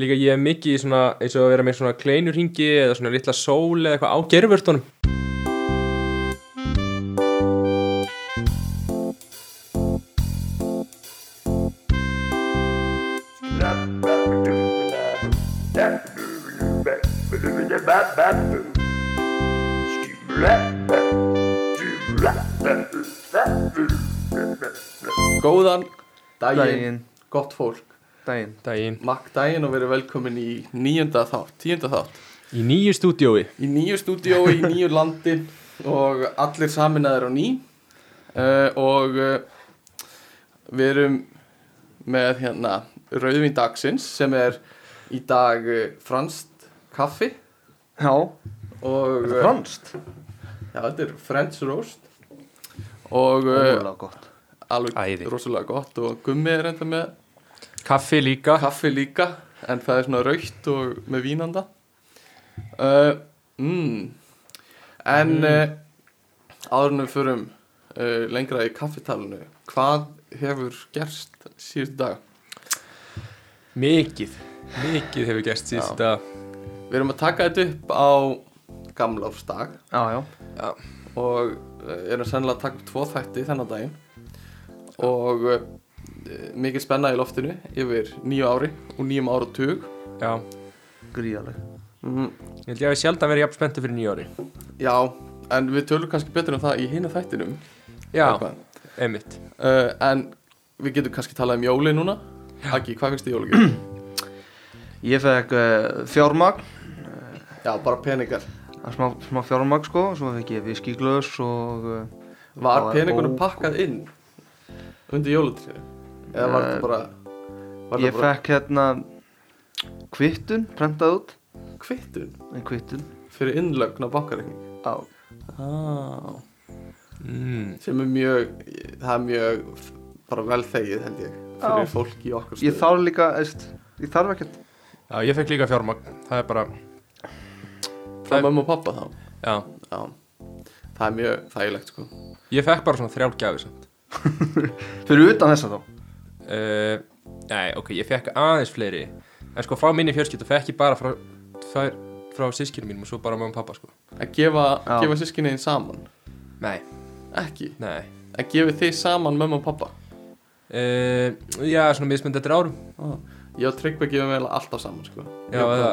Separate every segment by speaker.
Speaker 1: Líka ég er mikið í svona, eins og að vera með svona kleinurhingi eða svona litla sól eða eitthvað á gerfurtunum.
Speaker 2: Góðan
Speaker 3: Daginn,
Speaker 2: gott fólk
Speaker 3: daginn
Speaker 1: Daginn.
Speaker 2: Makk daginn og verið velkomin í nýjunda þátt, tíunda þátt
Speaker 1: Í nýju stúdiói.
Speaker 2: Í nýju stúdiói, í nýju landi og allir saminaðir á ný uh, og uh, við erum með hérna Rauðvín dagsins sem er í dag uh, franskt kaffi
Speaker 3: Já,
Speaker 2: og eh,
Speaker 3: þetta er franskt
Speaker 2: Já, þetta er French roast og uh,
Speaker 3: Ómögulega gott
Speaker 2: alveg
Speaker 1: Æði.
Speaker 2: rosalega gott og gummi er enda með
Speaker 1: Kaffi líka.
Speaker 2: kaffi líka en það er svona raukt og með vínanda uh, mm. en mm. uh, áðurinnum förum uh, lengra í kaffitalinu hvað hefur gerst síðustu dag
Speaker 1: Mikið. Mikið hefur gæst síðust að
Speaker 2: við erum að taka þetta upp á gamláfsdag
Speaker 3: Já, já
Speaker 2: og uh, erum sennilega að taka upp tvo þætti þennan daginn og uh, mikið spenna í loftinu yfir nýju ári og nýjum áratug
Speaker 1: Já,
Speaker 3: Gríðaleg
Speaker 2: mm.
Speaker 1: ég held ég að við sjaldan verið jafn spenntu fyrir nýju ári.
Speaker 2: já, en við tölum kannski betur um það í hina þættinum
Speaker 1: Já,
Speaker 2: Eitthvað.
Speaker 1: einmitt.
Speaker 2: uh, En við getum kannski talað um jóli núna Akki, hvað finnst þið jólugjöf?
Speaker 3: Ég fekk uh, fjármagn
Speaker 2: Já, bara peningar
Speaker 3: það er smá, smá fjármagn sko Svo fekk ég viskiglöðs og uh,
Speaker 2: Var
Speaker 3: Það er
Speaker 2: peningunum
Speaker 3: ó-
Speaker 2: pakkað inn undir jólutrýri? Eða var
Speaker 3: Eh,
Speaker 2: þetta bara var
Speaker 3: Ég
Speaker 2: þetta bara
Speaker 3: fekk hérna kvittun, prentað út
Speaker 2: kvittun
Speaker 3: En kvittun
Speaker 2: fyrir innlögn á bankareikning
Speaker 3: Já,
Speaker 2: ah.
Speaker 1: Mm.
Speaker 2: sem er mjög það er mjög f- bara vel þegið held ég fyrir
Speaker 3: Já.
Speaker 2: fólk í okkar
Speaker 3: ég þarf líka, eist Ég þarf ekkert
Speaker 1: Já, ég fekk líka fjármagn. Það er bara,
Speaker 2: frá mömmu og pappa þá
Speaker 1: já.
Speaker 2: Já. Það er mjög þægilegt sko
Speaker 1: Ég fekk bara svona þrjálgjafir samt.
Speaker 3: Fyrir utan þessa þá
Speaker 1: Uh, nei, ok, ég fekk aðeins fleiri. En sko, frá minni fjörskipt og fekk ég bara frá, tvær, frá sískinu mínum og svo bara mamma og pappa, sko.
Speaker 2: að gefa,
Speaker 3: Já.
Speaker 2: gefa sískinniðin saman
Speaker 1: Nei,
Speaker 2: ekki,
Speaker 1: nei.
Speaker 2: að gefa þið saman mömmu og pappa
Speaker 1: Uh, já, svona mismynd eftir árum
Speaker 2: Ah, Ég og Tryggvi gefum eiginlega alltaf saman sko.
Speaker 1: Já, eða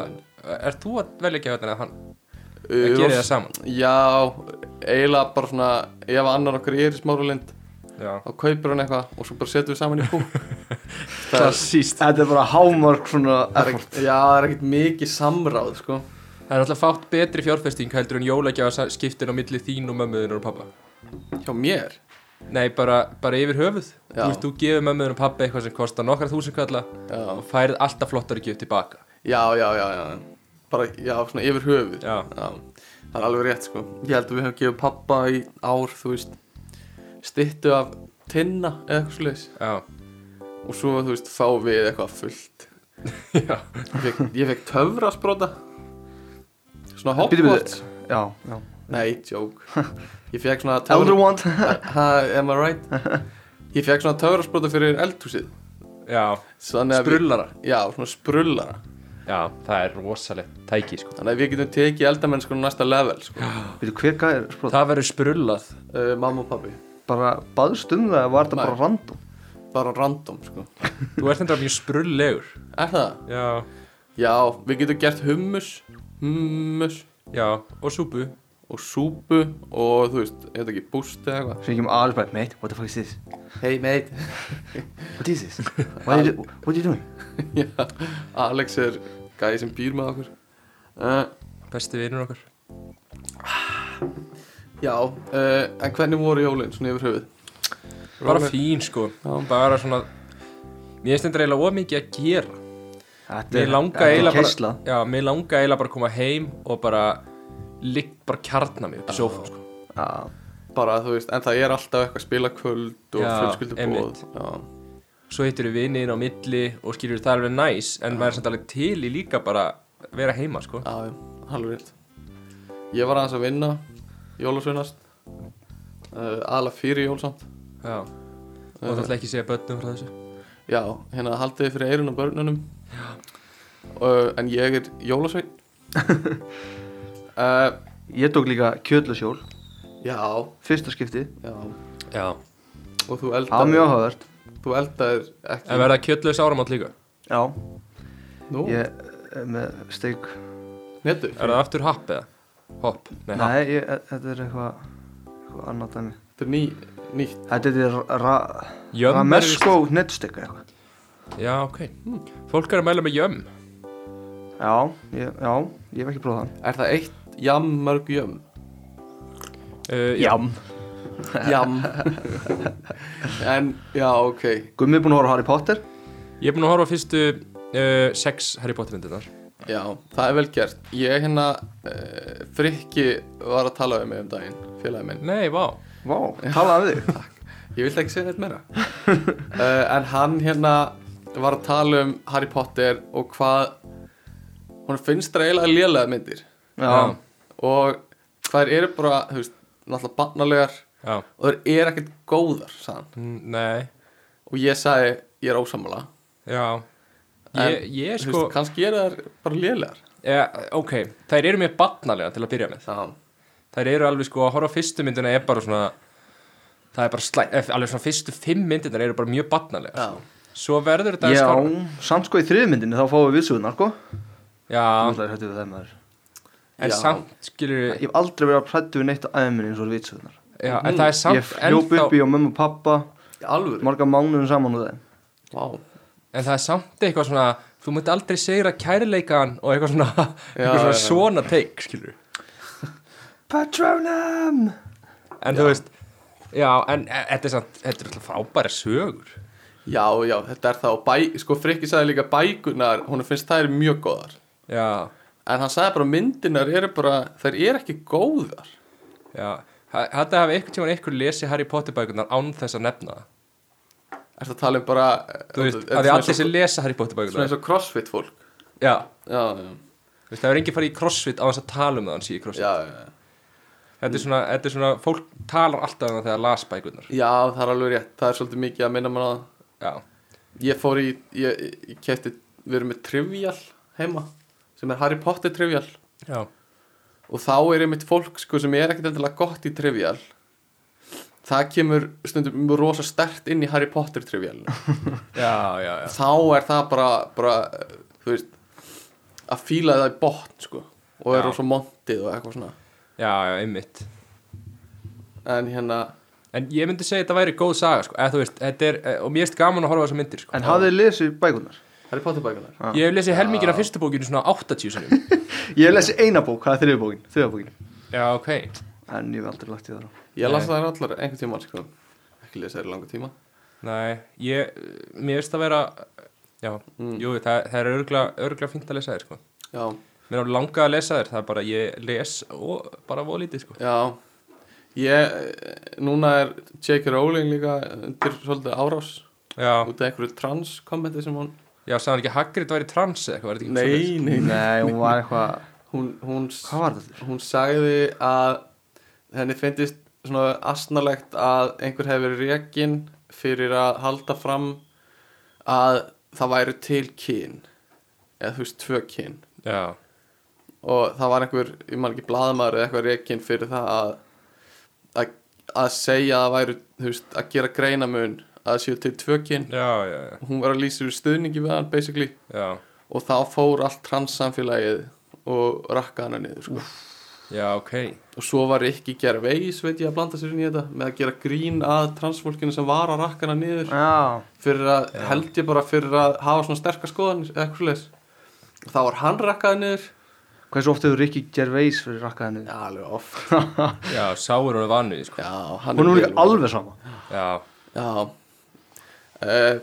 Speaker 1: Er þú að velja ekki að hann að
Speaker 2: Ég og bróðir minn. Uh,
Speaker 1: gera það
Speaker 2: ross-
Speaker 1: saman?
Speaker 2: Já, eiginlega bara svona Ef annar okkar er í smáralind
Speaker 1: Já
Speaker 2: Þá kaupir hann eitthvað og svo bara setjum við saman í bú Það er,
Speaker 1: Klassíst
Speaker 3: Þetta er bara hámark svona
Speaker 2: það er
Speaker 3: effort
Speaker 2: ekkit, Já, það er ekkert mikið samráð sko.
Speaker 1: Það er alltaf fátt betri fjárfesting heldur en jólagjafa skiptin á milli þín og mömmuðin og pappa
Speaker 2: Hjá mér
Speaker 1: Nei, bara, bara yfir höfuð Þú
Speaker 2: Já.
Speaker 1: veist, þú gefur mömmuðin og pappa eitthvað sem kostar nokkra þúsinkalla
Speaker 2: Já,
Speaker 1: og færið alltaf flottari gjöf tilbaka
Speaker 2: já, já, já, já. Bara, já, svona yfir höfuð
Speaker 1: Já.
Speaker 2: Það er alveg rétt sko. Ég held að við hefum gefið pappa í ár Þú veist, styttu af Tinna eða eitthvað slags
Speaker 1: Já,
Speaker 2: Og svo, þú veist, fá við eitthvað fullt
Speaker 1: já,
Speaker 2: Ég fekk, ég fekk töfrasprota Svona
Speaker 3: Bíddu, bíddu.
Speaker 2: Hogwarts
Speaker 3: Já, já
Speaker 2: Nei, joke Ég fekk svona
Speaker 3: Elder
Speaker 2: töfra
Speaker 3: want
Speaker 2: ha, Am I right? Ég fekk svona töfrasprota fyrir eldhúsið
Speaker 1: já,
Speaker 2: Þannig að við-
Speaker 1: Sprullara.
Speaker 2: Já, svona sprullara
Speaker 1: já, það er rosalegt tæki sko
Speaker 2: Þannig að við getum tekið eldamennskuna næsta level sko.
Speaker 3: Veitu hver gæðir spróð
Speaker 1: Það verður sprullað
Speaker 2: uh, Mamma og pabbi
Speaker 3: Bara baðst um það, var þetta
Speaker 2: Nei.
Speaker 3: bara random
Speaker 2: Bara random sko.
Speaker 1: Þú ert þetta mjög sprullegur
Speaker 2: Er það?
Speaker 1: Já,
Speaker 2: Já, við getum gert hummus Hummus
Speaker 1: já, og súpu
Speaker 2: Og súpu Og þú veist, ég veit ekki, bústi eða eitthvað
Speaker 3: Sem ekki um aðeins bara, mate, what the fuck is this?
Speaker 2: Hey mate
Speaker 3: What is this? What are you, what are you doing?
Speaker 2: Já, Alex er gæði sem býr með okkur uh,
Speaker 1: Besti vinur okkar
Speaker 2: Já, uh, en hvernig voru jólinn svona yfir höfuð?
Speaker 1: Bara
Speaker 2: Róleg.
Speaker 1: fín sko Bara svona Mér finnst þetta eiginlega ómikið að gera
Speaker 3: Þetta
Speaker 1: Mér langa
Speaker 3: þetta er
Speaker 1: eiginlega
Speaker 3: keisla.
Speaker 1: bara Já, mér langa eiginlega bara að koma heim og bara ligg bara kjarna mig upp í sófa sko
Speaker 3: Já,
Speaker 2: Bara þú veist, en það er alltaf eitthvað spilakvöld og
Speaker 1: Já, einmitt.
Speaker 2: fjölskyldubóð Já,
Speaker 1: Svo hittur við vinnin á milli og skilur það er alveg næs en maður er samt alveg til í líka bara að vera heima sko
Speaker 2: já, já, halvur rétt Ég var aðeins að vinna jólasveinast uh, aðla fyrir jólsamt
Speaker 1: Já Og það ætla ekki að segja börnum frá þessu
Speaker 2: Já, hérna haldiði fyrir eyrun á börnunum uh, en ég er jólasveinn uh,
Speaker 3: Ég tók líka kjöldlasjól,
Speaker 2: Já,
Speaker 3: fyrsta skipti
Speaker 2: já
Speaker 1: Já.
Speaker 2: Og þú
Speaker 3: Það var mjög
Speaker 2: eldaðir,
Speaker 3: áhugavert
Speaker 2: þú eldaðir ekki
Speaker 1: En verða kjöllus áramátt líka?
Speaker 3: Já,
Speaker 2: Nú,
Speaker 3: ég eh, með steik
Speaker 2: netu
Speaker 1: Er það aftur happ eða? Hopp? Nei, happ.
Speaker 3: Nei, ég, eh, þetta er eitthvað eitthvað annað dæmi
Speaker 2: Þetta er ný, nýtt
Speaker 3: Þetta er ra,
Speaker 1: Jömm er víst-
Speaker 3: ramesko nettstekka eitthvað
Speaker 1: Já, ok. Hm. Fólk er að mæla með jömm.
Speaker 3: Já, ég, já, ég hef ekki prófað það
Speaker 2: Er það eitt jam mörg jam?
Speaker 1: Uh,
Speaker 2: Jam En, já, ok
Speaker 3: Gummi er búin að horfa á Harry Potter
Speaker 1: Ég er búin að horfa á fyrstu uh, sex Harry Potter myndirnar.
Speaker 2: Já, það er vel gert Ég hérna, uh, Frikki var að tala um mig um daginn Félagi minn
Speaker 1: Nei, vá.
Speaker 3: Vá, talaði við þig
Speaker 2: Ég vildi ekki segja neitt meira uh, En hann hérna var að tala um Harry Potter og hvað hún finnst það eiginlega lélega myndir
Speaker 3: Já,
Speaker 2: og hvað eru bara, þú veist, náttúrulega barnalegar
Speaker 1: Já.
Speaker 2: og það eru ekkert góðar, sagðan
Speaker 1: Mm, Nei.
Speaker 2: og ég sagði, ég er ósammála
Speaker 1: Já.
Speaker 2: En,
Speaker 1: Ég, ég
Speaker 2: Þú
Speaker 1: sko...
Speaker 2: veist, kannski eru þær bara lélegar
Speaker 1: Ja, ok, þær eru mér batnalega til að byrja með
Speaker 2: Já,
Speaker 1: Þær eru alveg sko að horfa á fyrstu myndina er bara svona Það er bara slæm, eh, alveg svona fyrstu fimm myndinar eru bara mjög batnalega
Speaker 2: já,
Speaker 1: Svo verður þetta
Speaker 3: já
Speaker 1: skárra.
Speaker 3: samt sko í þriðmyndinni þá fáum við vitsugurnar sko
Speaker 1: Já,
Speaker 3: Það er hættu við þeim maður
Speaker 1: en
Speaker 2: Já.
Speaker 1: samt skilur
Speaker 3: Ég hef aldrei verið að prættu við neitt á æðminni eins og vitsugurnar
Speaker 1: já, En það er
Speaker 2: Mm.
Speaker 3: Ég
Speaker 1: samt
Speaker 3: hljóp upp í á mömmu og pappa
Speaker 2: í alvöru
Speaker 3: marga mánuðum saman úr þeim
Speaker 2: Vá,
Speaker 1: En það er samt eitthvað svona Þú munt aldrei segra kærleikan og eitthvað svona
Speaker 2: Já,
Speaker 1: Eitthvað
Speaker 2: já,
Speaker 1: svona
Speaker 2: já.
Speaker 1: svona teik skilur
Speaker 3: Patronum
Speaker 1: En þú veist Já, en e- þetta er samt, þetta er alltaf frábæra sögur
Speaker 2: já, já, þetta er það og bæ, sko Frikki sagði líka bækunar hún finnst þær mjög góðar
Speaker 1: Já,
Speaker 2: en hann sagði bara myndinar eru bara þær eru ekki góðar
Speaker 1: já Þetta hafa einhvern tímann einhver lesið Harry Potter bækunar án þess að nefna það
Speaker 2: Er það að tala um bara
Speaker 1: Þú veist,
Speaker 2: þetta er
Speaker 1: að því allir
Speaker 2: svona eins og-
Speaker 1: sem lesa Harry Potter
Speaker 2: Svona
Speaker 1: bækunar
Speaker 2: eins og crossfit fólk
Speaker 1: Já,
Speaker 2: Já, já,
Speaker 1: þú veist, það er enginn farið í crossfit á þess að tala um það hann sé í crossfit
Speaker 2: já, já, já.
Speaker 1: þetta, er svona, þetta er svona, fólk talar alltaf um það þegar las bækunar
Speaker 2: já, það er alveg rétt Það er svolítið mikið að minna mann á það
Speaker 1: Já,
Speaker 2: Ég fór í, ég, ég kefti, við erum með Trivial heima Sem er Harry Potter Trivial
Speaker 1: já,
Speaker 2: Og þá er einmitt fólk, sko, sem er ekkert endilega gott í Trivial Það kemur stundum rosa stert inn í Harry Potter Trivial
Speaker 1: já, já, já.
Speaker 2: Þá er það bara, bara, þú veist Að fíla það í botn, sko
Speaker 1: Já.
Speaker 2: Og er rosa montið og eitthvað svona
Speaker 1: já, já, einmitt
Speaker 2: En hérna,
Speaker 1: En ég myndi segja að þetta væri góð saga, sko eða, þú veist, þetta er, eh, og mér erst gaman að horfa á þessar myndir, sko
Speaker 3: En hafið þið lesið bækunar?
Speaker 2: Harry Potter bækunar
Speaker 3: Já.
Speaker 1: Ég hef lesið helmingin af fyrstu bókinu svona 80 sinum
Speaker 3: Ég hef lesið eina bók, það er þriðja bókin, þriðja bókin
Speaker 1: Já, ok
Speaker 3: En ég hef aldrei lagt í það á
Speaker 2: Ég las
Speaker 1: Nei.
Speaker 2: það allar einhvern tíma sko. ekki lesa þær í langa tíma
Speaker 1: Nei, ég, mér erst að vera Já,
Speaker 2: Mm.
Speaker 1: jú, það, það er örgla, örgla fínt að lesa þér, sko
Speaker 2: Já,
Speaker 1: Mér er langað að lesa þér, það er bara, ég les og bara volítið, sko
Speaker 2: já Ég, núna er J.K. Rowling líka undir svolítið árás
Speaker 1: Já,
Speaker 2: út af einhverju trans kommenti sem hún
Speaker 1: Já, sagði hann ekki að Hagrid væri trans eða eitthvað, var þetta ekki svoleiðis?
Speaker 2: nei,
Speaker 3: Nei, hún var eitthvað,
Speaker 2: Hún, hún,
Speaker 3: hvað var þetta?
Speaker 2: hún sagði að henni finnist svona asnalegt að einhver hefði verið rekin fyrir að halda fram að það væri til kyn eða þú veist tvö kyn
Speaker 1: Já,
Speaker 2: og það var einhver, ég man ekki blaðamaður eða eitthvað reikinn fyrir það að, að, að segja að það væru þú veist, að gera greinamun að það séu til tvökinn
Speaker 1: já, já, já,
Speaker 2: hún var að lýsa úr stuðningi við hann basically
Speaker 1: já,
Speaker 2: og þá fór allt transsamfélagið og rakka hana niður sko.
Speaker 1: já, ok
Speaker 2: og svo var ekki gera veis veit ég að blanda sér inn í þetta með að gera grín að transfólkinu sem var að rakka hana niður
Speaker 3: Já,
Speaker 2: fyrir að, held ég bara fyrir að hafa svona sterkar skoðanir eða eitthvað leis og þá var hann rakkaði niður
Speaker 3: hversu oft hefur Ricky Gervais fyrir rakkaðinu?
Speaker 2: já, alveg oft
Speaker 1: Já, sáur hún er vanuð, sko
Speaker 2: já, hann
Speaker 3: Hún er
Speaker 2: vel
Speaker 3: líka
Speaker 2: vanur.
Speaker 3: alveg sama
Speaker 1: Já,
Speaker 2: Já uh,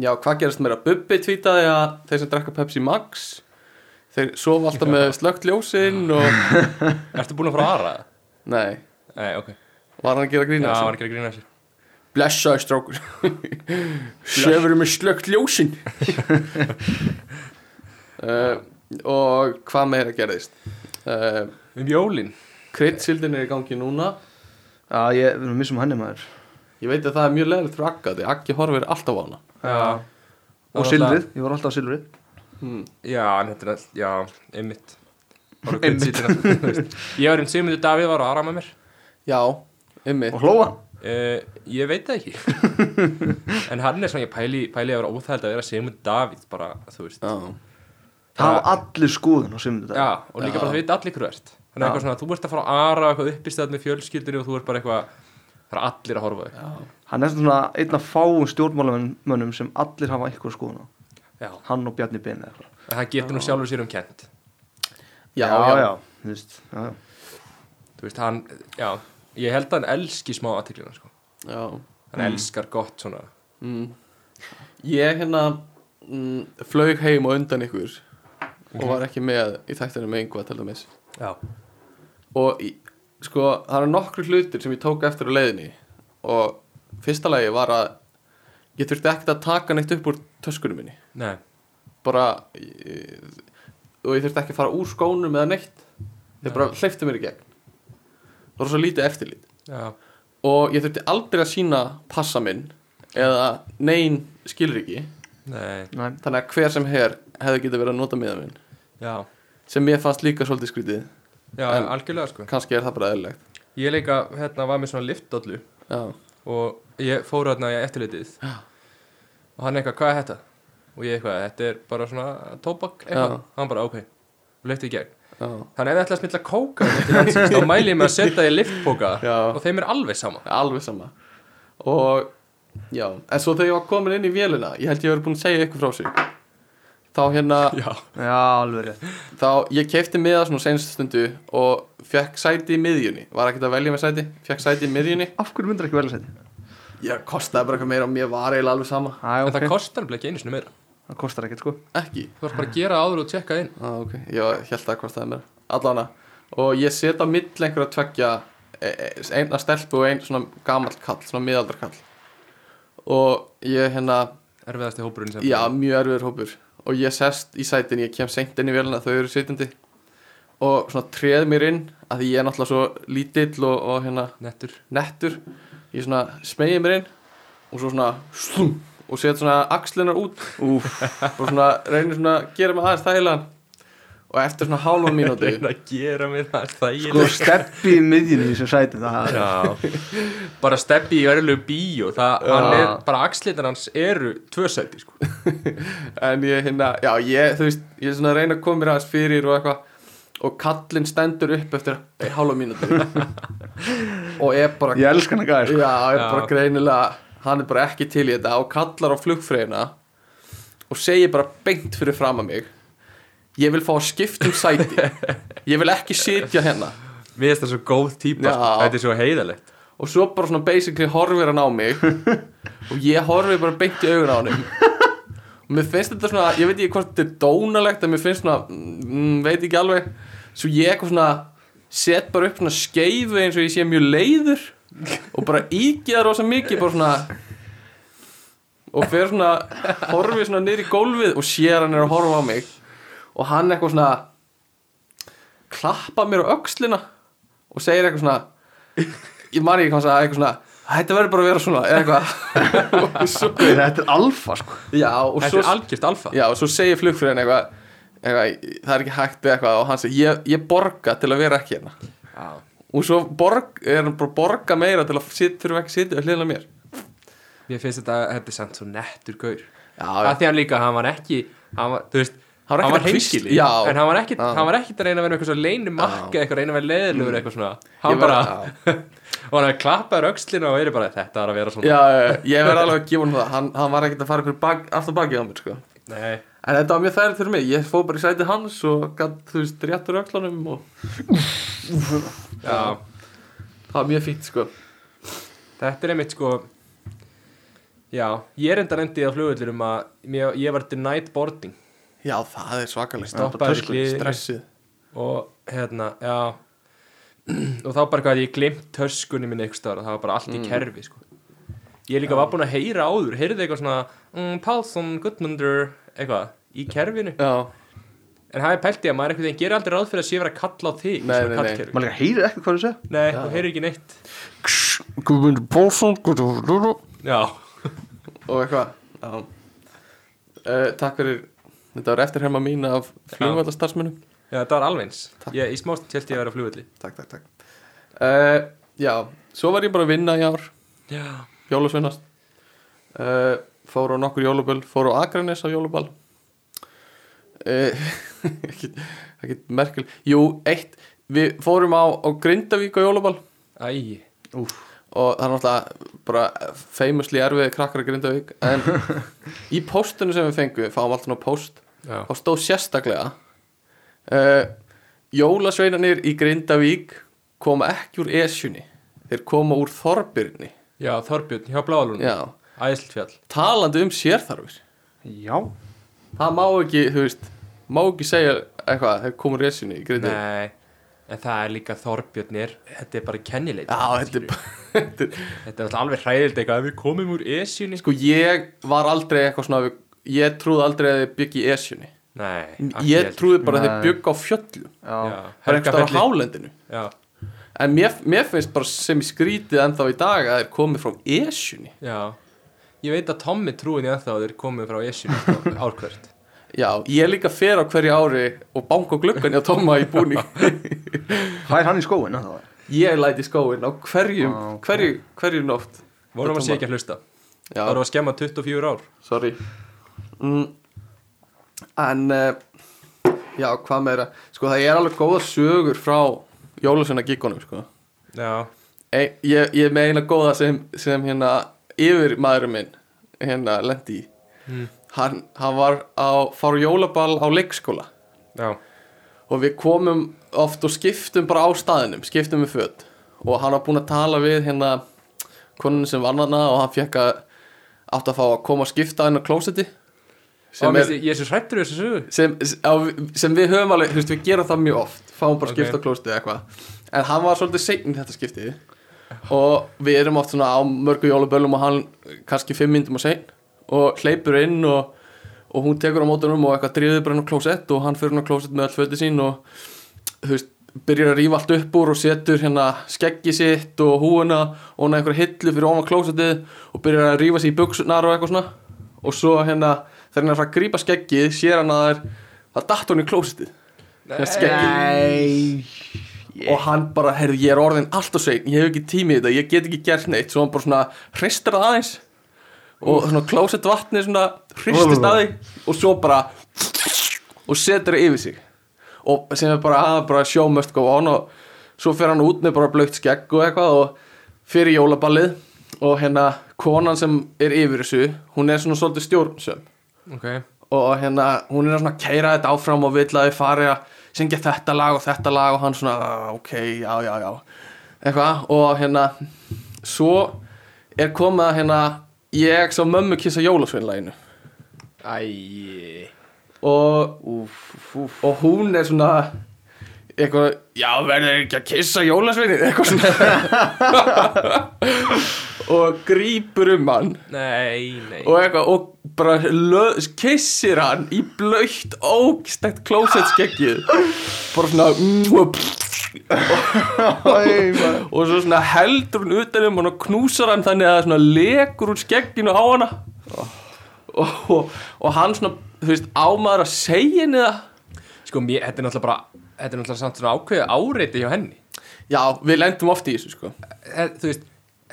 Speaker 2: Já, hvað gerist meira? Bubbi tvítaði að þeir sem drekka Pepsi Max þeir sofa alltaf með slögt ljósin og
Speaker 1: ertu búin að fara að aðra?
Speaker 2: nei,
Speaker 1: Nei, ok,
Speaker 2: var hann að gera
Speaker 1: já,
Speaker 2: grína
Speaker 1: hann er ekki að grína sér
Speaker 2: Blessaði strákur Sefurum með slögt ljósin uh, Og hvað meira gerðist? Uh,
Speaker 1: Um jólin
Speaker 2: Kryddsildin er í gangi núna
Speaker 3: Já, ég, við erum missum henni maður
Speaker 2: Ég veit að það er mjög leðilegt fyrir Agga því Aggi horfir alltaf á hana
Speaker 1: Já,
Speaker 3: Og
Speaker 1: Það var
Speaker 3: silfrið, ég var alltaf á silfrið
Speaker 2: hmm.
Speaker 1: Já, en þetta er all, já, einmitt Bara einmitt síðan, Ég var einn Sigmundur Davíð var að ara með mér
Speaker 2: Já, ymmið
Speaker 3: Og hlóa
Speaker 1: uh, Ég veit það ekki En hann er svona, ég pæli, pæli að vera óþæld að vera Sigmundur Davíð bara, þú veist Já,
Speaker 3: Það var allir skoðun á simmu dag
Speaker 1: og líka bara það veit allir hverju ert Þannig
Speaker 3: Já.
Speaker 1: eitthvað svona, þú ert að fara að ara eitthvað uppistöð með fjölskyldinu og þú ert bara eitthvað Það er allir að horfa á þig
Speaker 3: Hann er svona einn af fáum stjórnmálamönnum sem allir hafa eitthvað skoðun á
Speaker 1: Já,
Speaker 3: Hann og Bjarni Ben eða eitthvað
Speaker 1: en það getur nú sjálfur sér um kent
Speaker 2: Já, já, já.
Speaker 3: Þú veist, já, já
Speaker 1: Þú veist, hann, já Ég held að hann elski smá aðtiklina, sko Hann elskar gott svona
Speaker 2: Mm. Ég hérna mm, flög heim og undan ykkur og var ekki með í þættinu með einhvað til dæmis
Speaker 1: Já,
Speaker 2: og í, sko það eru nokkru hlutir sem ég tók eftir á leiðinni og fyrsta lagi var að ég þurfti ekkert að taka neitt upp úr töskunum minni
Speaker 1: nei,
Speaker 2: bara eh, og ég þurfti ekki að fara úr skónum eða neitt þeir bara hleyftu mér í gegn það var svo lítið eftirlit
Speaker 1: já,
Speaker 2: og ég þurfti aldrei að sína passa minn eða nein skilriki
Speaker 1: nei
Speaker 3: Næ,
Speaker 2: þannig að hver sem her hefði getið verið að nota miða minn
Speaker 1: Já,
Speaker 2: sem mér fannst líka svolítið skrítið
Speaker 1: já
Speaker 2: En-
Speaker 1: algjörlega sko
Speaker 2: kannski er það bara eðlilegt
Speaker 1: Ég líka, hérna, var með svona liftdollu
Speaker 2: já,
Speaker 1: og ég fór hérna í eftirlitið og hann eitthvað, hvað er þetta? Og ég eitthvað, þetta er bara svona tóbak eitthvað,
Speaker 2: Já.
Speaker 1: hann bara, ok, og lyfti í gegn
Speaker 2: já,
Speaker 1: Þannig ef þið ætla að smilla kóka til landsins, þá mæli ég með að setja í liftbóka
Speaker 2: Já.
Speaker 1: og þeim er alveg sama
Speaker 2: alveg sama og já, en svo þegar ég var komin inn í vélina ég held ég hefur búin að segja ykkur frá sig þá hérna
Speaker 1: Já,
Speaker 3: já, alveg rétt
Speaker 2: þá ég kefti miða svona senstu stundu og fekk sæti í miðjunni var ekkert að velja með sæti, fekk sæti í miðjunni
Speaker 3: Af hverju myndir ekki velja sæti?
Speaker 2: ég kostaði bara eitthvað meira og mér var eiginlega alveg sama
Speaker 3: Æ,
Speaker 1: en
Speaker 3: ok,
Speaker 1: það kostar nefnilega ekki einu sinni meira
Speaker 3: það kostar ekkert sko
Speaker 2: ekki,
Speaker 1: Þú þarf bara að gera áður og tjekka inn
Speaker 2: ah, ok, ég held að það kostaði mér allana, og ég set á mill einhverja tveggja e- e- eina stelpu og ein svona gamall kall svona miðaldra kall og ég hérna,
Speaker 1: Erfiðasti hópurinn sem
Speaker 2: já, mjög erfiður hópur og ég sest í sætin, ég kem seint inn í vélina þau eru sitjandi og svona treð mér inn, að því ég er náttúrulega svo lítill og, og hérna
Speaker 1: Nettur
Speaker 2: nettur ég svona smegi mér inn og svo svona slum, og set svona axlunar út Úf. og svona reynir svona að gera mig aðeins þægilegan og eftir svona hálfa mínúti
Speaker 1: Reyna að gera mér það
Speaker 3: Sko,
Speaker 1: þægilega
Speaker 3: steppi í miðjunni í þessu sæti það
Speaker 1: Sko.
Speaker 3: er
Speaker 1: Já, bara steppi í verðilegu bíó það, hann
Speaker 3: Já.
Speaker 1: er, bara axlirnar hans eru tvö sæti, sko
Speaker 2: en ég hérna, já ég þú veist ég svona reyna að koma mér aðeins fyrir og eitthvað og kallinn stendur upp eftir hálfa mínúti og er bara
Speaker 3: Ég elska hann að gæða sko
Speaker 2: Já, er
Speaker 1: Já.
Speaker 2: bara greinilega hann er bara ekki til í þetta og kallar á flugfreyna og segir bara beint fyrir fram að mig ég vil fá að skipta um sæti ég vil ekki sitja hérna
Speaker 1: Við erum það svo góð típa,
Speaker 2: Já.
Speaker 1: sko. þetta er svo heiðalegt
Speaker 2: og svo bara svona basically horfir hann á mig og ég horfi bara beint í augun á hann og mér finnst þetta svona ég veit ekki hvort þetta er dónalegt en mér finnst svona, mm, veit ekki alveg svo ég eitthvað svona set bara upp svona skeifu eins og ég sé mjög leiður og bara ígja það rosa mikið bara svona og fer svona, horfi svona niður í gólfið og sér hann er að horfa á mig og hann eitthvað svona klappa mér á öxlina og segir eitthvað svona ég man ekki hvað hann sagði, eitthvað svona þetta verður bara að vera svona, eða eitthvað og svo,
Speaker 3: Þetta er alfa sko
Speaker 2: já, og
Speaker 1: Þetta
Speaker 2: svo
Speaker 1: er algjört alfa
Speaker 2: já, og svo segir flugfröðin eitthvað, eitthvað það er ekki hægt eða eitthvað og hann segir, ég, ég borga til að vera ekki hérna
Speaker 1: Já.
Speaker 2: og svo borg, er hann bara að borga meira til að sit, þurfa ekki að sitja við hliðina á mér
Speaker 1: Mér finnst þetta, þetta er samt svo nettur gaur
Speaker 2: já,
Speaker 1: Það því hann líka, hann var ekki hann var, Þú veist,
Speaker 2: Hann var ekkert að hvísla-
Speaker 1: hreinskilinn,
Speaker 2: Já.
Speaker 1: En hann var ekki,
Speaker 2: Já.
Speaker 1: hann var ekki að reyna að vera eitthvað svo leinu makka eitthvað reyna að vera leiðilegur eitthvað svona Hann
Speaker 2: Ég var-
Speaker 1: bara, og hann klappaður öxlina og er bara, þetta er að vera svona
Speaker 2: já, já, ég verð alveg að gefa hann það hann, hann var ekkert að fara ykkur bak, alltaf bakið á mér sko.
Speaker 1: Nei,
Speaker 2: en þetta var mjög þærið fyrir mig, ég fóð bara í sæti hans og gatt, þú veist, réttur öklunum og
Speaker 1: já.
Speaker 2: það var mjög fínt sko.
Speaker 1: Þetta er einmitt sko Já, ég er enda nefndið á flugullurum að mér, ég var denied boarding
Speaker 2: já, það er svakalegt
Speaker 1: Stoppaður í hliðinu
Speaker 2: stressið
Speaker 1: og hérna, já og þá bara hvað ég glimt töskunni minni einhvers staðar og það var bara allt
Speaker 2: Mm.
Speaker 1: í kerfi sko. Ég líka var búinn að heyra áður heyrði eitthvað svona mm, Pálsson, Gudmundur, eitthvað í kerfinu
Speaker 2: já,
Speaker 1: en það er pæltið að maður einhvern veginn gerir aldrei ráð fyrir að sé vera að kalla á þig í
Speaker 2: Nei,
Speaker 1: svona
Speaker 2: nei, nei.
Speaker 1: kallkerfi.
Speaker 3: Maður líka heyrir ekkert hvað þú segja
Speaker 1: Nei, þú heyrir ekki neitt
Speaker 2: Guðmundur Pálsson og
Speaker 1: Já,
Speaker 2: eitthvað já. Uh, Eh, takk fyrir Þetta var eftirherma mín af flugvallastarsmunum
Speaker 1: Já, þetta var alveg eins. Ég, í smást held ég að vera á flugvelli.
Speaker 4: Takk, takk, takk
Speaker 2: uh, Já, svo var ég bara að vinna í ár
Speaker 1: Já.
Speaker 2: Jólasvinnast uh, Fór á nokkur jóluböll Fór á Akranes á jóluball uh, Ekkit ekkit merkil Jú, eitt Við fórum á, á Grindavík á jóluball
Speaker 1: Æ,
Speaker 2: og það er náttúrulega bara famously erfið krakkar að Grindavík en í póstunum sem við fengum við fáum alltaf ná póst
Speaker 1: já.
Speaker 2: þá stóð sérstaklega uh, Jólasveinanir í Grindavík koma ekki úr Esjunni þeir koma úr Þorbyrni
Speaker 1: Já, Þorbjörn hjá Bláalunum.
Speaker 2: Já,
Speaker 1: Æðslfjall.
Speaker 2: talandi um sérþarfir
Speaker 3: Já,
Speaker 2: það má ekki, þú veist má ekki segja eitthvað, þeir koma úr Esjunni í Grindavík
Speaker 1: Nei, en það er líka Þorbjörnir. Þetta er bara kennileit.
Speaker 2: Já, þetta er bara þetta er-
Speaker 1: Þetta er alltaf alveg hræðild eitthvað. Ef Við komum úr Esjunni.
Speaker 2: Sko, ég var aldrei eitthvað svona ég trúði aldrei að þið byggi í Esjunni
Speaker 1: Nei,
Speaker 2: ég trúði bara að
Speaker 3: Nei.
Speaker 2: þið byggi á fjöllum
Speaker 3: já,
Speaker 2: bara einhverstað á
Speaker 1: hálf.
Speaker 2: hálendinu
Speaker 1: Já,
Speaker 2: en mér, mér finnst bara sem ég skrítið ennþá í dag að þeir komið frá Esjunni
Speaker 1: já. Ég veit að Tommi trúin ég ennþá að þeir komið frá Esjunni sko, árkvært.
Speaker 2: já, ég líka fer á hverju ári og banka á gluggan hjá Tóma í búning
Speaker 3: það er hann í skóin að það
Speaker 2: ég læti skóin á hverjum
Speaker 3: Á, ok.
Speaker 2: hverju, hverju nótt
Speaker 1: Vorum að sé ekki að hlusta.
Speaker 2: já,
Speaker 1: Það voru að skemma 24 ár.
Speaker 2: sorry mm, en uh, já, hvað meira sko það er alveg góða sögur frá Jólasveina gíkonum sko
Speaker 1: Já,
Speaker 2: Ein, ég, ég er með eina góða sem, sem hérna yfir maðurinn minn hérna lendi í
Speaker 1: Mm.
Speaker 2: hann, hann var á fara á jólaball á leikskóla
Speaker 1: já,
Speaker 2: og við komum oft og skiptum bara á staðinum, skiptum við föt og hann var búinn að tala við hérna konun sem vann hana og hann fekk að átt að fá að koma að skipta hennar klósetti
Speaker 1: Ó,
Speaker 2: sem,
Speaker 1: mér
Speaker 2: er,
Speaker 1: finnst- ég er svo hrættur þessu sögu
Speaker 2: sem, á, sem við höfum alveg, þú veist, við gerum það mjög oft fáum bara
Speaker 1: Ok.
Speaker 2: okay. skipta klósetti eða eitthvað en hann var svolítið seinn í þetta skiptið og við erum oft svona á mörgu jólaböllum og hann kannski fimm myndum og sein og hleypur inn og, og hún tekur á mótunum og eitthvað dríður bara hann á klósett og hann fyrir hann á klósett með all föti sín og þú veist, byrjar að rífa allt upp úr og setur hérna skeggi sitt og húuna og hann einhverja hillu fyrir ofan klósettið og byrjar að rífa sér í buksunar og eitthvað svona og svo hérna þegar hann er að fara að grípa skeggið sér hann að það er það datt hann í klósettið Nei. Skeggið
Speaker 3: Nei
Speaker 2: og hann bara, heyrðu, ég er orðin alltaf sveinn, ég hef ekki tími í þetta, ég get ekki gert neitt svo hann bara svona hristir það aðeins og svona klósett vatni svona hristist að því og svo bara og setur það yfir sig og sem er bara að bara show must go on og svo fer hann út með bara blökt skegg og eitthvað og fyrir jólaballið og hérna konan sem er yfir þessu hún er svona svolítið stjórnsöm
Speaker 1: Ok,
Speaker 2: og hérna hún er að svona keira þetta áfram og vill að þið fari að syngja þetta lag og þetta lag og hann svona "Ah, ok, já, já, já eitthvað og hérna svo er komið að hérna ég svo mömmu kissa jólasveinlæginu
Speaker 1: æj
Speaker 2: og,
Speaker 3: Úf, úf
Speaker 2: og hún er svona eitthvað, já verður ekki að kissa jólasveinin eitthvað svona og grípur um hann
Speaker 1: Nei, nei
Speaker 2: og eitthvað og bara löð, kissir hann í blöytt ógstætt klósettskeggið bara svona mm, og,
Speaker 3: Æ, maður.
Speaker 2: og svo svona heldur hún utan um hann og knúsar hann þannig að það svona lekur úr skegginu á hana og, og, og hann svona þú veist ámaður að segja henni það
Speaker 1: Sko, mér, þetta er náttúrulega bara Þetta er náttúrulega samt svona ákveðið áreiti hjá henni
Speaker 2: já við lendum oft í þessu sko
Speaker 1: Þe- Þú veist,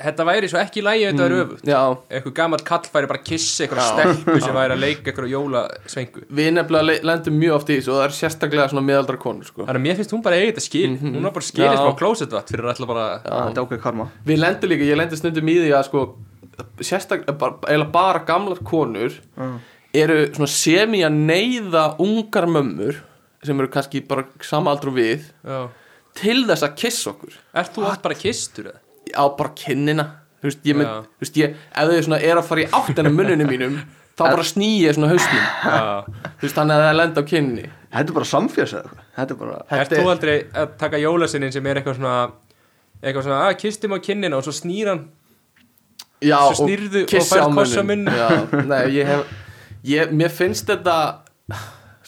Speaker 1: þetta væri svo ekki í lagi ef Þetta væri öfugt
Speaker 2: já
Speaker 1: Eitthvað gammal kall færi bara að kissa Eitthvað stelpu sem væri að leika eitthvað jólasvengu
Speaker 2: við nefnilega le- lendum mjög oft í þessu og það er sérstaklega svona miðaldra konur sko
Speaker 1: Þannig að mér finnst hún bara eigið þetta skil Hún var bara skilist
Speaker 2: Mhm. Já.
Speaker 1: á klósetvatt Fyrir að ætla bara
Speaker 3: Þetta er ákveð karma
Speaker 2: Við lendum líka, ég lendur stundum í því að sko sérstaklega, bara, eiginlega bara gamlar konur
Speaker 3: Já.
Speaker 2: eru svona semi að neyða ungar mömmur sem eru kannski bara samaldru við
Speaker 1: Já.
Speaker 2: til þess að kissa okkur
Speaker 1: Ert þú átt bara kistur eða?
Speaker 2: á bara kinnina þú veist, ég mynd,
Speaker 1: Já.
Speaker 2: þú veist, ég, ef þau svona er að fara í áttina munnunum mínum þá bara snýja svona hausnum
Speaker 1: Já.
Speaker 2: þú veist, þannig að það lenda á kinninni
Speaker 3: Þetta er bara samfjörs eða eitthvað. Þetta er bara
Speaker 1: Ert
Speaker 2: Þetta
Speaker 1: þú
Speaker 2: er-
Speaker 1: aldrei að taka jólasinnin sem er eitthvað svona Eitthvað svona, að kistum á kinnina og svo snýr hann
Speaker 2: Já,
Speaker 1: Svo snýrðu og
Speaker 2: kissi
Speaker 1: færð
Speaker 2: á
Speaker 1: koss á
Speaker 2: munninn.
Speaker 1: munninn.
Speaker 2: Já, nei, ég hef ég, Mér finnst þetta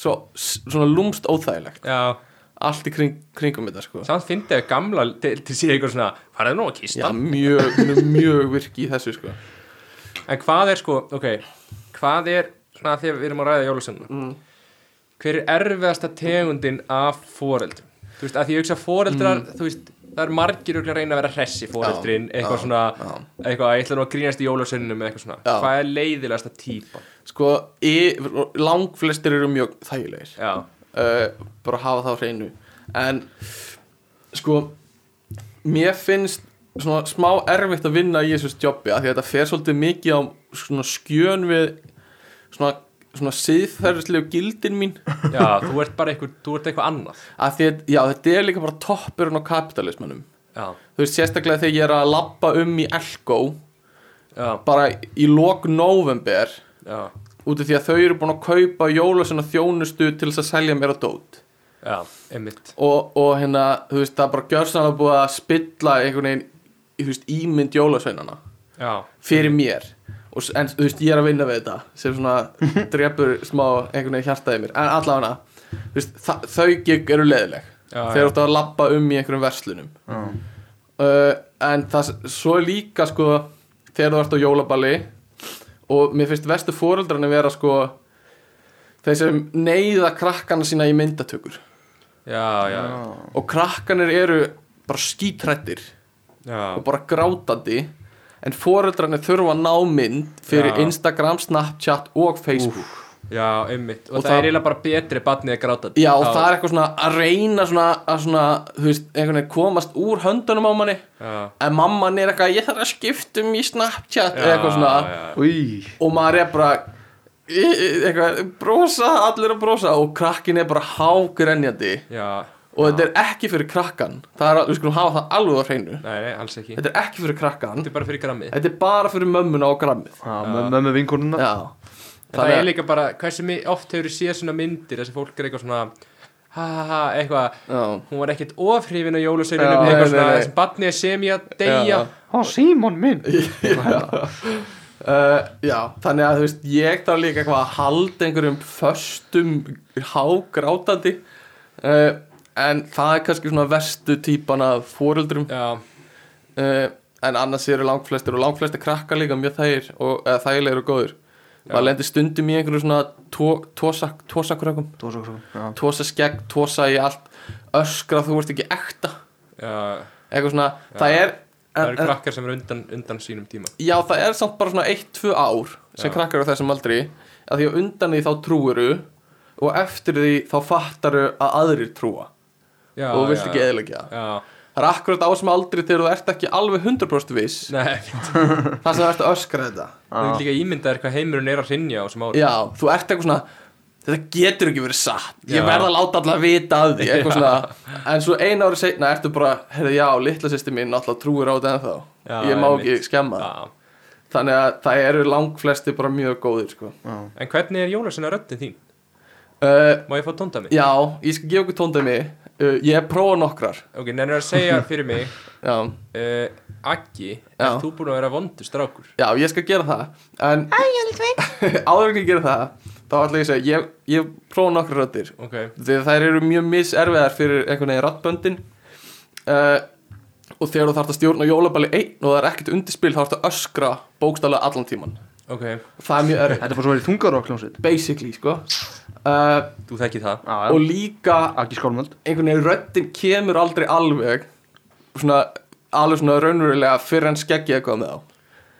Speaker 2: svo, svona lúmst óþægilegt
Speaker 1: Já,
Speaker 2: allt í kring, kringum þetta sko
Speaker 1: samt fyndi að gamla til, til síðan eitthvað svona, faraði nú að kista
Speaker 2: Já, mjög, mjög- mjög virk í þessu sko Mm.
Speaker 1: en hvað er sko, ok hvað er, svona þegar við erum að ræða jólasönna hver er erfiðasta tegundin af foreldrum þú veist, að því ég hugsa foreldrar þú veist, það er margir örugglega að reyna að vera hressi foreldrin,
Speaker 2: Mm. Já,
Speaker 1: eitthvað
Speaker 2: já,
Speaker 1: svona
Speaker 2: já.
Speaker 1: eitthvað, ég ætla nú að grínast í jólasönnum eitthvað svona,
Speaker 2: Já.
Speaker 1: hvað er leiðilegasta típa
Speaker 2: Sko, í, langflestir eru mjög þægilegir
Speaker 1: já,
Speaker 2: uh, bara hafa það á hreinu en sko mér finnst svona smá erfitt að vinna í þessu jobbi af því að þetta fer svolítið mikið á svona skjön við svona, svona siðferðislegu gildin mín
Speaker 1: já, þú ert bara eitthvað þú ert eitthvað annað
Speaker 2: af því að já, þetta er líka bara toppurinn á kapitalismannum
Speaker 1: já,
Speaker 2: þú veist sérstaklega þegar ég er að labba um í Elko
Speaker 1: já,
Speaker 2: bara í lok november
Speaker 1: já,
Speaker 2: út af því að þau eru búin að kaupa jólasuna þjónustu til þess að selja mér á dót
Speaker 1: já, einmitt
Speaker 2: og, og hérna, þú veist, það er bara gjörsanlega búið að spilla einhvern veginn, þú veist, ímynd jólasveinana
Speaker 1: já,
Speaker 2: fyrir mér og, s- en, þú veist, ég er að vinna við þetta sem svona drepur smá einhvern veginn hjartaði mér, en allavega þú veist, þa- þau gig eru leðileg
Speaker 1: já,
Speaker 2: þeir
Speaker 1: já,
Speaker 2: eru að labba um í einhverjum verslunum
Speaker 3: Já.
Speaker 2: uh, en það s- svo er líka sko þegar þú ert á jólaballi og mér finnst vestu foreldrarnir vera sko þeir sem neyða krakkana sína í myndatökur
Speaker 1: já, já,
Speaker 2: og krakkanir eru bara skítrættir og
Speaker 1: já,
Speaker 2: bara grátandi en foreldrarnir þurfa að ná mynd fyrir
Speaker 1: Já.
Speaker 2: Instagram, Snapchat og Facebook
Speaker 1: já, einmitt og,
Speaker 2: Og
Speaker 1: það,
Speaker 2: það-
Speaker 1: er eiginlega bara betri barnið að gráta
Speaker 2: já og það er eitthvað svona að reyna svona að svona, þú veist, einhvern veginn komast úr höndunum á manni
Speaker 1: já,
Speaker 2: en mamman er eitthvað, ég þarf að skipta um í Snapchat eða eitthvað svona
Speaker 1: já,
Speaker 3: Új,
Speaker 2: og maður er bara "Í- í- eitthvað, brosa, allir að brosa og krakkin er bara hágrenjandi
Speaker 1: já,
Speaker 2: og þetta er ekki fyrir krakkan það er, að- við skulum hafa það alveg á hreinu
Speaker 1: nei, nei, alls ekki
Speaker 2: þetta er ekki fyrir krakkan
Speaker 1: þetta er bara fyrir grammið
Speaker 2: Þetta er bara fyrir mömmuna og grammið
Speaker 3: mömmu vinkonuna
Speaker 2: Já
Speaker 1: Það er
Speaker 2: að-
Speaker 1: líka bara, hversu mi- oft hefur séð svona myndir þessi fólk er eitthvað svona ha ha ha, eitthvað,
Speaker 2: Já
Speaker 1: hún var ekkert ofhrifin á jóluseinunum,
Speaker 2: Já,
Speaker 1: eitthvað
Speaker 2: nei,
Speaker 1: svona
Speaker 2: nei, nei.
Speaker 1: þessum barnið er semi að deyja
Speaker 2: Já.
Speaker 3: Ó, Simon minn
Speaker 2: Uh, já, þannig að þú veist, ég þarf líka eitthvað að halda einhverjum föstum hágrátandi uh, en það er kannski svona verstu típan af foreldrum uh,
Speaker 1: Já,
Speaker 2: Eh, en annars eru langflestir og langflestir krakkar líka mjög þægir og eða, þægilegir og góður
Speaker 1: Já.
Speaker 2: maður lendir stundum í einhverju svona tó- tósa, tósakrökkum
Speaker 3: Dósakrúm
Speaker 2: tósa skegg, tósa í allt öskra þú ert ekki ekta
Speaker 1: já,
Speaker 2: eitthvað svona,
Speaker 1: Já.
Speaker 2: það er
Speaker 1: það eru
Speaker 2: en- en-
Speaker 1: krakkar sem eru undan, undan sínum tíma
Speaker 2: Já, það er samt bara svona 1-2 ár sem
Speaker 1: Já.
Speaker 2: krakkar á þessum aldri að því að undan því þá trúiru og eftir því þá fattaru að aðrir trúa
Speaker 1: já,
Speaker 2: og þú vilt
Speaker 1: já,
Speaker 2: ekki eðilegja
Speaker 1: Já,
Speaker 2: Það er akkurat á sem aldri þegar þú ert ekki alveg 100% viss
Speaker 1: nei,
Speaker 2: þar sem þú ert að öskra þetta
Speaker 1: þú vil líka ímyndaðir hvað heimurinn er að rinja á þessum ári
Speaker 2: Já, þú ert eitthvað svona Þetta getur ekki verið satt Ég
Speaker 1: Já.
Speaker 2: verð að láta allar vita að því eitthvað svona En svo einu ári seinna ertu bara Herðu já, litla sýsti mín náttúrulega trúir á þetta ennþá
Speaker 1: Já,
Speaker 2: Ég má
Speaker 1: einmitt.
Speaker 2: ekki skemma það
Speaker 1: Já.
Speaker 2: Þannig að það eru langflesti bara mjög góðir sko.
Speaker 1: En hvernig er jóluseina röddin þín?
Speaker 2: uh,
Speaker 1: Má ég fá tóndami?
Speaker 2: Já, ég skal gefa okkur tóndæmi uh, Ég prófa nokkrar
Speaker 1: Ok, nennir að segja fyrir mig
Speaker 2: já.
Speaker 1: uh, Aggi,
Speaker 2: Já.
Speaker 1: er þú búin að vera vondur strákur?
Speaker 2: já, ég skal gera það En áður en ég gera það Þá ætla ég að segja, ég, ég prófa nokkrar röddir
Speaker 1: Ok,
Speaker 2: Þegar þær eru mjög miserfiðar fyrir einhvern veginn rattböndin uh, Og þegar þú þarft að stjórna jólaballi einn Og það er ekkert undirspil Þá þarft að öskra bókstálega allan tíman
Speaker 1: ok,
Speaker 2: Það er mjög erfið
Speaker 3: Þetta er bara svo verið þungarokkljónsveit
Speaker 2: Basically, sko uh,
Speaker 1: þú þekki það
Speaker 2: Og líka
Speaker 3: Akki skálmöld
Speaker 2: einhvern veginn röddin kemur aldrei alveg svona alveg svona raunverulega fyrir en skeggið eitthvað með þá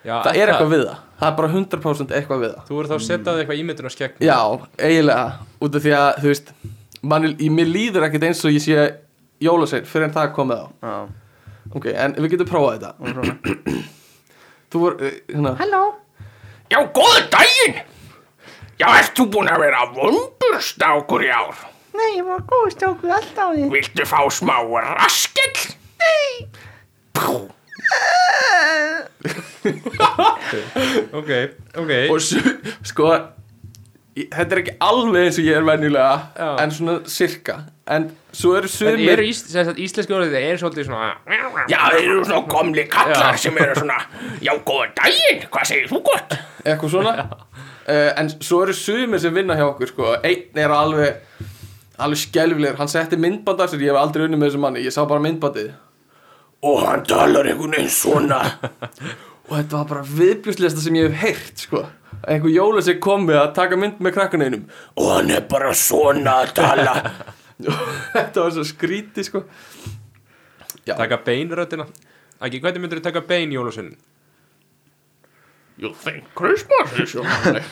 Speaker 1: Já,
Speaker 2: það er eitthvað við það, það er bara 100% eitthvað við það
Speaker 1: Þú voru þá að setja að eitthvað ímyndun á skegg
Speaker 2: já, eiginlega, út af því að þú veist, mann, ég, mér líður ekkert eins og ég sé jólasvein fyrir en það er komið á
Speaker 3: Já,
Speaker 2: ok, en við getum prófað þetta
Speaker 3: og svona
Speaker 2: þú voru, uh, hérna,
Speaker 4: Halló Já, góðu daginn Já, ert þú búin að vera vondurstákur í ár?
Speaker 5: Nei, ég var góð strákur alltaf á því.
Speaker 4: Viltu fá smá raskell?
Speaker 1: Ok, ok
Speaker 2: og svo, sko ég- þetta er ekki alveg eins og ég er venjulega
Speaker 1: Já.
Speaker 2: en svona cirka en svo eru
Speaker 1: En
Speaker 2: sumir
Speaker 1: eru ís, sem sagt, íslensku orðið það er svolítið svona
Speaker 4: Já, þeir eru svona komli kallar
Speaker 1: Já.
Speaker 4: sem eru svona Já, góðu daginn, hvað segir þú gott?
Speaker 2: eitthvað svona uh, en svo eru sumir sem vinna hjá okkur sko. einn er alveg alveg skelfilegur, hann setti myndband af sér ég hef aldrei unni með þessu manni, ég sá bara myndbandið
Speaker 4: Og hann talar einhvern veginn svona
Speaker 2: og þetta var bara viðbjúslegasta sem ég hef heyrt sko. einhver jóla sem kom með að taka mynd með krakkaneinum og hann er bara svona að tala og þetta var svo skríti sko.
Speaker 1: Taka beinröddina Ekki, hvernig myndir þú taka bein jólasunni?
Speaker 4: You think Christmas is your holiday?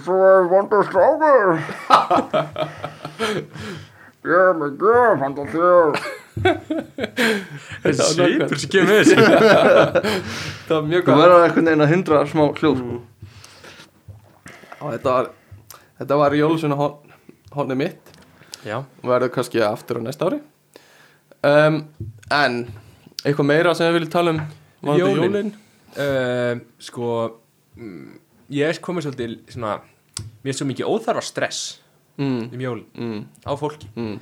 Speaker 6: Svo er vondur strákur Ég er með gjöf handa þér
Speaker 2: þetta var nákvæmt.
Speaker 1: sem kemur við þessu
Speaker 2: þetta var mjög
Speaker 3: Þú
Speaker 2: gott
Speaker 3: verður einhvern veginn að hindra smá hljóð sko.
Speaker 2: Og þetta var, þetta var jólusuna honni mitt
Speaker 1: Já,
Speaker 2: og verður kannski aftur á næsta ári um, en eitthvað meira sem við viljum tala um var þetta
Speaker 1: Jólin.
Speaker 2: jólin
Speaker 1: uh, sko mm, Ég er komið svolítið svona Mér er svo mikið óþarfa stress
Speaker 2: mm,
Speaker 1: um jólin
Speaker 2: mm,
Speaker 1: á fólki
Speaker 2: mm.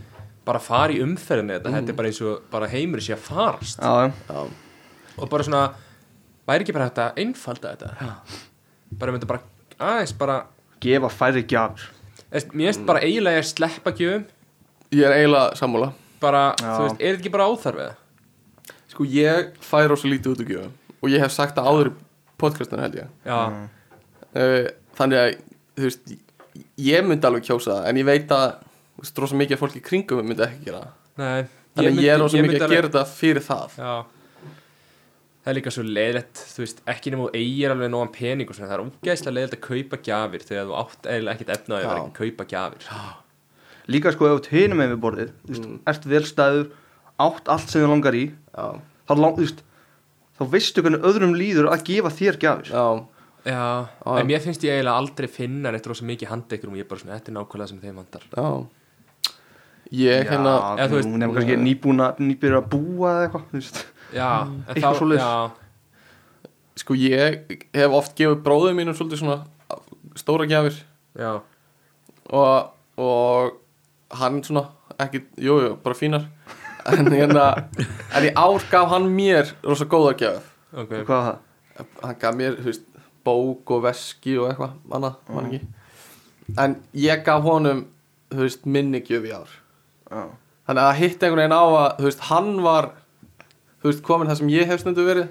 Speaker 1: Bara fara í umferðinu þetta Þetta er bara eins og bara heimur sé að farast
Speaker 3: Já, já
Speaker 1: Og bara svona Væri ekki bara hægt að einfalda þetta Bara mynda bara aðeins bara
Speaker 3: Gefa færri gjafir
Speaker 1: eða, Mér erst bara eiginlega að sleppa gjöfum
Speaker 2: ég er eiginlega sammála
Speaker 1: Bara,
Speaker 3: Já.
Speaker 1: þú veist, er þetta ekki bara óþarfið?
Speaker 2: Sko ég fær rosa lítið út úr gjöfum og ég hef sagt það áður í podcastinu held ég
Speaker 1: Já,
Speaker 2: uh, Þannig að þú veist ég myndi alveg kjósa það en ég veit að þú veist, rosa mikið af fólki í kringum mig myndi ekki gera það
Speaker 1: nei ég
Speaker 2: Þannig að
Speaker 1: myndi-
Speaker 2: ég er rosa mikið
Speaker 1: myndi
Speaker 2: að
Speaker 1: alveg-
Speaker 2: gera þetta fyrir það
Speaker 1: Já Það er líka svo leiðilegt, þú veist, ekki nema þú eigir alveg nógan pening og svona, það er ógeðslega leiðilegt að kaupa gjafir þegar þú átt eiginlega ekkert efna á því að
Speaker 2: Já.
Speaker 1: vera ekki að kaupa gjafir
Speaker 3: Líka sko ef þú hinum með við borðið Þú veist, ert vel stæður Átt allt sem þú langar í
Speaker 2: Já,
Speaker 3: Þá, lang, þú veist, þá veistu hvernig öðrum líður að gefa þér gjafir
Speaker 2: já,
Speaker 1: Já, en mér finnst ég eiginlega aldrei finna neitt rosa mikið handekrum og ég er bara svona, þetta er nákvæmlega sem þeim vantar
Speaker 2: já Ég hérna
Speaker 1: eða
Speaker 3: Já,
Speaker 1: þú veist-
Speaker 3: þú nefnir kannski nýbúna Nýbyrja að búa eða eitthvað Þú veist
Speaker 1: Já,
Speaker 2: Mm.
Speaker 1: en
Speaker 3: Eitthvað svoleiðis.
Speaker 1: já,
Speaker 2: Sko ég hef oft gefið bróðum mínum svolítið svona stóra gjafir
Speaker 1: já,
Speaker 2: og, og hann svona ekki, jú, jú, bara fínar en hérna en í ár gaf hann mér rosa góða gjafir
Speaker 1: ok
Speaker 3: Hvað var það?
Speaker 2: hann gaf mér, þú veist, bók og veski og eitthvað annað, mann ekki en ég gaf honum þú veist, minni gjöf í ár
Speaker 3: Já.
Speaker 2: þannig að hitt einhvern veginn á að þú veist, hann var þú veist, komin það sem ég hef stundu verið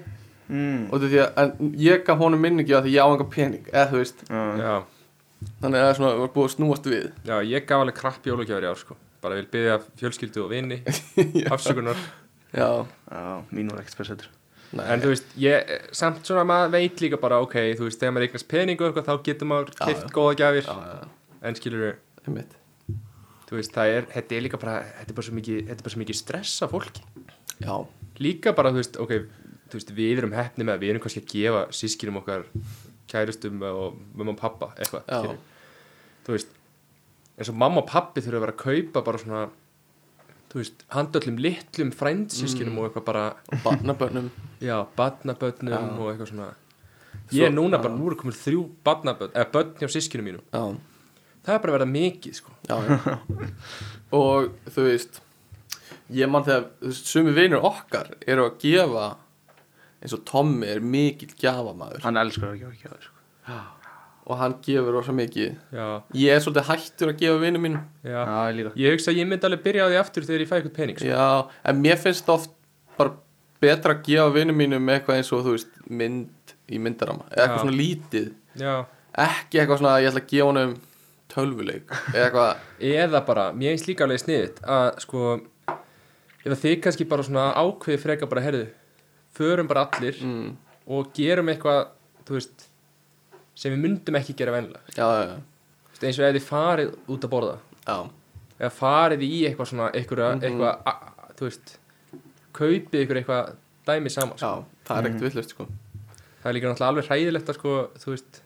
Speaker 3: Mm.
Speaker 2: og því að en ég gaf honum minni gjöf af því ég á einhver pening, eða þú veist
Speaker 3: Já.
Speaker 1: Já,
Speaker 2: þannig að það er svona, var búið að snúast við
Speaker 1: já, ég gaf alveg krapp jólagjafir í ár, sko bara vil byggja fjölskyldu og vini afsökunar,
Speaker 2: já,
Speaker 3: Já, mín var ekkert spesættur
Speaker 2: nei,
Speaker 1: en þú veist, ég samt svona maður veit líka bara, ok, þú veist, þegar maður eignast peningu og eitthvað, þá getur maður
Speaker 2: Já,
Speaker 1: kipt
Speaker 2: já.
Speaker 1: góða gjafir
Speaker 2: já, já,
Speaker 1: en skilur
Speaker 2: einmitt
Speaker 1: þú veist, það er, þetta er líka bara þetta er bara svo mikið, þetta er bara svo mikið stress af fólki
Speaker 2: já,
Speaker 1: líka bara, þú veist, ok þú veist, við erum hefni með að við erum kannski að gefa sískinum okkar kærustum og mamma og pappa, eitthvað
Speaker 2: Já.
Speaker 1: skilurðu. þú veist, eins og mamma og pappi þurfa að vera að kaupa bara svona þú veist, handa öllum litlum frændsískinum
Speaker 2: Mm.
Speaker 1: og eitthvað bara,
Speaker 2: barnabörnum
Speaker 1: já, badnabötnum
Speaker 2: Já.
Speaker 1: og eitthvað svona ég er
Speaker 2: Svo-
Speaker 1: núna
Speaker 2: já.
Speaker 1: bara, nú er komin þrjú badnabötn, eða bötn hjá sískinum mínum
Speaker 2: já,
Speaker 1: það er bara að vera mikið, sko
Speaker 2: já, já. og þú veist ég man þegar þú veist, sumi vinur okkar eru að gefa eins og Tommy er mikill gjafamaður
Speaker 3: Hann elskar að gefa gjafir sko.
Speaker 2: og hann gefur rosa mikið
Speaker 1: já,
Speaker 2: ég er svolítið hættur að gefa vinur mínum
Speaker 1: já,
Speaker 3: Já, ég líka
Speaker 1: Ég hugsa að ég myndi alveg byrja á því aftur þegar ég fæ eitthvað pening sko.
Speaker 2: já, en mér finnst oft bara betra að gefa vinur mínum eitthvað eins og þú veist mynd í myndarama eða eitthvað
Speaker 1: Já.
Speaker 2: svona lítið
Speaker 1: Já.
Speaker 2: ekki eitthvað svona að ég ætla að gefa honum tölvuleik eða eitthvað
Speaker 1: Eða bara, mér finnst líka alveg sniðið að sko eða þið kannski bara svona ákveði freka bara herðu, förum bara allir
Speaker 2: mm,
Speaker 1: og gerum eitthvað þú veist, sem við myndum ekki gera venlega,
Speaker 2: já, já,
Speaker 1: Þú
Speaker 2: já,
Speaker 1: veist, eins og ef þið farið út að borða
Speaker 2: já,
Speaker 1: eða farið í eitthvað svona eitthvað,
Speaker 2: Mhm.
Speaker 1: eitthvað a, a, þú veist kaupið ykkur eitthvað dæmi saman
Speaker 2: já
Speaker 1: sko.
Speaker 2: það er ekkert villust sko
Speaker 1: það er líka náttúrulega alveg hræðilegt að sko, þú veist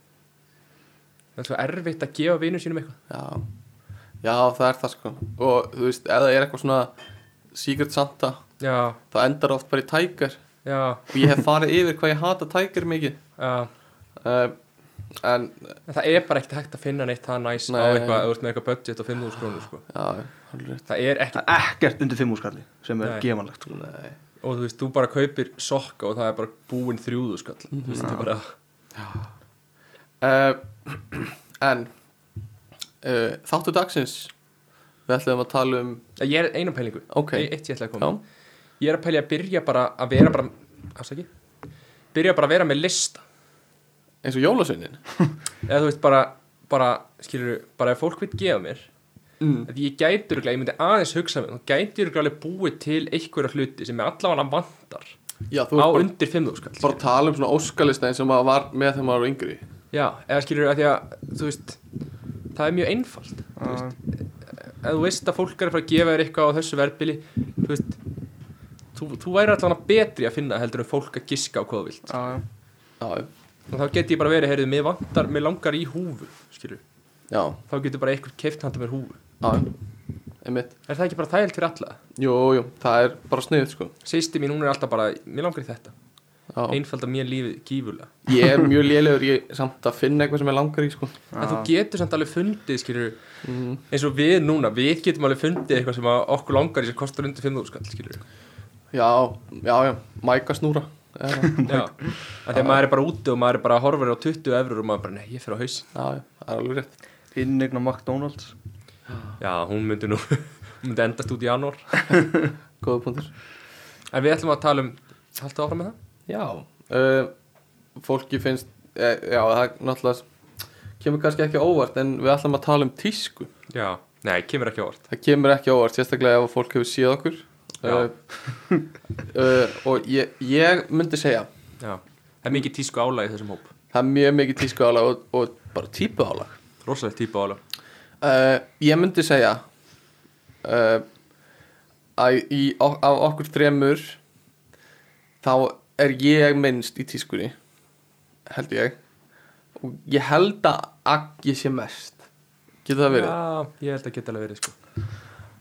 Speaker 1: það er svo erfitt að gefa vinum sínum eitthvað
Speaker 2: Já, já það er það sko Og þú veist, ef það er eitthvað svona Secret Santa,
Speaker 1: Já,
Speaker 2: það endar oft bara í Tiger
Speaker 1: já,
Speaker 2: Og ég hef farið yfir hvað ég hata Tiger mikið
Speaker 1: já
Speaker 2: uh, En,
Speaker 1: En það er bara ekkert hægt að finna neitt það næs á
Speaker 2: Nei.
Speaker 1: eitthvað, ef þú ert með eitthvað budget á 5.000 krónur sko.
Speaker 2: já, alveg rétt
Speaker 1: það er ekki,
Speaker 3: Það er ekkert undir fimm úrskalli sem er
Speaker 1: Nei.
Speaker 3: gefanlegt sko.
Speaker 2: Nei,
Speaker 1: og þú veist, þú bara kaupir sokka og það er bara búin þrjúðu skall þú veist, það er bara,
Speaker 2: uh, En uh, Þáttu dagsins Við ætlum að tala um
Speaker 1: ég er einu pælingu
Speaker 2: Ok.
Speaker 1: e eitt ég ætla að koma, ég er að pæli að byrja bara að vera bara, afsaki byrja bara að vera með lista
Speaker 2: eins og jólasveinin
Speaker 1: eða þú veist bara, bara skilur, bara ef fólk vil gefa mér
Speaker 2: Mm.
Speaker 1: að ég gæti örugglega, ég myndi aðeins hugsa mig, þú gæti örugglega alveg búið til einhverja hluti sem ég allavega vantar
Speaker 2: Já, þú
Speaker 1: á
Speaker 2: ert bara,
Speaker 1: undir 5 skall
Speaker 2: bara að tala um svona óskalista eins og maður var með þegar maður var yngri
Speaker 1: já, eða skilur að því að þú veist, það er mjög einfalt þú veist, ef þú veist að fólk er að fara að gefa þér eitthvað á þessu verðbili þú veist þú, þú væri allavega betri að finna heldur en fólk að giska á hvað þú vilt
Speaker 3: Já, já.
Speaker 2: Já,
Speaker 1: og þá geti ég bara verið, heyrðu, mig vantar, mig langar í húfu skilur,
Speaker 2: já,
Speaker 1: þá getur bara eitthvað keift handa mér húfu
Speaker 2: já Einmitt
Speaker 1: er það ekki bara þægilt fyrir alla?
Speaker 2: Jú, jú, það er bara sniðið sko
Speaker 1: Sýsti mín, hún er alltaf bara, mér langar í þetta
Speaker 2: já.
Speaker 1: einfaldar mér lífið gífurlega
Speaker 2: Ég er mjög lélegur í samt að finna eitthvað sem ég langar í sko
Speaker 1: en þú getur samt alveg fundið, skilur eins og við núna, við getum alveg fundið eitthvað sem að okkur langar í sem kostar undir 5.000 skall, skilur
Speaker 2: Já, já, já, mæka snúra Já,
Speaker 1: já, að því að maður er bara úti og maður er bara horfur á 20 efrur og maður bara, nei, ég fer á haus
Speaker 2: já, það er alveg rétt
Speaker 3: Innegna McDonalds
Speaker 1: já, hún myndi nú, hún myndi endast út í janúar
Speaker 2: Góða punktur
Speaker 1: en við ætlum að tala um, haltu áfram með það?
Speaker 2: Já uh, Fólki finnst eh, Já, það er náttúrulega Kemur kannski ekki á óvart En við ætlum að tala um tísku
Speaker 1: já, nei, kemur ekki á orð
Speaker 2: Það kemur ekki á óvart Sérstaklega ef fólk hefur séð okkur
Speaker 1: Já.
Speaker 2: uh, uh, Og ég, ég myndi segja
Speaker 1: já, það er mikið tísku álag í þessum hóp
Speaker 2: Það er mjög mikið tísku álag Og, og bara típu álag
Speaker 1: rosalegt típa álag
Speaker 2: uh, Ég myndi segja uh, Að í, á, á okkur þremur Þá er ég minnst í tískunni Held ég Og ég held að Aggi sé mest Getur það verið?
Speaker 1: já, ég held að geta alveg verið, sko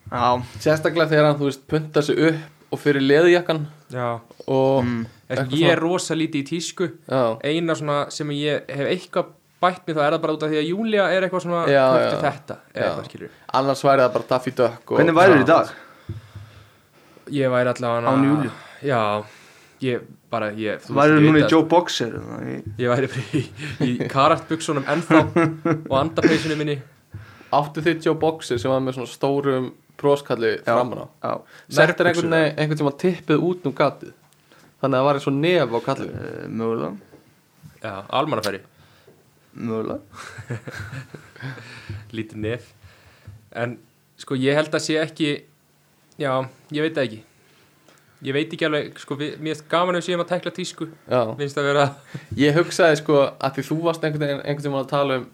Speaker 3: Já,
Speaker 2: Sérstaklega þegar hann, þú veist, puntar sig upp Og fyrir leðjakkan
Speaker 1: já,
Speaker 2: Og,
Speaker 3: Mm.
Speaker 1: Er,
Speaker 2: Eitthvað
Speaker 1: ég er rosa lítið í tísku
Speaker 2: já,
Speaker 1: eina svona sem ég hef eitthvað bætt mér þá er það bara út af því að Júlia er eitthvað svona
Speaker 2: Já,
Speaker 1: knökti
Speaker 2: já.
Speaker 1: þetta eða
Speaker 2: Já.
Speaker 1: eitthvað skilur
Speaker 2: annars væri það bara Daffy Duck og,
Speaker 3: hvernig væri þér í dag?
Speaker 1: ég væri allavega
Speaker 3: Án Júlíu?
Speaker 1: já ég bara ég þú
Speaker 3: Væri
Speaker 1: veist,
Speaker 3: þér
Speaker 1: ég
Speaker 3: núna
Speaker 1: veit
Speaker 3: í Joe Boxer? eða í-
Speaker 1: að- ég væri bara í, í karatbuksunum ennþá og andapeysunum minni
Speaker 2: Áttu þitt Joe Boxer sem var með svona stórum broskalli framan á
Speaker 3: Já,
Speaker 2: Settir
Speaker 1: Nærbuxur,
Speaker 2: einhvern veginn einhvern tíma tippið út um gatið Þannig að það var eins og nef á kallinu
Speaker 3: Eh, mögulega
Speaker 1: já almannafæri
Speaker 3: Mögulega
Speaker 1: lítið nef en sko ég held að sé ekki já ég veit það ekki ég veit ekki alveg sko við, mér er gaman að við séum að tekla tísku
Speaker 2: Já,
Speaker 1: finnst að vera
Speaker 2: ég hugsaði sko að því þú varst einhvern veginn einhvern tíma að tala um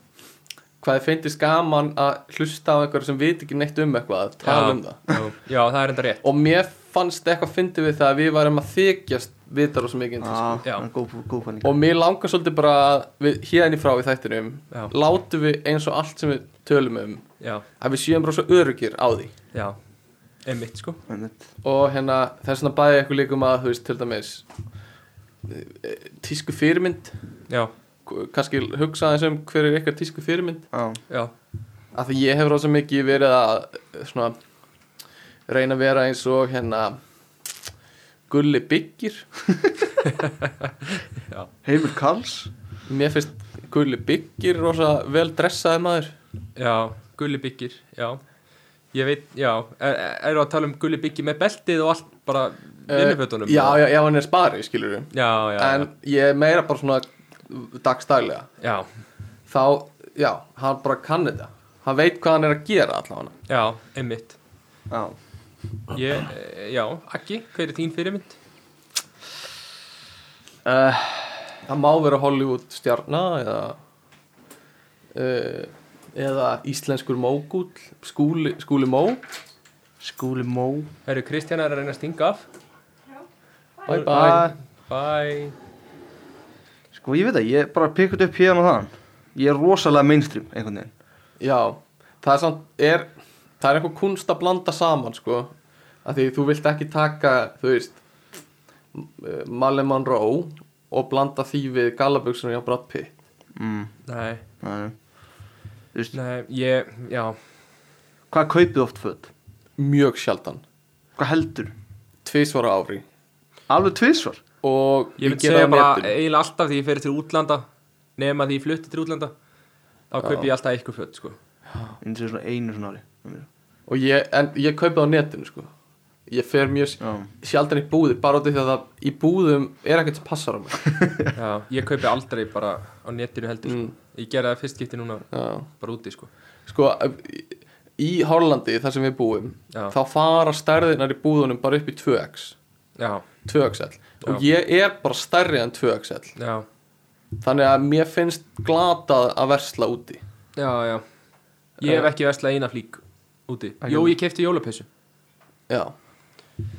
Speaker 2: hvað þið feindist gaman að hlusta á einhverju sem veit ekki neitt um eitthvað að tala
Speaker 1: Já.
Speaker 2: um það
Speaker 1: já, já það er enda rétt
Speaker 2: Og mér fannst eitthvað fyndið við það að við værum að þykjast vitar og svo mikið ah.
Speaker 3: Já,
Speaker 1: Já.
Speaker 3: það er góð góð fæling
Speaker 2: Og mér langar svolítið bara að við, hérna í frá í þættinum
Speaker 1: Já.
Speaker 2: Látum við eins og allt sem við tölum um
Speaker 1: Já,
Speaker 2: Að við séum bara svo örugir á því
Speaker 1: já, einmitt sko
Speaker 2: og hérna þess vegna bæði ég ykkur líka um að þú veist til dæmis eh, tísku fyrirmynd
Speaker 1: Já,
Speaker 2: k- kannski hugsa þess um hver er ykkar tísku fyrirmynd
Speaker 3: Já,
Speaker 1: já,
Speaker 2: af því ég hef rosa mikið verið að eh, svona reyna að vera eins og hérna Gulli Byggir
Speaker 3: Heimur Karls
Speaker 2: mér finnst Gulli Byggir rosa vel dressaði maður
Speaker 1: já, gulli byggir, já Ég veit, já, er, er að tala um gulli byggir með beltið og allt bara vinnufötunum?
Speaker 2: Eh, já, já, já, hann er spari, skilur við
Speaker 1: já, já,
Speaker 2: en ég er meira bara svona dagstælega
Speaker 1: já,
Speaker 2: þá, já, hann bara kann þetta hann veit hvað hann er að gera allavega
Speaker 1: já, einmitt
Speaker 3: Já,
Speaker 1: Ég, eh, já, Akki, hver er þín fyrirmynd?
Speaker 2: Eh, Það má vera Hollywood stjarna eða uh, eða íslenskur mógúll skúli, skúli mó
Speaker 3: Skúli Mó
Speaker 1: Herru, Kristjana er að reyna að stinga af
Speaker 2: bye bye
Speaker 3: Æ,
Speaker 1: Bye
Speaker 3: Ah, Sko ég veit það, ég bara pikkut upp hérna og þaðan Ég er rosalega mainstream einhvern veginn
Speaker 2: já, það er samt er, það er eitthvað kunst að blanda saman sko, að því þú vilt ekki taka þú veist eh, Marilyn Monroe og blanda því við gallaböksunum hjá Brad Pitt
Speaker 3: mm,
Speaker 1: Nei,
Speaker 3: nei, nei. Þú veist,
Speaker 1: nei, ég, já,
Speaker 3: hvað kaupið oft föt?
Speaker 2: mjög sjaldan,
Speaker 3: Hvað heldur?
Speaker 2: tvisvara ári
Speaker 3: Alveg tvisvar?
Speaker 2: og
Speaker 1: ég myndi
Speaker 2: geri
Speaker 1: segja
Speaker 2: það á
Speaker 1: bara
Speaker 2: netinu.
Speaker 1: eiginlega alltaf því ég fer til útlanda nema því ég flutti til útlanda þá kaupi ég alltaf eitthvað föt, sko
Speaker 3: Ég myndi segja svona einu svona ári
Speaker 2: og ég, en ég kaupi það á netinu sko ég fer mjög
Speaker 3: Já.
Speaker 2: sjaldan í búði bara út af því að það í búðum er ekkert sem passar á mig
Speaker 1: Já, ég kaupi aldrei bara á netinu heldur sko. Ég gerði það fyrst skipti núna
Speaker 2: Já.
Speaker 1: bara úti sko.
Speaker 2: sko í Hollandi þar sem við búum
Speaker 1: Já.
Speaker 2: þá fara stærðinar í búðunum bara upp í 2x
Speaker 1: Já,
Speaker 2: 2xl og ég er bara stærri en 2xl
Speaker 1: já,
Speaker 2: þannig að mér finnst glatað að versla úti
Speaker 1: já, já Ég hef ekki verslað eina flík úti Jó, ég kefti jólapessu
Speaker 2: já,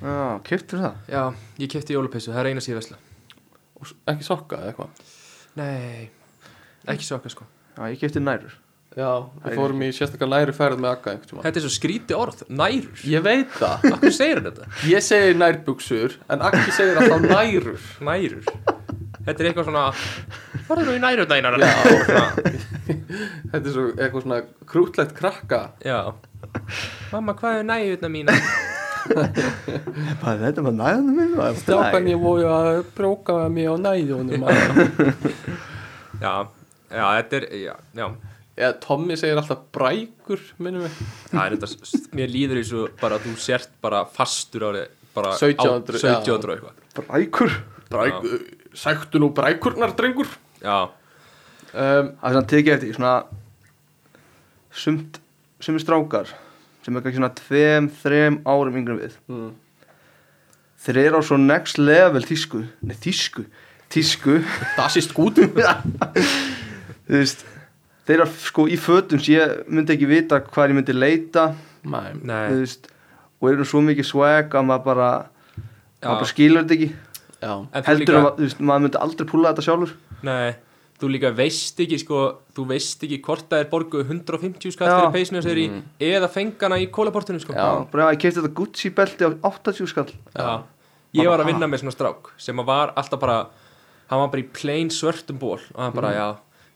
Speaker 3: Já, kiptur það
Speaker 1: Já, ég kefti jólapessu, það er eina sem ég versla
Speaker 2: og s- ekki sokka eða eitthvað
Speaker 1: Nei, ekki soka sko
Speaker 3: Já, ég kipti nærur
Speaker 2: já, við fórum í sérstaklega læri ferð með Akka einhvern tímann
Speaker 1: Þetta er svo skríti orð, nærur
Speaker 2: ég veit það,
Speaker 1: Akkur segir hann þetta?
Speaker 2: ég segi nærbuksur en Akki segir alltaf nærur
Speaker 1: Nærur Þetta er eitthvað svona Farðu nú í nærur dænar Já,
Speaker 2: þetta er svo eitthvað svona krútlegt krakka
Speaker 1: já. Mamma, hvað er nærurna mína?
Speaker 3: Bara þetta var nærunum minn var
Speaker 2: strákan ég voru að bróka mig á nærjónum
Speaker 1: Já, já, þetta er, já, já
Speaker 2: eða Tommy segir alltaf brækur minnum við
Speaker 1: Það er þetta, mér líður eins og bara að þú sért bara fastur ári bara
Speaker 2: 1700, já.
Speaker 1: 1700 og eitthvað
Speaker 3: Brækur
Speaker 2: Bræk, Sæktu nú brækurnar, drengur
Speaker 1: Já,
Speaker 2: um,
Speaker 3: Það er svona tekið eftir í svona sumt, sumi strákar sem er kannski svona tveim, þreim árum yngri en við
Speaker 2: Mm.
Speaker 3: Þeir eru á svo next level tísku Nei, tísku Tísku
Speaker 2: Das ist gut
Speaker 3: Þú veist Þeir eru sko í fötum sem ég myndi ekki vita hvað ég myndi leita
Speaker 2: Mæm
Speaker 3: Þú
Speaker 1: nei,
Speaker 3: veist Og eru svo mikið swag að maður bara
Speaker 1: já
Speaker 3: Maður bara skilur þetta ekki
Speaker 2: Já,
Speaker 1: En þú
Speaker 3: Heldur
Speaker 1: líka,
Speaker 3: að, þú veist, maður myndi aldrei púla þetta sjálfur
Speaker 1: nei Þú líka veist ekki, sko, þú veist ekki hvort það er borguð 150 skatt
Speaker 3: Já.
Speaker 1: fyrir peysinu þess er í eða fengana í kólaportinu, sko
Speaker 2: Já.
Speaker 3: Bara að ég kefti þetta Gucci belti á 80 skall
Speaker 1: Já. Ég var að vinna með svona strák sem að var alltaf bara hann var bara í plain svörtum ból og hann bara, já,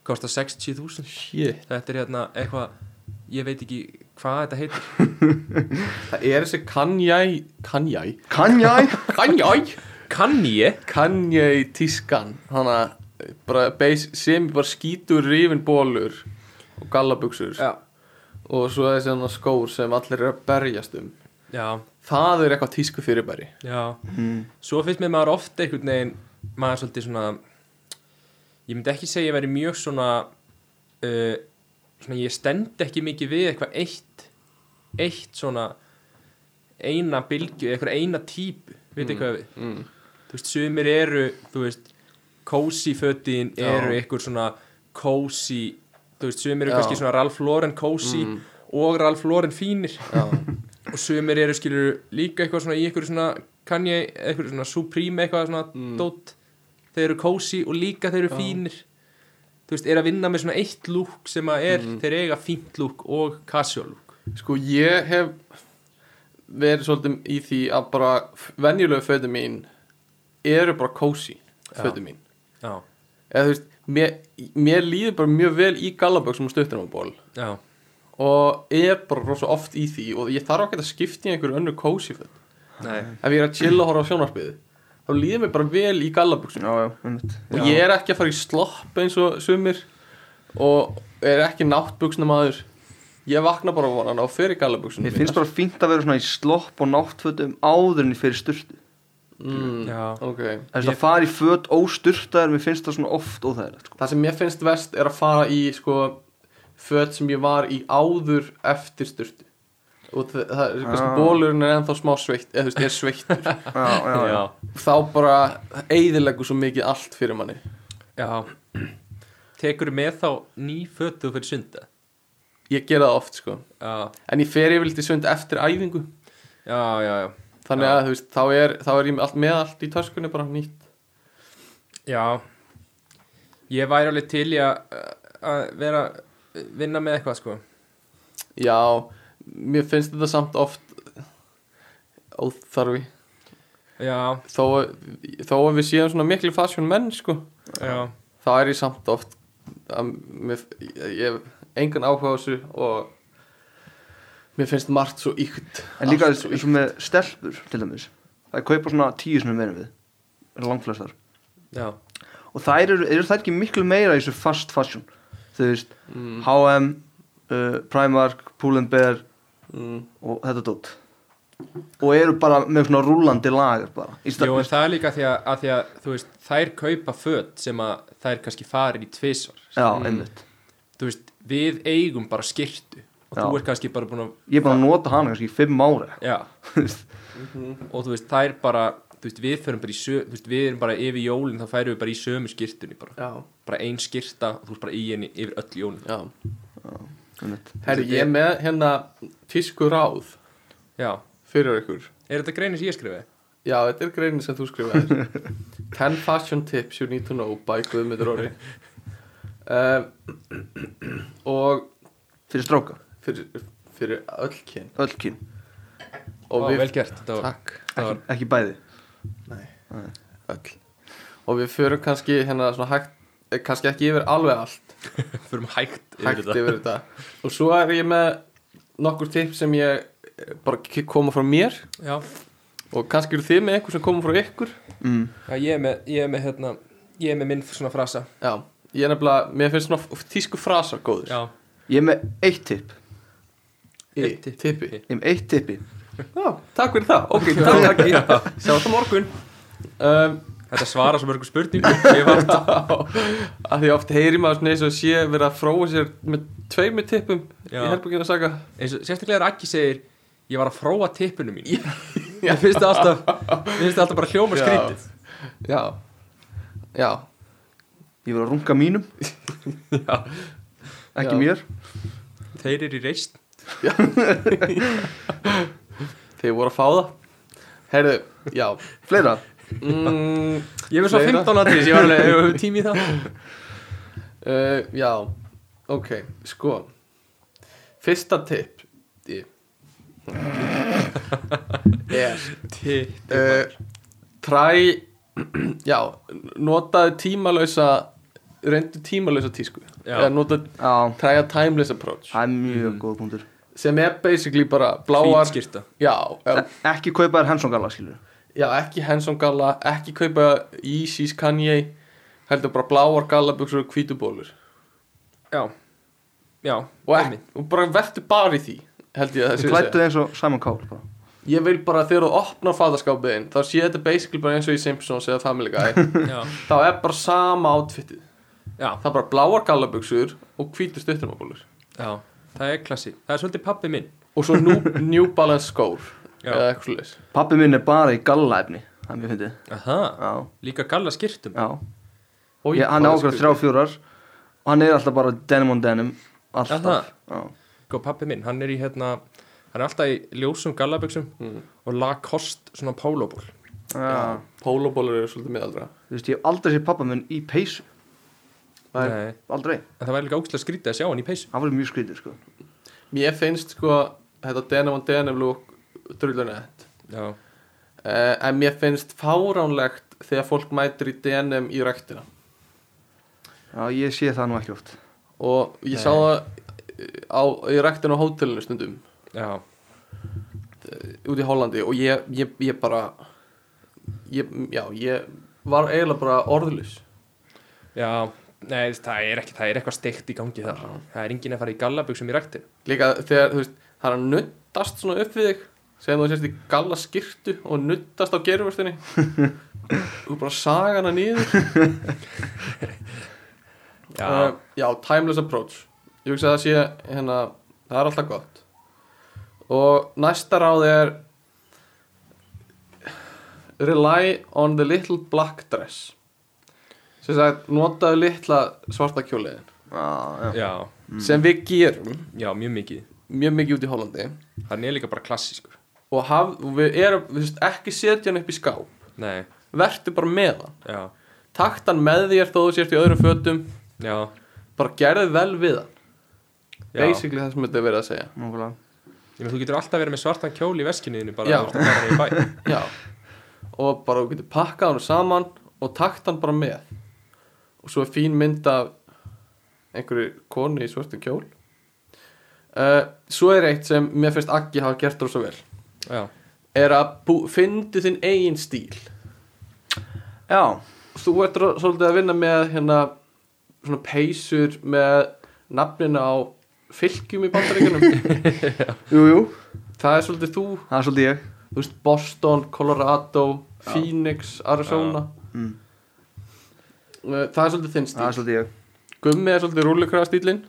Speaker 1: kostar 60.000
Speaker 2: shit
Speaker 1: Þetta er hérna eitthvað ég veit ekki hvað þetta heitir
Speaker 2: Það er þessi Kanye Kanye
Speaker 3: Kanye
Speaker 2: Kanye
Speaker 1: Kann ég?
Speaker 2: Kanye tískan Hanna bara beis, sem bara skítur rifin bólur og gallabuxur
Speaker 1: Já.
Speaker 2: og svo þessi hann skór sem allir eru að berjast um
Speaker 1: Já,
Speaker 2: Það er eitthvað tísku fyrirbæri
Speaker 1: Já, svo finnst mér maður ofta einhvern veginn, maður er svolítið svona ég myndi ekki segja að ég væri mjög svona uh, svona ég stend ekki mikið við eitthvað eitt eitt svona eina bylgju, eitthvað eina típu veit mm. hvað við
Speaker 2: mm.
Speaker 1: þú veist, sumir eru, þú veist cozy fötin eru eitthvað svona cozy, þú veist, sumir eru
Speaker 2: Já. Mm.
Speaker 1: kannski svona Ralph Lauren cozy og Ralph Lauren fínir
Speaker 2: Já,
Speaker 1: og sumir eru skilur líka eitthvað svona í eitthvað svona Kanye, eitthvað svona Supreme eitthvað svona
Speaker 2: Mm.
Speaker 1: dót þeir eru cozy og líka þeir eru fínir þú veist, er að vinna með svona eitt lúk sem að er, þeir eiga fínt lúk og casual lúk
Speaker 2: Sko ég hef verið svolítið í því að bara venjulegu fötu mín eru bara kósi fötu mín
Speaker 1: já,
Speaker 2: eða þú veist, mér, mér líður bara mjög vel í gallaböksum og stuttunarból
Speaker 1: já,
Speaker 2: og er bara rosa oft í því og ég þarf ekki að skipta í einhverju önnu kósi föt
Speaker 1: nei,
Speaker 2: ef ég er að chilla og horfa á sjónvarpið þá líður mér bara vel í gallaböksum
Speaker 3: Já, já, einmitt
Speaker 2: og ég er ekki að fara í slopp eins og sumir og er ekki náttbuksna maður ég vakna bara vonan og fer í gallaböksum
Speaker 3: Mér finnst bara fínt að vera svona í slopp og náttfötum áður en ég fer í sturtu
Speaker 2: mm,
Speaker 1: já
Speaker 2: ok
Speaker 3: Það er að fara í föt ósturtaðar, mér finnst það svona oft óþægilegt sko.
Speaker 2: Það sem mér finnst vest er að fara í sko föt sem ég var í áður eftir styrtu og það, það er sko
Speaker 3: Ah.
Speaker 2: bólurinn er ennþá smá sveitt eða þú veist, er sveittur
Speaker 3: Já, já, já,
Speaker 1: já,
Speaker 2: þá bara eigðilegu svo mikið allt fyrir manni
Speaker 1: já tekur með þá ný fötu fyrir sunda
Speaker 2: ég gera það oft sko
Speaker 1: já,
Speaker 2: en ég fer yfirleitt í sund eftir æfingu
Speaker 1: já, já, já
Speaker 2: þannig að þú veist, þá er, þá er ég með allt, með allt í töskunni bara nýtt
Speaker 1: Já Ég væri alveg til í að að vera vinna með eitthvað sko
Speaker 2: já, mér finnst þetta samt oft óþarfi
Speaker 1: Já,
Speaker 2: þó, að- þó að við séum svona miklu fasjón menn sko
Speaker 1: já,
Speaker 2: þá er ég samt oft að mér, ég ég hef engan áhuga á þessu og mér finnst margt svo ykt
Speaker 3: En líka eins og með stelpur til dæmis Það kaupa svona tíu svona meira en við Það eru langflestar
Speaker 1: já
Speaker 3: Og þær eru, eru þær ekki miklu meira í þessu fast fashion Þú veist, H&M, uh, Primark, Pull&Bear
Speaker 2: mm,
Speaker 3: og þetta dót og eru bara með svona rúlandi lagar bara í
Speaker 1: Jú, en
Speaker 3: stað
Speaker 1: það er líka því að, að, því að þú veist, þær kaupa föt sem að þær kannski farir í tvisvar
Speaker 3: já, einmitt
Speaker 1: þú veist, við eigum bara skirtu og
Speaker 3: Já.
Speaker 1: þú er kannski bara búin að
Speaker 3: ég er bara að nota hana kannski í fimm ára
Speaker 2: Sko.
Speaker 1: já,
Speaker 2: Mhm,
Speaker 1: og þú veist, þær bara þú veist, við förum bara í sö, þú veist, við erum bara yfir jólin, þá færum við bara í sömu skirtunni bara,
Speaker 2: Já,
Speaker 1: bara ein skirta og þú veist bara í henni yfir öll jólin
Speaker 2: já
Speaker 3: einmitt.
Speaker 2: Herri, ég er með hérna tísku ráð
Speaker 1: já,
Speaker 2: fyrir ykkur
Speaker 1: er þetta greinin sem ég skrifaði?
Speaker 2: Já, þetta er greinin sem þú skrifaði 10 fashion tips you need to know by Guðmundur Orri uh, Og
Speaker 3: fyrir stráka,
Speaker 2: fyrir, fyrir öll kyn
Speaker 3: öll kyn
Speaker 1: Ó,
Speaker 2: og við,
Speaker 1: vel gert, þetta var,
Speaker 2: Takk,
Speaker 1: þetta var
Speaker 3: ekki bæði
Speaker 2: öll Og við förum kannski hérna svona hægt eh, kannski ekki yfir alveg allt
Speaker 1: fyrir hægt yfir
Speaker 2: hægt
Speaker 1: þetta.
Speaker 2: yfir þetta og svo er ég með nokkur tips sem ég eh, bara k- koma frá mér
Speaker 1: já,
Speaker 2: og kannski eru þið með einhver sem koma frá ykkur
Speaker 3: mm.
Speaker 1: já, ég er með, ég er með hérna, ég er með minn svona frasa
Speaker 2: já, ég er nefnilega, mér finnst svona f- tísku frasar góður
Speaker 1: já,
Speaker 3: ég er með eitt tipp
Speaker 2: í
Speaker 1: Eitt tipp.
Speaker 2: tippi
Speaker 3: ég er með eitt tippi
Speaker 2: já, takk fyrir það, ok, takk takk sjáum það morgun um,
Speaker 1: þetta svarar svo mörgum spurningum ég var
Speaker 2: að því oft heyri maður svona eins og sé verið að fróa sér með tveimur tippum
Speaker 1: Já.
Speaker 2: í herbygginu að saga
Speaker 1: eins og sérstaklega er Akki segir ég var að fróa tippinu mín ég finnst það alltaf mér finnst það alltaf bara hljóma
Speaker 2: Já.
Speaker 1: skrítið
Speaker 2: já, já,
Speaker 3: ég verið að runga mínum ekki
Speaker 2: Já.
Speaker 3: mér
Speaker 1: þeir eru í reist
Speaker 2: þeir voru að fá það herðu, já
Speaker 3: fleira,
Speaker 2: mm,
Speaker 1: ég var svo
Speaker 2: Fleira?
Speaker 1: 15 aðrið ég var alveg hefur við tími í það
Speaker 2: Uh, já, ok, sko Fyrsta tip í- er uh, Try Já, notaði tímalausa reyndu tímalausa tísku
Speaker 1: Já.
Speaker 2: Eða notaði
Speaker 3: já,
Speaker 2: Try a timeless approach
Speaker 3: það er mjög góð punktur
Speaker 2: sem er basically bara bláar
Speaker 1: hvítskirta
Speaker 2: já, eh,
Speaker 3: E- ekki kaupa þér hensongalla skilur
Speaker 2: já, ekki handsome galla ekki kaupa Yeezys Kanye heldur bara bláar gallabuxur og hvítubólur
Speaker 1: já já
Speaker 2: og,
Speaker 1: einmitt.
Speaker 2: ekki, og bara verður bara í því held ég að það sé
Speaker 3: við
Speaker 2: að
Speaker 3: klættu
Speaker 2: segja.
Speaker 3: eins og Simon Cowell sko. bara.
Speaker 2: ég vil bara þegar þú opnar faðaskápiðin þá sé þetta basically bara eins og í Simpsons eða Family Guy
Speaker 1: já
Speaker 2: þá er bara sama outfitið
Speaker 1: já
Speaker 2: það er bara bláar gallabuxur og hvítur stuttumabólur
Speaker 1: já það er klassi það er svolítið pappi minn
Speaker 2: og svo new, new Balance skór
Speaker 1: Já.
Speaker 2: eða eitthvað svolítið
Speaker 3: pappi minn er bara í gallaefni það er mjög fyndið
Speaker 1: aha
Speaker 3: já,
Speaker 1: líka galla skirtum
Speaker 3: já Ég, hann er ákveður þrjá fjórar og hann er alltaf bara denim on denim
Speaker 1: Jaha.
Speaker 3: alltaf já,
Speaker 1: sko pappi minn hann er í hérna hann er alltaf í ljósum gallaböksum
Speaker 2: Mm.
Speaker 1: og Lacoste svona pólóból
Speaker 3: já.
Speaker 2: pólobólur eru svolítið miðaldra
Speaker 3: Þú veist, ég hef aldrei séð pappa minn í peysu
Speaker 2: Nei.
Speaker 1: Nei.
Speaker 3: aldrei,
Speaker 1: en það væri líka ógstlega skrítið að sjá hann í peysu
Speaker 3: hann var mjög skrítið sko.
Speaker 2: mér finnst sko þetta denim on denim look drullunett
Speaker 1: já
Speaker 2: uh, en mér finnst fáránlegt þegar fólk mætir í denim í ræktina
Speaker 3: já, ég sé það nú ekki oft
Speaker 2: og ég sá það á, í ræktin á hótelinu stundum
Speaker 1: já
Speaker 2: út í Hollandi og ég, ég, ég bara ég, já, ég var eiginlega bara orðlus
Speaker 1: Já, nei, það er, ekki, það er eitthvað steikt í gangi þar Það er enginn að fara í gallabuxum í rættin
Speaker 2: líka þegar þú veist það er að nuttast svona upp við þig sem þú sérst í galla skirtu og nuttast á gerfustinni og bara saga hana nýður
Speaker 1: Já,
Speaker 2: uh, já, timeless approach ég hugsa að það sé hérna, það er alltaf gott og næsta ráð er rely on the little black dress sem sagt, notaðu litla svarta kjóliðin
Speaker 3: já, já.
Speaker 1: já,
Speaker 2: sem við gerum
Speaker 1: já, mjög mikið
Speaker 2: mjög mikið út í Hollandi
Speaker 1: Hann er líka bara klassískur
Speaker 2: og haf, og við erum við veist, ekki setja hann upp í skáp
Speaker 1: Nei,
Speaker 2: vertu bara með hann
Speaker 1: já,
Speaker 2: takt hann með þér þó þú sért í öðrum fötum
Speaker 1: já,
Speaker 2: bara gerðu vel við hann
Speaker 1: já
Speaker 2: basically það sem þetta er verið að segja
Speaker 3: Nákvæmlega.
Speaker 1: Ég meina, þú getur alltaf verið með svartan kjól í veskinniðinu bara
Speaker 2: Já.
Speaker 1: að þú ert að fara í bæ
Speaker 2: Já Og bara þú getur pakkað hann saman Og takt hann bara með Og svo er fín mynd af Einhverju konu í svörtu kjól uh, Svo er eitt sem Mér finnst Aggi hafa gert rosa vel
Speaker 1: Já,
Speaker 2: Er að bú- fyndu þinn eigin stíl
Speaker 3: já,
Speaker 2: Þú ert ro- svolítið að vinna með Hérna svona peysur Með nafninu á fylgjum í bandaríkunum
Speaker 3: jú, jú
Speaker 2: það er svolítið þú
Speaker 3: það er svolítið ég
Speaker 2: þú veist Boston, Colorado Phoenix, Arizona
Speaker 3: Mm.
Speaker 2: Uh, það er svolítið þinn
Speaker 3: það er
Speaker 2: stíl
Speaker 3: svolítið ég
Speaker 2: Gummi er svolítið rúllukraða stílinn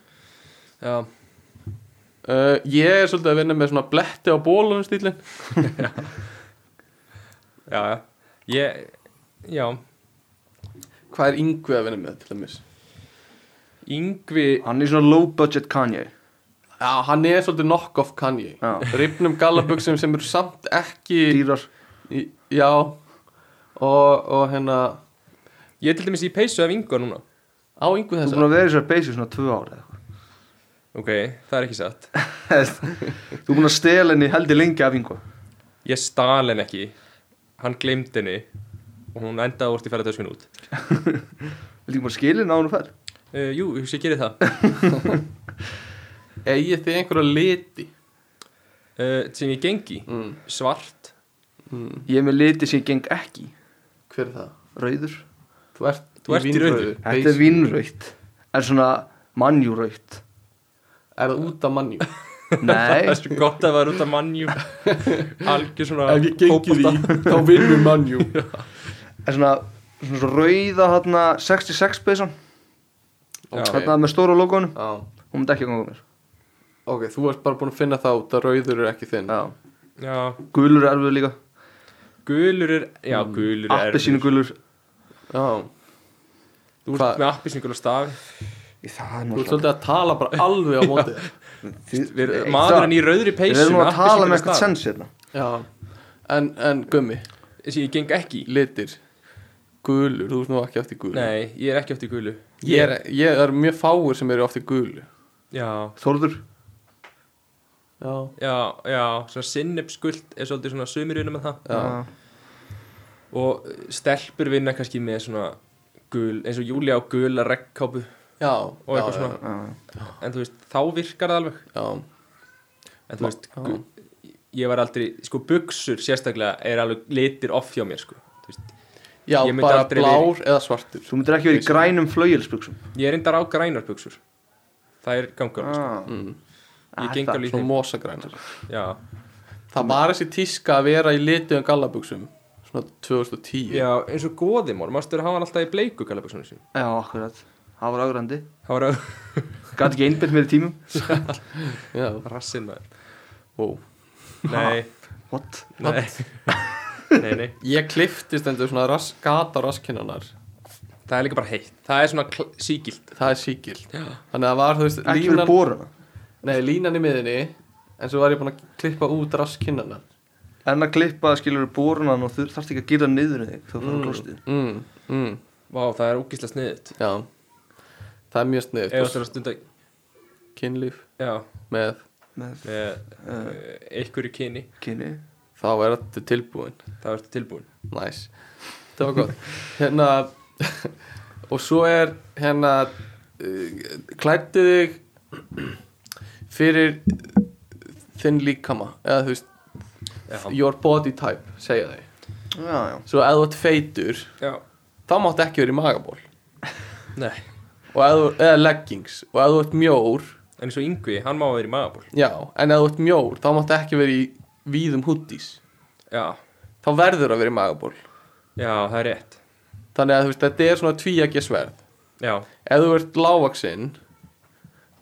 Speaker 1: já,
Speaker 2: uh, ég er svolítið að vinna með svona bletti á bólunum stílinn
Speaker 1: já, já Ég, já
Speaker 2: hvað er yngvi að vinna með til dæmis
Speaker 1: Yngvi,
Speaker 3: hann er svona low budget Kanye
Speaker 2: já, hann er svolítið knock off Kanye
Speaker 3: Já.
Speaker 2: ripnum gallabuxum sem eru samt ekki
Speaker 3: dýrar
Speaker 2: í, já og, og hérna
Speaker 1: ég er til dæmis í peysu af yngva núna
Speaker 2: á yngvi
Speaker 3: þú er
Speaker 2: þess
Speaker 3: búin að vera í þessari basic svona tvö ára
Speaker 1: Ok, það er ekki satt
Speaker 3: þú er búin að stela henni heldur lengi af sko. yngu
Speaker 1: Ég stal henni ekki Hann gleymd henni Og hún endaði úr í ferðartöskun út
Speaker 3: Viltu ekki bara skilin á hún og fer?
Speaker 1: uh, Jú, ég hugsa ég gerði það
Speaker 2: eigið þið einhverja liti
Speaker 1: uh, Sem ég gengi
Speaker 2: mm.
Speaker 1: Svart
Speaker 3: Ég er með liti sem ég geng ekki
Speaker 2: hver er það?
Speaker 3: Rauður
Speaker 2: þú ert,
Speaker 1: Þú ert í rauðu.
Speaker 2: vínrauðu.
Speaker 3: Þetta er vinnrautt En svona mannjúrautt
Speaker 2: er það út af mannjú
Speaker 1: Það
Speaker 3: Nei
Speaker 1: er svo gott að vera út af mannjú Algjör svona
Speaker 2: ef ég gengi
Speaker 1: fótbolta.
Speaker 2: því þá vinnum mannjú
Speaker 3: En svona, svona svo rauða hérna 66 peysan
Speaker 1: Já.
Speaker 3: Hérna með stóra logoðunum
Speaker 2: Já.
Speaker 3: Hún myndi ekki að ganga mér
Speaker 2: ok, þú ert bara búin að finna það út að rauður er ekki þinn
Speaker 3: Já
Speaker 1: Já,
Speaker 3: Gulur er erfið líka
Speaker 1: gulur er Já, gulur er
Speaker 3: Appi sínu gulur
Speaker 2: já
Speaker 1: Þú
Speaker 2: Hvað-
Speaker 1: ert með appi sem gulur staf
Speaker 3: Það er
Speaker 2: Þú ert svolítið að tala bara alveg á móti þér.
Speaker 1: Við- Maðurinn í rauðri peysu
Speaker 3: Við erum nú
Speaker 1: með
Speaker 3: að tala
Speaker 1: appelsínugula
Speaker 3: með eitthvað
Speaker 1: staf.
Speaker 3: sens hérna
Speaker 2: Já En, en gummi,
Speaker 1: Sem ég geng ekki í.
Speaker 2: litir Gulur, þú veist nú ekki eftir gulur
Speaker 1: Nei, ég er ekki eftir gulu
Speaker 2: ég er, ég er mjög fáir sem eru eftir gulu
Speaker 1: Já,
Speaker 3: Þórður
Speaker 2: Já
Speaker 1: já, já, svona sinnepsguld er svolítið svona sumirinu með það
Speaker 2: Já.
Speaker 1: og eh, stelpur vinna kannski með svona gul, eins og Júlia á gula regnkápu
Speaker 2: Já
Speaker 1: og eitthvað
Speaker 2: já,
Speaker 1: svona,
Speaker 3: Já.
Speaker 1: en þú veist, þá virkar það alveg
Speaker 2: Já,
Speaker 1: en þú veist, gu, ég var aldrei sko, buksur sérstaklega er alveg litir off hjá mér, sko Þú veist,
Speaker 2: já
Speaker 1: Ég myndi
Speaker 2: bara
Speaker 1: aldrei
Speaker 2: blár eða svartur
Speaker 3: Þú myndir ekki verið í grænum flauilsbuxum
Speaker 1: ég er reyndar á grænar buksur það er gangar, ah,
Speaker 3: ah.
Speaker 2: mm.
Speaker 1: ég
Speaker 3: Ah,
Speaker 1: geng
Speaker 3: það-
Speaker 1: alveg í
Speaker 2: Svona
Speaker 1: þeim
Speaker 2: mosagrænar
Speaker 1: já,
Speaker 2: Það var þessi tíska að vera í litum gallabuxum Svona 2010
Speaker 1: já, eins og góðimor mástu að hafa hann alltaf í bleiku galabuksunum sín
Speaker 3: Já, akkurat Það var ágrandi
Speaker 1: það var að
Speaker 3: Gat ekki einbett mér í tímum
Speaker 2: já.
Speaker 1: rassin maður
Speaker 2: Wow.
Speaker 1: nei,
Speaker 3: What?
Speaker 1: nei nei, nei
Speaker 2: Ég kliftist endur svona ras, gata raskinnanar
Speaker 1: Það er líka bara heitt. Það er svona kl- sígilt.
Speaker 2: Það er síkild Þannig að það var, þú veist,
Speaker 3: Ekki verið boruna
Speaker 2: Nei, línan í miðinni En svo var ég búinn að klippa út raskinnana
Speaker 3: En að klippa skilur borunan og þú þarfst ekki að gera niður í þig þegar þú fyrir á klostið.
Speaker 2: mm, mm,
Speaker 1: Vá, það er ógísla sniðut.
Speaker 2: Já Það er mjög sniðt
Speaker 1: Eða það er stund að,
Speaker 2: Kynlíf
Speaker 1: já,
Speaker 2: með
Speaker 3: Með
Speaker 1: með uh, einhverju kyni,
Speaker 3: kynni.
Speaker 2: Þá er þetta tilbúin
Speaker 1: það ertu tilbúin.
Speaker 2: Næs Það var gott Hérna Og svo er hérna uh, Klættu þig Fyrir Þinn líkama Eða þú veist
Speaker 1: Já,
Speaker 2: Your body type Segja þau
Speaker 3: Já, já.
Speaker 2: Svo ef þú ert feitur
Speaker 1: já,
Speaker 2: Þá máttu ekki vera í magaból
Speaker 1: nei.
Speaker 2: og ef, þú- eða leggings og ef þú ert mjór
Speaker 1: En eins og yngvi, hann má vera í magaból.
Speaker 2: já, en ef þú ert mjór þá máttu ekki verið í víðum húddís
Speaker 1: Já,
Speaker 2: þá verður að vera í magaból
Speaker 1: já, það er rétt.
Speaker 2: þannig að þú veist, þetta er svona tvíækja sverð
Speaker 1: Já,
Speaker 2: ef þú ert lávaksinn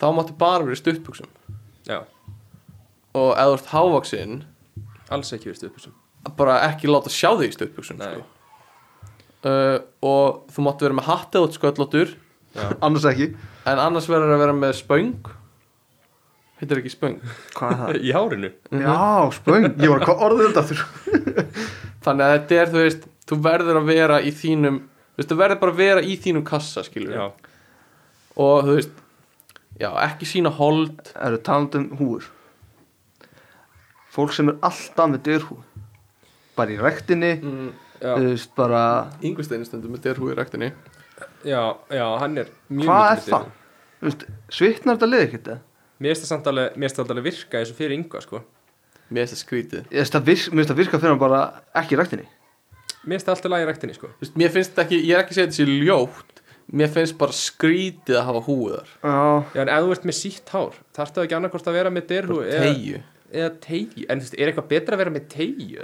Speaker 2: þá máttu bara verið stuttbuksum
Speaker 1: já,
Speaker 2: og ef þú ert hávaksinn
Speaker 1: alls ekki verið stuðpusum.
Speaker 2: bara ekki láta sjá þig í stuttbuksum
Speaker 1: Nei.
Speaker 2: sko. uh, og þú máttu vera með hattið út sköllóttur
Speaker 3: Annars ekki.
Speaker 2: en annars verður að vera með spöng heitir ekki spöng
Speaker 3: Hvað er það?
Speaker 1: Í hárinu.
Speaker 3: Já, spöng. Ég var hvað orðið þetta aftur.
Speaker 2: þannig að þetta er, þú veist, þú verður að vera í þínum, þú veist, þú verður bara að vera í þínum kassa, skilur
Speaker 1: Já,
Speaker 2: og þú veist, já, ekki sína hold,
Speaker 3: Það eru talandi um húur. Fólk sem er alltaf með dyrhú. Bara í rektinni,
Speaker 2: mm,
Speaker 1: já,
Speaker 3: þú veist, bara...
Speaker 2: yngvisteinu stundum með derhúi ræktinni,
Speaker 1: já, já, hann er mjög
Speaker 3: Hvað er
Speaker 1: mikið
Speaker 3: það? Þú veist, svitnar þetta lið ekkert það?
Speaker 1: Mér finnst það samt alveg, mér finnst það alveg virka eins og fyrir yngva, sko.
Speaker 2: mér finnst það skrítið
Speaker 3: Ég veist, það virk- mér finnst það virka fyrir hann bara ekki í rektinni.
Speaker 1: Mér finnst það alltaf lagi ræktinni, sko.
Speaker 2: þú veist, mér finnst það ekki, ég er ekki að segja þetta sé ljótt mér finnst bara skrítið að hafa húiðar
Speaker 3: Já,
Speaker 1: Já, en ef þú ert með sítt hár, þarftu ekki annarkort að vera með derhú eða...
Speaker 2: tegju,
Speaker 1: eða tegju En þú veist, er eitthvað betra að vera með tegju?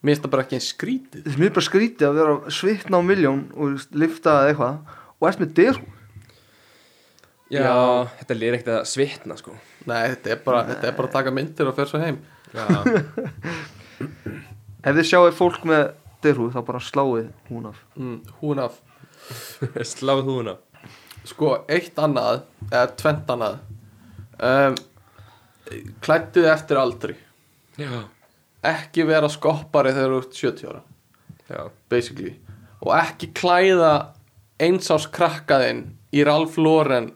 Speaker 2: Mér finnst það bara ekki eins skrítið
Speaker 3: Þú veist, mér er bara skrítið að vera að svitna á miljón og þú veist, lifta eða eitthvað og ert með dyr
Speaker 1: Já, þetta lir ekkert að svitna sko
Speaker 2: Nei, þetta er bara, þetta er bara að taka myndir og fer svo heim
Speaker 1: Já,
Speaker 3: Ef þið sjáu fólk með dyrhúð þá bara sláið hún af
Speaker 2: mm, Hún af
Speaker 1: sláð húna
Speaker 2: sko eitt annað eða tvent annað um, klættu þið eftir aldri
Speaker 1: Já,
Speaker 2: ekki vera skoppari þegar þú ert 70 ára
Speaker 1: já,
Speaker 2: basically og ekki klæða eins ás krakkaðinn í Ralph Lauren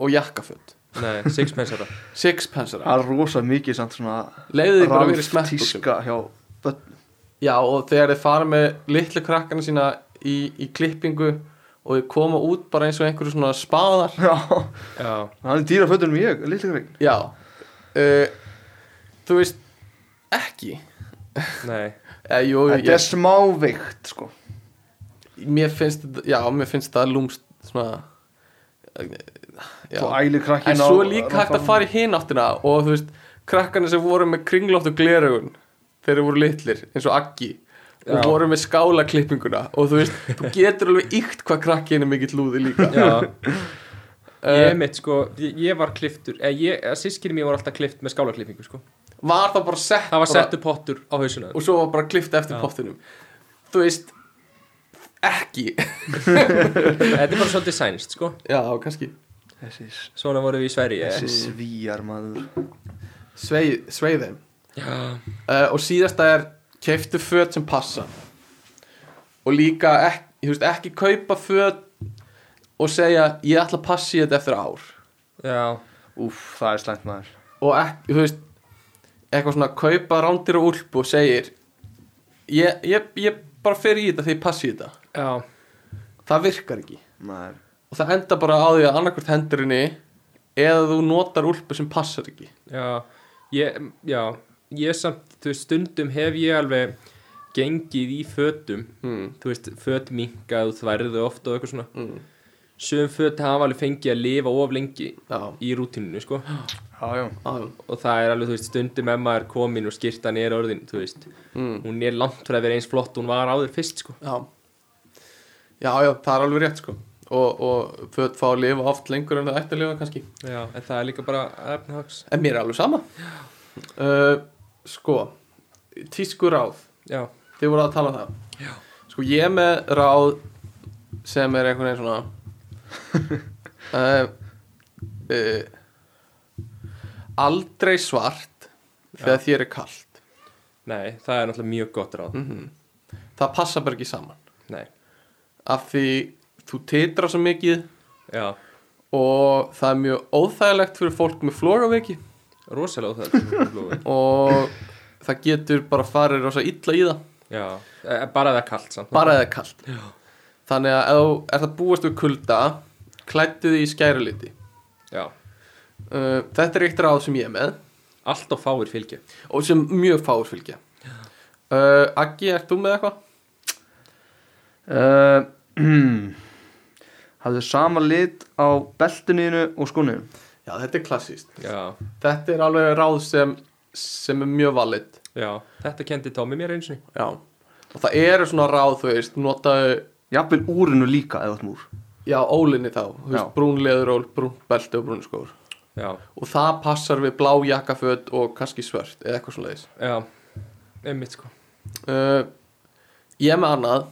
Speaker 2: og jakkaföld
Speaker 1: nei, sixpence er það
Speaker 2: sixpence er það.
Speaker 3: Það er rosa mikið samt svona
Speaker 2: Leiðið ykkur að vera í
Speaker 3: Ralph
Speaker 2: smekkbuxum.
Speaker 3: tíska hjá börn
Speaker 2: já og þegar þið fara með litlu krakkana sína í, í klippingu og þið koma út bara eins og einhverju svona spaðar
Speaker 3: Já,
Speaker 1: Já,
Speaker 3: hann er dýra fötunum ég, lítið grein
Speaker 2: já uh, þú veist ekki
Speaker 1: nei,
Speaker 2: Eh, jú,
Speaker 3: Þetta er smáveikt, sko
Speaker 2: mér finnst þetta- já, mér finnst það lúmst svona já.
Speaker 3: Svo ælir krakkin
Speaker 2: en
Speaker 3: á-
Speaker 2: svo líka hægt að
Speaker 3: Ralph-
Speaker 2: fara í hin áttina og þú veist, krakkarnir sem voru með kringlóttu glerugun þeir voru litlir, eins og Aggi og
Speaker 1: Já.
Speaker 2: voru með skálaklippinguna og þú veist, þú getur alveg ykt hvað krakkin er mikill lúði líka
Speaker 1: já Ég
Speaker 2: Eh,
Speaker 1: mitt sko, ég, ég var kliftur eh, ég, Sískinni mér var alltaf klift með skálaklippingu sko
Speaker 2: var það bara sett
Speaker 1: Það var
Speaker 2: bara-
Speaker 1: settur pottur á hausuna
Speaker 2: og svo var bara klift eftir
Speaker 1: Já.
Speaker 2: pottinum þú veist ekki,
Speaker 1: Þetta er bara svolítið sænst sko
Speaker 2: já, kannski
Speaker 3: Þessi, s-
Speaker 1: Svona vorum við í Sverige
Speaker 3: þessi svíjar maður
Speaker 2: sveið svei þeim
Speaker 1: Já,
Speaker 2: uh, og síðasta er keiftu föt sem passa og líka ekki, þú veist, ekki kaupa föt og segja ég ætla að passa í þetta eftir ár
Speaker 1: já,
Speaker 3: Úff, það er slæmt maður
Speaker 2: og ekki, þú veist eitthvað svona kaupa rándir og úlp og segir ég, ég, ég bara fer í þetta þegar ég passa í þetta
Speaker 1: já
Speaker 2: það virkar ekki
Speaker 3: Maður
Speaker 2: og það enda bara á því að annarkvort hendurinni eða þú notar úlpu sem passar ekki
Speaker 1: Já, ég, mm, já, ég samt, þú veist, stundum hef ég alveg gengið í fötum,
Speaker 2: mm.
Speaker 1: þú veist, föt minkað og þværðu ofta og eitthvað svona.
Speaker 2: Mm.
Speaker 1: Sjöfum föt hafa alveg fengið að lifa of lengi
Speaker 2: já,
Speaker 1: í rútininu, sko.
Speaker 3: Já, já
Speaker 2: á,
Speaker 1: Og það er alveg, þú veist, stundum ef maður er komin og skýrtan er orðin, þú veist,
Speaker 2: mm.
Speaker 1: hún er langt frá að vera eins flott og hún var áður fyrst, sko.
Speaker 2: já já, já, það er alveg rétt sko og, og föt fá að lifa oft lengur en það ætti að lifa kannski
Speaker 1: Já, en það er líka bara efnahags.
Speaker 2: En mér er alveg sama uh, Sko Tísku ráð,
Speaker 1: Já,
Speaker 2: þið voru að tala um það Já. Sko ég er með ráð sem er einhvern veginn svona uh, uh, Aldrei svart þegar þér er kalt
Speaker 1: nei, það er náttúrulega mjög gott ráð.
Speaker 2: mm Það passa bara ekki saman
Speaker 1: Nei,
Speaker 2: af því þú titra svo mikið
Speaker 1: já,
Speaker 2: og það er mjög óþægilegt fyrir fólk með flogaveiki
Speaker 1: rosalega óþægilegt.
Speaker 2: og það getur bara farið rosa illa í það
Speaker 1: já, eh, bara það er kalt samt.
Speaker 2: bara eða kalt Já. þannig að ef þú ert að búast við kulda klættu þið í skæruliti
Speaker 1: Já,
Speaker 2: uh, þetta er eitt ráð sem ég er með
Speaker 1: allt og fáir fylgja.
Speaker 2: og sem mjög fáur fylgja uh, Aggi, ert þú með eitthvað?
Speaker 3: uh, Hafðu sama lit á beltuninu og skóninu
Speaker 2: Já, þetta er klassíst
Speaker 1: Já,
Speaker 2: þetta er alveg ráð sem, sem er mjög valid
Speaker 1: já, þetta kendi Tómi mér eins og
Speaker 2: Já. og það eru svona ráð, þú veist notaðu,
Speaker 3: Jafnvel úrinu líka eða þú múr
Speaker 2: já, ólinni þá þú veist,
Speaker 3: Já.
Speaker 2: brún leðuról, brún belti og brún skór
Speaker 1: Já,
Speaker 2: og það passar við blá jakkaföt og kannski svört eða eitthvað svona leiðis
Speaker 1: já, einmitt sko
Speaker 2: uh, ég er með annað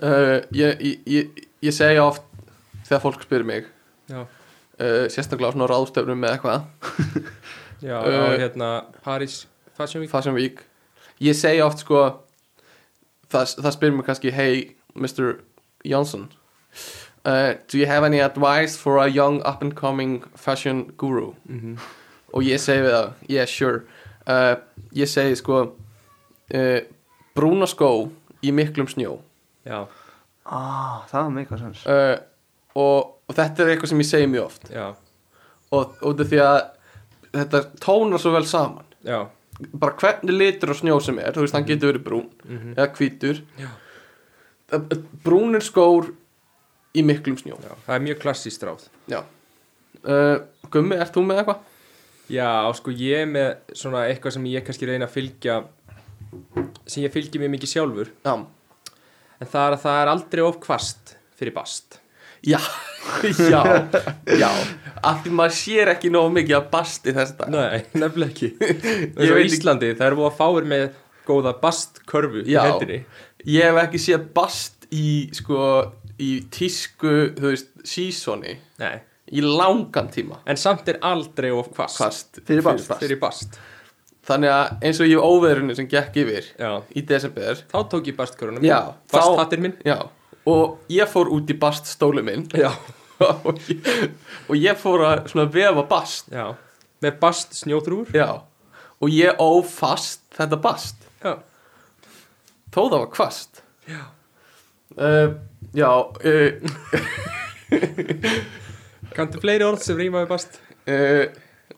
Speaker 2: uh, ég, ég, ég, ég segja oft þegar fólk spyr mig
Speaker 1: Já,
Speaker 2: uh, sérstaklega á svona ráðstöfnum með eitthvað
Speaker 1: já,
Speaker 2: Eh.
Speaker 1: uh, hérna Paris Fashion Week
Speaker 2: Fashion Week ég segja oft sko það, það spyr mig kannski hey Mr. Johnson uh, do you have any advice for a young up and coming fashion guru
Speaker 1: mm
Speaker 2: og ég segi við það yeah sure uh, ég segi sko uh, brúna skó í miklum snjó
Speaker 1: Já,
Speaker 3: ah, Það er meika sens
Speaker 2: uh, og, og þetta er eitthvað sem ég segi mjög oft
Speaker 1: já,
Speaker 2: og út af því að þetta tónar svo vel saman
Speaker 1: já,
Speaker 2: bara hvernig litur og snjó sem er þú veist, hann getur verið brún
Speaker 1: mhm,
Speaker 2: eða hvítur
Speaker 1: Já.
Speaker 2: Það- brúnir skór í miklum snjó
Speaker 1: já, það er mjög klassíst ráð
Speaker 2: já uh, Gummi, ert þú með eitthvað?
Speaker 1: Já, sko ég er með svona eitthvað sem ég kannski reyna að fylgja sem ég fylgi mjög mikið sjálfur
Speaker 2: Já,
Speaker 1: en það er að það er aldrei of kvast fyrir bast
Speaker 2: já, já, já. Af því maður sér ekki nógu mikið að basti þess dag
Speaker 1: Nei, nefnilega ekki
Speaker 2: Ég
Speaker 1: Það er
Speaker 2: veit
Speaker 1: á
Speaker 2: ekki-
Speaker 1: Íslandi, það er búið að fáir með góða bastkörfu í
Speaker 2: Já.
Speaker 1: hendinni
Speaker 2: Ég hef ekki séð bast í, sko, í tísku, þú veist, sísoni
Speaker 1: Nei,
Speaker 2: Í langan tíma
Speaker 1: en samt er aldrei of kvast
Speaker 2: Kvast
Speaker 3: Fyrir bast.
Speaker 1: Fyrir bast
Speaker 2: Þannig að eins og ég óveðrunni sem gekk yfir
Speaker 1: Já,
Speaker 2: í desember
Speaker 1: þá tók ég bastkörfunum
Speaker 2: Já,
Speaker 1: Basthattir minn
Speaker 2: Já, og ég fór út í baststólu minn
Speaker 1: Já,
Speaker 2: og, ég, og ég fór að svona vefa bast
Speaker 1: já Með bast snjóþrúur
Speaker 2: Já, og ég ófast þetta bast
Speaker 1: Já,
Speaker 2: Þó það var kvast Já uh, Já, uh,
Speaker 1: kanntu fleiri orð sem rýma við bast
Speaker 2: uh,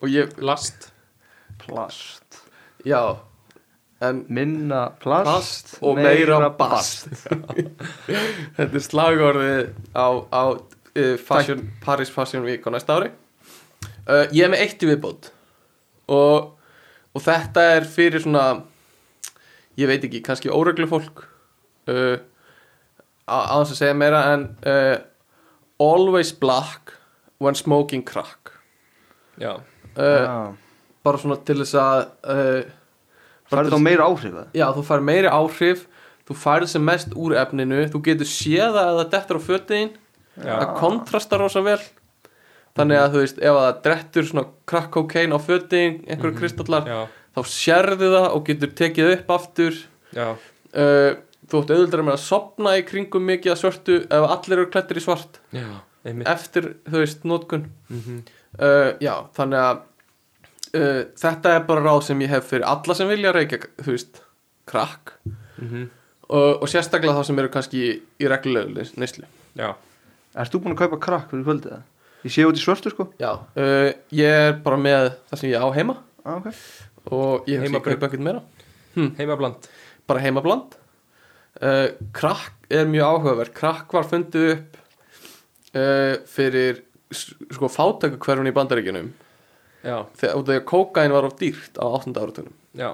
Speaker 2: og ég,
Speaker 1: Last
Speaker 3: Plast
Speaker 2: já En
Speaker 3: Minna plast,
Speaker 2: bast og meira, bast, Þetta er slagorðið á, á uh, fashion, Paris Fashion Week á næsta ári uh, Ég er með eitt í viðbót og, og þetta er fyrir svona ég veit ekki, kannski óreglu fólk uh, á- án þess að segja meira en uh, always black when smoking crack
Speaker 1: Já,
Speaker 2: uh,
Speaker 3: Já.
Speaker 2: bara svona til þess að uh, bara
Speaker 3: Færðu
Speaker 2: til
Speaker 3: þá meira áhrif það?
Speaker 2: Já, þú fær meiri áhrif Þú færð sem mest úr efninu Þú getur séð það að það dettur á fötin
Speaker 1: já,
Speaker 2: Það kontrastar rosa vel Þannig að þú veist, ef það drettur svona crack cocaine á fötin einhverju kristallar,
Speaker 1: Mhm. já,
Speaker 2: þá sérðu það og getur tekið upp aftur
Speaker 1: já
Speaker 2: uh, Þú átt auðvitað með að sopna í kringum mikið að svörtu ef allir eru klættir í svart
Speaker 1: Já, einmitt
Speaker 2: eftir, þú veist, nótkun
Speaker 1: mm
Speaker 2: uh, Já, þannig að uh, þetta er bara ráð sem ég hef fyrir alla sem vilja reykja, þú veist, crack
Speaker 1: Mhm.
Speaker 2: og, og sérstaklega þá sem eru kannski í, í reglulegu neyslu
Speaker 1: Já,
Speaker 3: Erst þú búin að kaupa krakk fyrir kvöldið það? Ég sé út í svörtu sko
Speaker 2: Já uh, Ég er bara með það sem ég á heima
Speaker 3: ah, okay.
Speaker 2: og ég hef ekki
Speaker 1: Heimabrugg.
Speaker 2: kaupa ekkert meira Hm.
Speaker 1: heimabland
Speaker 2: bara heimabland uh, Krakk er mjög áhugaverð Krakk var fundið upp uh, fyrir s- sko fátæku hverfun í bandaríkjunum
Speaker 1: Já,
Speaker 2: þegar út af því að kókain var of dýrt á 8. áratunum
Speaker 1: já,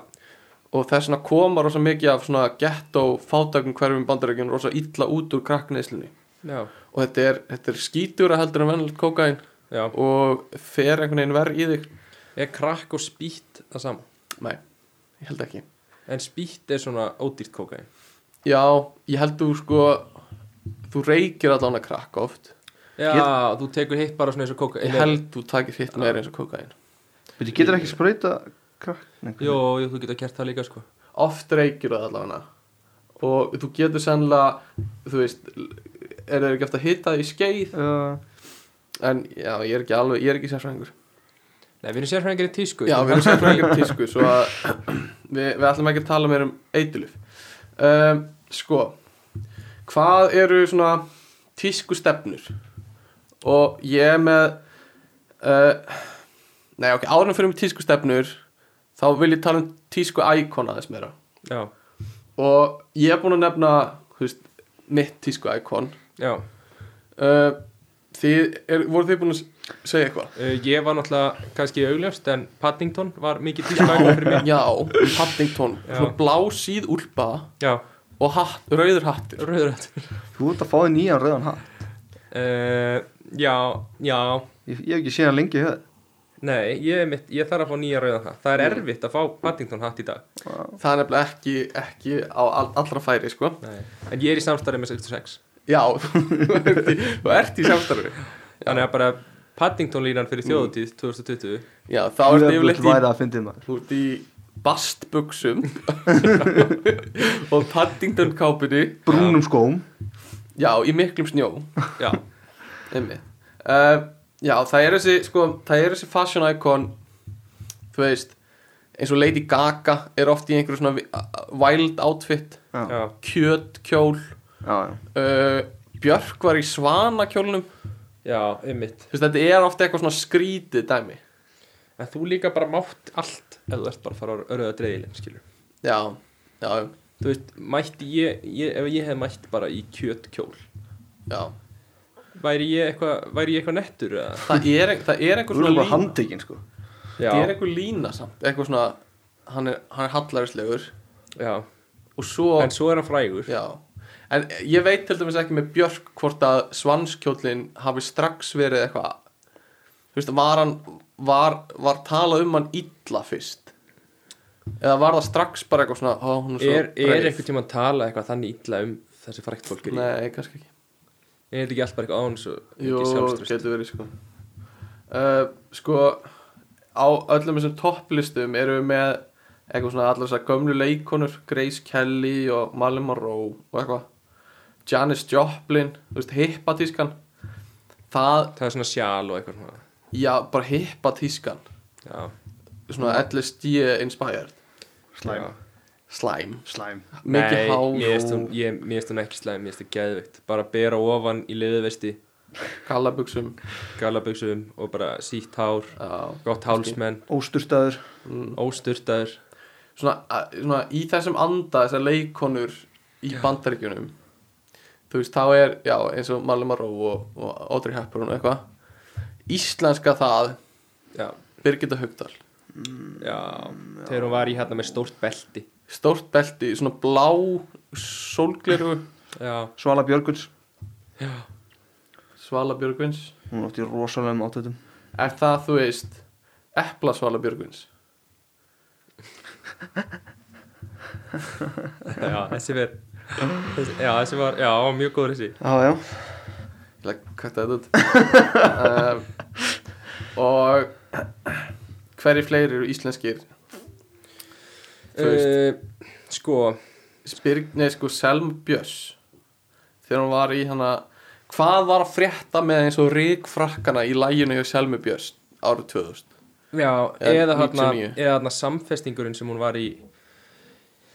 Speaker 2: og þess vegna koma rosa mikið af svona ghetto fátækum hverfum í bandaríkjunum rosa illa út úr krakkneislunni
Speaker 1: já,
Speaker 2: og þetta er, þetta er skítjúra heldur en vennilegt kókain
Speaker 1: já
Speaker 2: og fer einhvern veginn verð í þig
Speaker 1: Er krakk og spýtt það sama?
Speaker 2: Nei, ég held ekki
Speaker 1: En spýtt er svona ódýrt kókain
Speaker 2: Já, ég held þú sko þú reykir allan að krakka oft
Speaker 1: Já, þú tekur hitt bara svona eins og kókain
Speaker 2: Ég held þú takir hitt meira eins og kokain
Speaker 3: Þú getur ekki sprauta krakk Nei,
Speaker 1: Jó, jú, þú getur gert það líka sko
Speaker 2: Oft reykir það allan og þú getur sennilega þú veist, er það ekki eftir að hitta það í skeið
Speaker 3: uh,
Speaker 2: en já, ég er ekki alveg, ég er ekki sérfræðingur
Speaker 1: Nei, við erum sérfræðingar í tísku
Speaker 2: Já, við erum sérfræðingar í tísku svo að við, við ætlum ekki að tala meir um eitilif um, Sko hvað eru svona tísku stefnur og ég er með uh, Nei, ok, árum fyrir um tísku stefnur þá vil ég tala um tísku íkona þess meira
Speaker 1: Já,
Speaker 2: og ég er búin að nefna þú veist, mitt tísku íkon
Speaker 1: já
Speaker 2: uh, Þið, er, voru þið búin að s- segja eitthvað?
Speaker 1: uh, Ég var náttúrulega kannski augljöfst En Paddington var mikið tísku ægum fyrir mér
Speaker 2: Já, Paddington,
Speaker 1: Já.
Speaker 2: svona blásíð úlpa
Speaker 1: Já,
Speaker 2: og hatt, rauður hattur
Speaker 1: rauðrætt
Speaker 3: Þú ert að fá þig nýjan rauðan hatt
Speaker 1: uh, Já, já
Speaker 3: Ég, ég hef ekki séð hann lengi í höð
Speaker 1: Nei, ég, er mitt, ég þarf að fá nýja rauðan hatt Það er
Speaker 2: Mm.
Speaker 1: erfitt að fá Paddington hatt í dag
Speaker 2: það er nefnilega ekki, ekki á all- allra færi sko.
Speaker 1: Nei. En ég er í samstarið með 66
Speaker 2: já, þú ert í, þú ert í samstarfi Mm.
Speaker 1: Þannig að bara Paddington línan fyrir þjóðutíð 2020
Speaker 2: já, þá ert yfirleitt í,
Speaker 3: væri að fyndið maður
Speaker 2: þú ert í bastbuxum og Paddington kápunni
Speaker 3: Brúnum skóm
Speaker 2: já, í miklum snjó
Speaker 1: Já,
Speaker 2: uh, já, það er þessi sko, það er þessi fashion icon þú veist eins og Lady Gaga er oft í einhverju svona vi- wild outfit
Speaker 3: Já,
Speaker 1: já,
Speaker 2: kjöt kjól
Speaker 3: já, já.
Speaker 2: uh, Björk var í svanakjólnum
Speaker 1: já, einmitt
Speaker 2: Þú veist, þetta er ofta eitthvað svona skrítið dæmi
Speaker 1: En þú líka bara mátt allt ef þú ert bara að fara á öröða dreigilinn, skilur
Speaker 2: Já, já,
Speaker 1: Þú veist, mætti ég, ég ef ég hef mætt bara í kjötkjól
Speaker 2: já
Speaker 1: Væri ég eitthvað, væri ég eitthvað nettur eða?
Speaker 2: Það er, það er einhver
Speaker 3: Þú erum
Speaker 2: svona
Speaker 3: bara
Speaker 2: lína
Speaker 3: handtekinn sko
Speaker 1: Já,
Speaker 2: það er einhver lína samt eitthvað svona, hann er, hann er hallarislegur
Speaker 1: já
Speaker 2: og svo,
Speaker 1: En svo er hann frægur
Speaker 2: já en ég veit til dæmis ekki með Björk hvort að svanskjólinn hafi strax verið eitthvað þú veist, var hann var, var talað um hann illa fyrst eða var það strax bara eitthvað svona, ó, hún er svo
Speaker 1: Er, er
Speaker 2: breið"?
Speaker 1: einhvern tímann að tala eitthvað þannig illa um þessi frækt fólk er í?
Speaker 2: nei, kannski ekki
Speaker 1: Er þetta ekki alltaf eitthvað án svo
Speaker 2: Jú,
Speaker 1: mikið sjálfströst?
Speaker 2: getur verið sko uh, Sko á öllum þessum topplistum eru við með eitthvað svona allar þessar gömlu leikonur Grace Kelly og Marilyn Monroe og eitthvað Janis Joplin, þú veist, hippatískan það,
Speaker 1: Það er svona sjál og eitthvað svona
Speaker 2: já, bara hippatískan
Speaker 1: Já,
Speaker 2: svona
Speaker 1: Mm.
Speaker 2: LSD inspired
Speaker 3: Slæm.
Speaker 2: slæm,
Speaker 3: Slæm.
Speaker 1: Nei,
Speaker 2: mikið há
Speaker 1: mér finnst hún- ég- mér finnst hún ekki slæm, mér finnst hún geðveikt Bara bera ofan í liðvesti,
Speaker 2: kallabuxum
Speaker 1: gallabuxum og bara sítt hár
Speaker 2: já. Mm.
Speaker 1: Gott hálsmenn,
Speaker 3: Ósturstaður.
Speaker 1: ósturtaður
Speaker 2: svona, að- svona í þessum anda þessar leikonur í bandaríkjunum þú veist þá er já, eins og Marley Marrow og, og Audrey Hepburn og eitthvað íslenska það
Speaker 1: Já,
Speaker 2: Birgitta Haugdal
Speaker 1: já, þegar hún var í hérna með stórt belti
Speaker 2: stórt belti, svona blá sólgleru
Speaker 1: Já,
Speaker 3: Svala Björguns.
Speaker 2: Svala Björgvins
Speaker 3: Hún átti rosalega um átöðum.
Speaker 2: er það þú veist epla Svala Björgvins
Speaker 1: já, þessi verð þessi, Já, þessi var, já, hann var mjög góður þessi
Speaker 3: Já, já.
Speaker 2: ég legg kvæta þetta út um, og hverju fleiri eru íslenskir Þú
Speaker 1: uh, Sko,
Speaker 2: Spyrg, nei sko Selma Björns þegar hún var í hana hvað var að frétta með eins og ríkfrakkana í læginu hjá Selma Björns árið 2000
Speaker 1: já,
Speaker 2: Eða
Speaker 1: eða hérna
Speaker 2: 99.
Speaker 1: Eða hérna samfestingurinn sem hún var í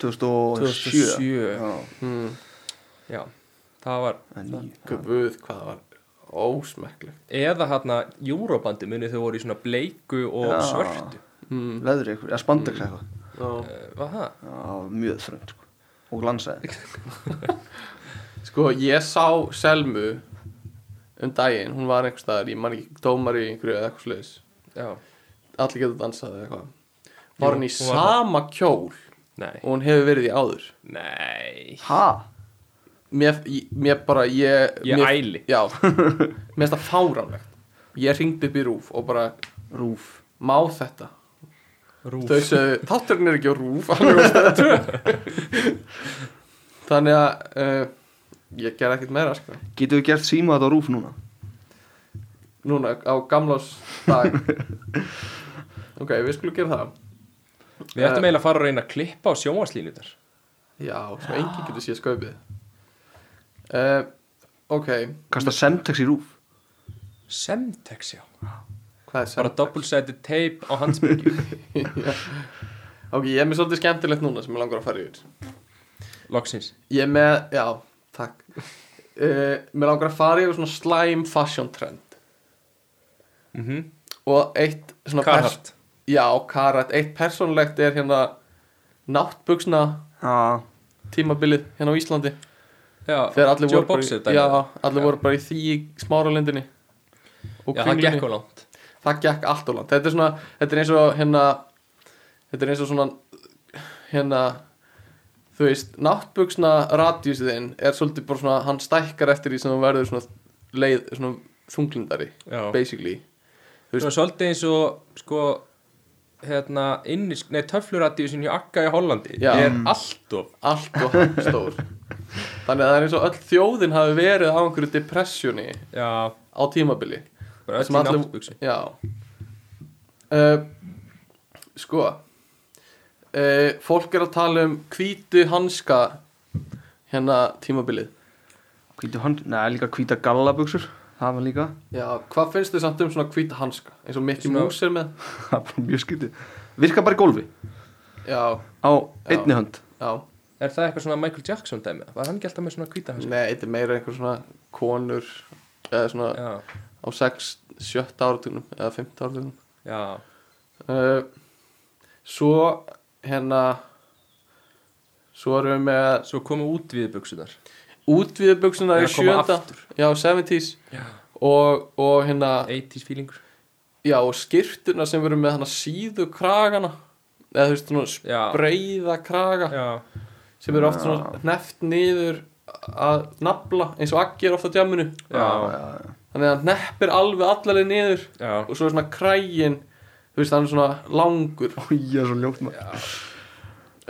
Speaker 3: 2007.
Speaker 1: 2007
Speaker 3: Já,
Speaker 2: hmm.
Speaker 1: Já, það var
Speaker 3: en nýju.
Speaker 2: guð hvað það var ósmekkleg
Speaker 1: Eða hérna, júróbandi munið þau voru í svona bleiku og
Speaker 3: Já.
Speaker 1: svörtu
Speaker 2: hmm.
Speaker 3: Leðri eitthvað, eða spandex eitthvað.
Speaker 2: Já.
Speaker 1: uh, Var það?
Speaker 3: Já, mjög þröngt, sko. Og lansaði.
Speaker 2: sko ég sá Selmu um daginn, hún var einhvers staðar ég man ekki dómar í einhverju eða eitthvað sluðis
Speaker 1: Já,
Speaker 2: allir getur dansað eða eitthvað var hún í
Speaker 1: hún var það.
Speaker 2: sama kjól
Speaker 1: nei,
Speaker 2: og hún hefur verið í áður
Speaker 1: nei
Speaker 3: Ha?
Speaker 2: mér, ég- mér bara ég,
Speaker 1: Ég
Speaker 2: mér,
Speaker 1: æli.
Speaker 2: já, mér finnst það fáránlegt ég ringdi upp í rúf og bara
Speaker 3: Rúf.
Speaker 2: má þetta
Speaker 1: Rúf
Speaker 2: þau sögðu, þátturinn er ekki á rúf hann er á stöðu tvö. þannig að uh, ég ger ekkert meira sko.
Speaker 3: Getum við gert síma þetta á rúf núna?
Speaker 2: núna á gamlás dag ok, við skulum gera það
Speaker 1: Við ættum eiginlega að fara að reyna að klippa á sjónvarslínutar
Speaker 2: já, svo enginn getur séð skaupið uh, ok
Speaker 3: Kasta semtex í rúf.
Speaker 1: Semtex, já
Speaker 2: hvað er
Speaker 1: Bara double-sided tape á handsbyggju
Speaker 2: Já. ok, ég er með svolítið skemmtilegt núna sem ég langar að fara yfir
Speaker 1: Loksins
Speaker 2: Ég er með, já, takk uh, Mér langar að fara yfir svona slæm fashion trend
Speaker 1: mm
Speaker 2: Og eitt svona pers-
Speaker 1: Carhartt
Speaker 2: Já, Carhartt, eitt persónlegt er hérna Náttbugsna
Speaker 3: Já.
Speaker 2: tímabilið hérna á Íslandi
Speaker 1: Já,
Speaker 2: Þegar allir
Speaker 1: Joe
Speaker 2: voru bara,
Speaker 1: Boxer
Speaker 2: í- já, allir
Speaker 1: Já.
Speaker 2: voru bara í því í smáralindinni Og
Speaker 1: Já, það gekk á
Speaker 2: Kringlunni.
Speaker 1: langt
Speaker 2: Það gekk allt og langt Þetta er svona, þetta er eins og hérna Þetta er eins og svona Hérna Þú veist, náttbugsna radíusiðinn er svolítið bara svona, hann stækkar eftir því sem hann verður svona leið, svona þunglindari
Speaker 1: Já
Speaker 2: basically
Speaker 1: Þú veist Svolítið eins og sko hérna innis, nei töfluradíu sem hjá Akka í Hollandi
Speaker 2: Já.
Speaker 1: er allt of
Speaker 2: allt og hann stór þannig að það er eins og öll þjóðin hafi verið á einhverju depressjoni
Speaker 1: Já,
Speaker 2: á tímabili
Speaker 1: bara öll
Speaker 2: Sem
Speaker 1: í
Speaker 2: allir-
Speaker 1: náttbuksu
Speaker 2: já uh, sko uh, fólk er að tala um hvítu hanska hérna tímabilið
Speaker 3: Hvítu hand, neða líka hvíta gallabuxur. Það var líka,
Speaker 2: já, hvað finnst þið samt um svona hvíta hanska eins og Mickey
Speaker 1: Svona-
Speaker 2: Mouse er með
Speaker 3: það var bara mjög skytið. Virka bara í gólfi.
Speaker 2: já,
Speaker 3: Á einni hönd.
Speaker 2: já,
Speaker 1: Er það eitthvað svona Michael Jackson dæmi? Var hann ekki alltaf með svona hvíta hans?
Speaker 2: nei, þetta er meira einhver svona konur eða svona
Speaker 1: Já,
Speaker 2: á 6, 7 áratugnum eða 5 áratugnum
Speaker 1: já,
Speaker 2: Uh, svo hérna svo erum við með
Speaker 1: svo komu út við buksunar
Speaker 2: útvíðu buksunar
Speaker 1: Eða
Speaker 2: í
Speaker 1: koma
Speaker 2: sjönda
Speaker 1: aftur.
Speaker 2: já, 70s
Speaker 1: Já.
Speaker 2: og, og hérna
Speaker 1: 80s feelingur
Speaker 2: já, og skirtuna sem verður með hana síðu kragana eða þú veist, svona
Speaker 1: Já.
Speaker 2: spreiða kraga
Speaker 1: Já,
Speaker 2: sem eru oft svona hneft niður að nafla eins og aggi er ofta djamunu
Speaker 3: Ah,
Speaker 1: já,
Speaker 2: þannig að hann hneppir alveg allarlega niður
Speaker 1: já
Speaker 2: og svo er svona krægin þú veist, hann er svona langur
Speaker 3: Ég er svo ljótt maður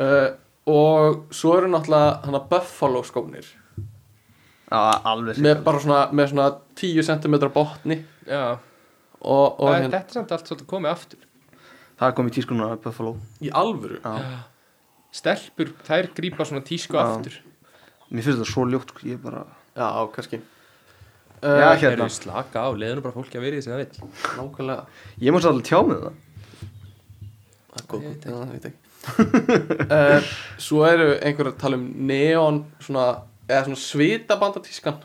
Speaker 2: uh, og svo eru náttúrulega hann að buffalo skónir
Speaker 3: Já, alveg
Speaker 2: með bara svona, með svona 10 cm botni
Speaker 1: Já,
Speaker 2: og, og
Speaker 1: það,
Speaker 2: hérna,
Speaker 1: þetta er samt allt svolítið komið aftur
Speaker 3: Það kom í tískununa að Buffalo
Speaker 2: í alvöru
Speaker 3: Já.
Speaker 1: Stelpur, þær grípa svona tísku
Speaker 3: Já.
Speaker 1: aftur
Speaker 3: Mér finnst þetta svo ljótt sko, Ég bara
Speaker 2: já, kannski
Speaker 3: Já,
Speaker 2: uh,
Speaker 1: Hérna.
Speaker 3: hérna
Speaker 1: Eru slaka á, leiðinu bara fólki að verið sem það vill
Speaker 2: nákvæmlega
Speaker 3: Ég má svolítið tjá með það
Speaker 2: Það er góð punktur, já, ég veit ekki uh, Svo eru einhverjar að tala um neon svona, eða svona svitabandatískan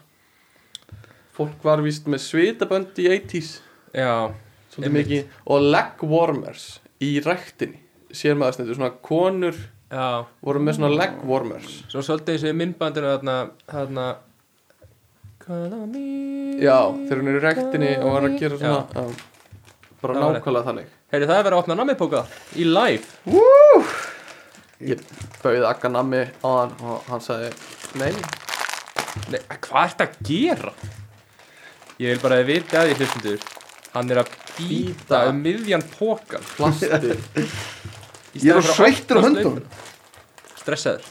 Speaker 2: Fólk var víst með svitabönd í 80s
Speaker 1: Já,
Speaker 2: Svolítið
Speaker 1: Einmitt.
Speaker 2: mikið Og leg warmers í ræktinni Sér maður snittu, svona konur
Speaker 1: já
Speaker 2: voru með svona leg warmers
Speaker 1: Svo svolítið eins og í myndbandinu þarna, þarna Call on me
Speaker 2: Já, þegar hún er í ræktinni og var að gera svona já. Bara
Speaker 1: Það var
Speaker 2: nákvæmlega þannig
Speaker 1: Heyrðu, það er verið að opna namipóka í live
Speaker 2: Ég bauði Akka nammi á hann og hann sagði Nei,
Speaker 1: Nei, hvað ert að gera? Ég vil bara að þið viti að því hlustundur Hann er að býta
Speaker 2: Bíta.
Speaker 1: um miðjan pókan
Speaker 2: plasti
Speaker 1: í
Speaker 3: Ég
Speaker 1: staðinn fyrir
Speaker 3: er svo sveittur á
Speaker 1: opna
Speaker 3: höndunum.
Speaker 1: slaufuna. Stressaður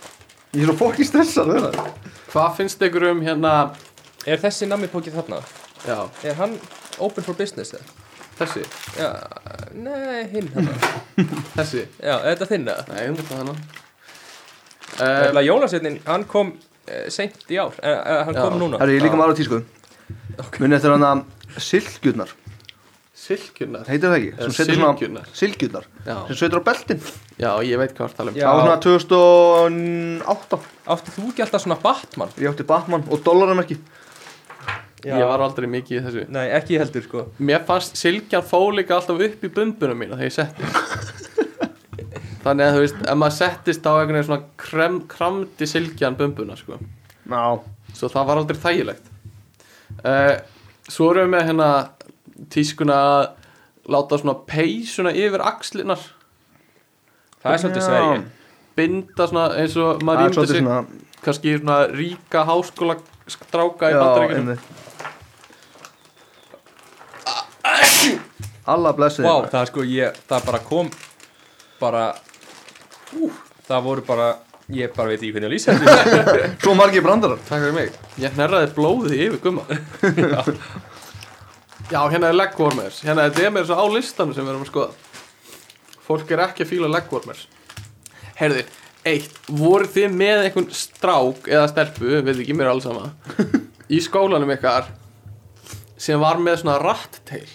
Speaker 3: Ég er svo fokki stressað við það
Speaker 2: Hvað finnst ykkur um hérna
Speaker 1: Er þessi namipóki þarna?
Speaker 2: Já,
Speaker 1: Er hann open for business eða?
Speaker 2: þessi
Speaker 1: Já, nei, hinn þarna
Speaker 2: Þessi
Speaker 1: Já, er þetta þinn eða?
Speaker 2: Nei, hún er það
Speaker 1: Um, Eh,
Speaker 2: hennan
Speaker 1: Jólasveitin, hann kom uh, seint í ár, uh, uh, hann
Speaker 2: Já.
Speaker 1: kom núna
Speaker 3: Herru, ég er líka maður á tísku Muni eftir hann að Silkjurnar
Speaker 2: Silkjurnar
Speaker 3: Heitir það ekki?
Speaker 2: Eh,
Speaker 3: Sem setur svona-
Speaker 2: Silkjurnar.
Speaker 3: Silkjurnar
Speaker 2: já.
Speaker 3: Sem setur á beltin
Speaker 2: já, ég veit hvað það tala um
Speaker 1: Já.
Speaker 3: Það var svona 2008
Speaker 1: Áttu þú ekki alltaf svona Batman?
Speaker 3: Ég átti Batman og dollaramerki
Speaker 2: Ég var aldrei mikið í þessu
Speaker 1: Nei, ekki heldur sko
Speaker 2: Mér fannst silkjan fór líka alltaf upp í bumbunum mína þegar ég setti Þannig að þú veist, ef maður settist á einhvern veginn svona krem, kramdi silkjan bumbuna sko.
Speaker 3: Ná
Speaker 2: Svo það var aldrei þægilegt uh, Svo erum við með hérna tískuna að láta svona peysuna yfir axlinar
Speaker 1: Það er svolítið
Speaker 3: Já.
Speaker 1: Sverige
Speaker 2: binda svona eins og
Speaker 3: Það
Speaker 2: maður
Speaker 3: er
Speaker 2: rýmdi
Speaker 3: svolítið
Speaker 2: sig
Speaker 3: svona
Speaker 2: kannski svona ríka háskóla stráka í
Speaker 3: Já,
Speaker 2: bandaríkjunum
Speaker 3: einmitt Alla blessið
Speaker 1: Vá, það er sko ég, það bara kom bara uh, það voru bara, ég bara veit ekki hvernig að lýsa þetta
Speaker 3: Svo margir brandarar
Speaker 2: Takk fyrir mig Ég hnerraði blóðið yfir gumma Já, hérna er leggvormers Hérna þetta er meira svo á listanum sem við erum að skoða Fólk er ekki að fíla leggvormers Herði, eitt Voru þið með einhvern strák eða stelpu, við ekki mér er alls sama í skólanum ykkar sem var með svona rattteil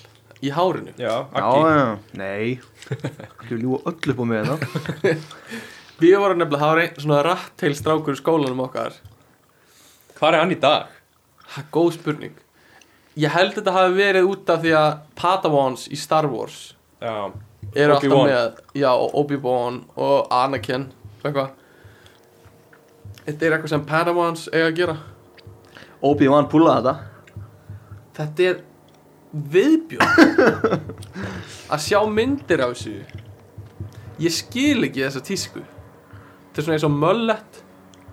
Speaker 2: í hárinu
Speaker 1: Já,
Speaker 3: Já,
Speaker 1: Akki,
Speaker 3: já, nei Ekki ljúa öll upp á mig hérna. þetta
Speaker 2: Við vorum nefnilega, það var ein, svona rattteil strákur í skólanum okkar
Speaker 1: hvað er hann í dag?
Speaker 2: Það er góð spurning Ég held þetta hafi verið út af því að Padawans í Star Wars
Speaker 1: Já,
Speaker 2: eru alltaf
Speaker 1: Obi-Wan.
Speaker 2: með já, og Obi-Wan og Anakin og eitthvað Þetta er eitthvað sem Padawans eiga að gera
Speaker 3: Obi-Wan púlaði þetta
Speaker 2: Þetta er viðbjörn að sjá myndir af þessu Ég skil ekki þessa tísku Þetta er svona eins og möllett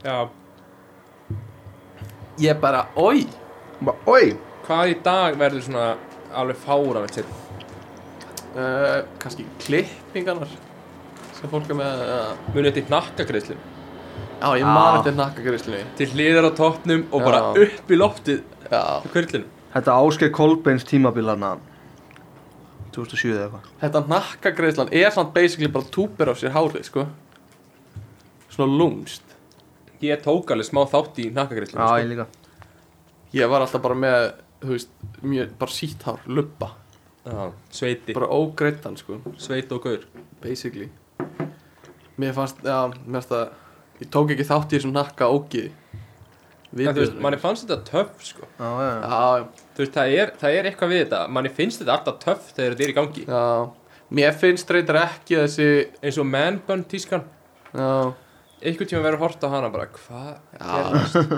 Speaker 1: já,
Speaker 2: Ég er bara, oi
Speaker 3: Bara, oi
Speaker 1: hvað í dag verður svona alveg fára veit sér
Speaker 2: uh, Kannski klippingarnar sem fólk er með uh,
Speaker 1: munið þetta í hnakkagreislu
Speaker 2: Já, ég man eftir nakkagrislunni
Speaker 1: til hliðar á toppnum og bara
Speaker 2: Já.
Speaker 1: upp í loftið
Speaker 2: Já,
Speaker 1: á kvörlinu
Speaker 3: Þetta Ásker Kolbeins tímabilana 2007 eða eitthvað
Speaker 2: þetta nakkagreislan er samt basically bara túpir á sér hárið, sko Svona lúmst
Speaker 1: Ég tók alveg smá þátt í sko. hnakkagreislu
Speaker 3: Já, ég líka
Speaker 2: Ég var alltaf bara með, þú veist, mjög, bara sítt hár, lubba
Speaker 1: já, sveiti,
Speaker 2: Bara ógreittan, sko,
Speaker 1: sveit og gaur
Speaker 2: basically Mér fannst, já, mér fannst að Ég tók ekki þátt í þessum nakka ógiði
Speaker 1: En þú veist, manni fannst þetta töff sko
Speaker 3: Já, já, já
Speaker 2: Já,
Speaker 1: Þú veist, það er, það er eitthvað við þetta Manni finnst þetta alltaf töff þegar þetta er í gangi
Speaker 2: já Mér finnst reyndar ekki þessi,
Speaker 1: Eins og man bun tískan
Speaker 2: já
Speaker 1: einhvern tíma verið að horta á hana bara hvað
Speaker 2: Já,
Speaker 1: gerðist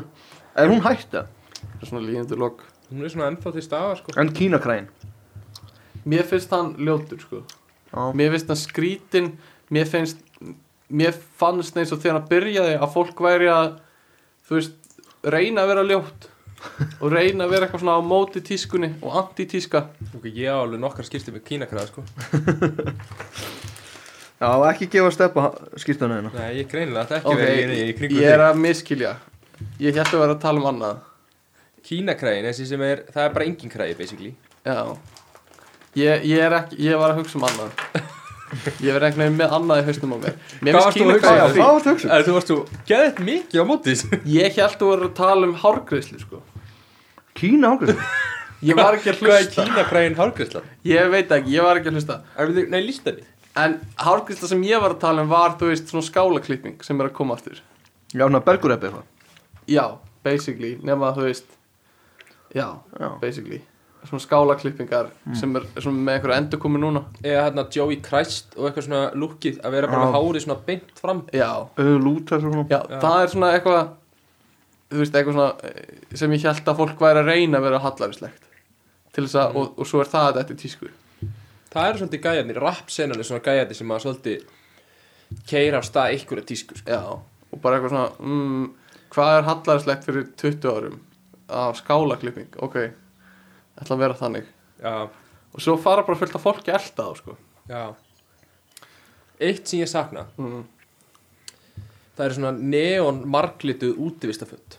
Speaker 3: Er hún hætta?
Speaker 2: þetta er svona líðendur lok
Speaker 1: hún er svona ennþá til staðar sko
Speaker 3: En Kínakræn
Speaker 2: mér finnst hann ljótur sko
Speaker 3: Já.
Speaker 2: mér finnst hann skrítin mér finnst mér fannst eins og þegar hann byrjaði að fólk væri að þú veist reyna að vera ljótt og reyna að vera eitthvað svona á móti tískunni og anti-tíska
Speaker 1: Ok, ég á alveg nokkar skipti með kínakraða sko
Speaker 3: Já, ekki gefa steppa skýrtana hérna
Speaker 1: Nei, ég greinilega þetta ekki
Speaker 2: ok,
Speaker 1: verið í, í kringum
Speaker 2: ég er að miskilja ég hætti að vera að tala um annað
Speaker 1: þig Kínakraðin, þessi sem er, það er bara engin kraði basically
Speaker 2: já ég, ég er ekki, ég var að hugsa um annað ég verði einhvern veginn með annað í haustum á mér mér
Speaker 1: Hvað varst
Speaker 2: finnst
Speaker 1: þú að
Speaker 2: kína
Speaker 1: hugsa um?
Speaker 2: hvað ég
Speaker 3: Hvað var þetta hugsun?
Speaker 1: Er, þú varst þú geðið mikið á mótis
Speaker 2: Ég held að vera að tala um hárgreyslu sko
Speaker 3: Kína ákveður
Speaker 2: Ég var ekki að
Speaker 1: Hvað er
Speaker 2: hlusta
Speaker 1: kínakraðin hárgræsla?
Speaker 2: Ég veit ekki, ég var ekki að hlusta
Speaker 1: Nei, lísta því
Speaker 2: En hárgreysla sem ég var að tala um var þú veist svona skálaklipping sem er að koma aftur
Speaker 3: Já, svona bergureppi eitthvað
Speaker 2: Já, basically, nema að þú veist Já,
Speaker 3: Já.
Speaker 2: basically Svona skálaklippingar sem er svona með einhverju endur komið núna
Speaker 1: Eða hérna Joey Christ og eitthvað svona lukkið að vera bara
Speaker 3: Já.
Speaker 1: með hárið svona beint fram
Speaker 2: Já,
Speaker 3: Auður lúta svo svona
Speaker 2: já, það er svona eitthvað Þú veist, eitthvað svona eh, sem ég held að fólk væri að reyna að vera hallarislegt Til þess að, og, og svo er það þetta í tísku
Speaker 1: Það eru svolítið gæjarnir, rapsenan er svona gæjarnir sem að svolítið keira af stað einhverja tísku sko.
Speaker 2: Já, og bara eitthvað svona mm, Hvað er hallarslegt fyrir 20 árum af skálaklipping Ok, ætla að vera þannig
Speaker 1: Já,
Speaker 2: Og svo fara bara fullt af fólki að elta þá sko.
Speaker 1: já Eitt sem ég sakna
Speaker 2: mm.
Speaker 1: Það eru svona neon marglituð útivistaföld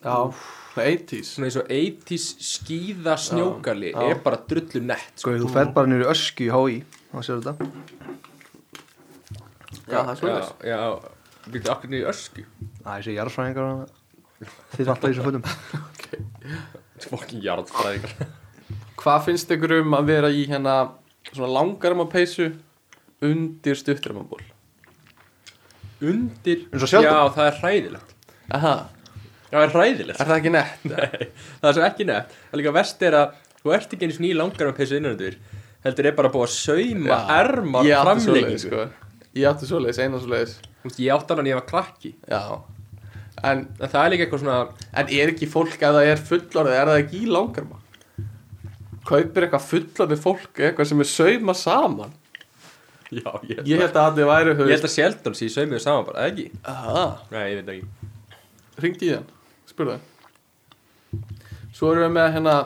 Speaker 2: Já, svona 80s
Speaker 1: Svona eins og 80s skíða snjókali
Speaker 2: Já, já.
Speaker 1: er bara drullu nett sko.
Speaker 3: Sko, þú ferð bara niður í ösku í HÍ Það séu þetta
Speaker 2: Já, það
Speaker 1: Já,
Speaker 2: er svolítið
Speaker 1: já, býttu akkur niður í ösku
Speaker 3: Æ, þessi jarðfræðingar og annað. Þeir eru alltaf í þessum fötum
Speaker 1: Fokkin jarðfræðingar
Speaker 2: Hvað finnst ykkur um að vera í hérna svona langarma peysu undir stuttarmaból
Speaker 1: Undir
Speaker 3: Eins og sjaldan.
Speaker 1: Já, það er hræðilegt
Speaker 2: Aha,
Speaker 1: Það er hræðilegt
Speaker 2: er það ekki nett?
Speaker 1: Nei, það er svo ekki nefnt Það er líka verst er að þú ert ekki einu sinni í langar með peysu innanundur heldur er bara búið að sauma ermar
Speaker 2: Ég átti svoleiðis,
Speaker 1: framleggingu
Speaker 2: sko. Ég átti svoleiðis, eina svoleiðis
Speaker 1: Þú veist, Ég átti hann að ég var krakki
Speaker 2: Já En,
Speaker 1: en það er líka eitthvað svona
Speaker 2: en er ekki fólk að það er fullorðið, er það ekki í langarma? Kaupir eitthvað fullorðið fólk, eitthvað sem er sauma saman
Speaker 1: já, ég,
Speaker 2: Ég held að allir væri
Speaker 1: ég
Speaker 2: höfist
Speaker 1: held að sjaldan sé saumuðu saman bara, eða ekki?
Speaker 2: Aha,
Speaker 1: Nei, ég veit ekki
Speaker 2: ringdi í hann, spurði hann Svo erum við með hérna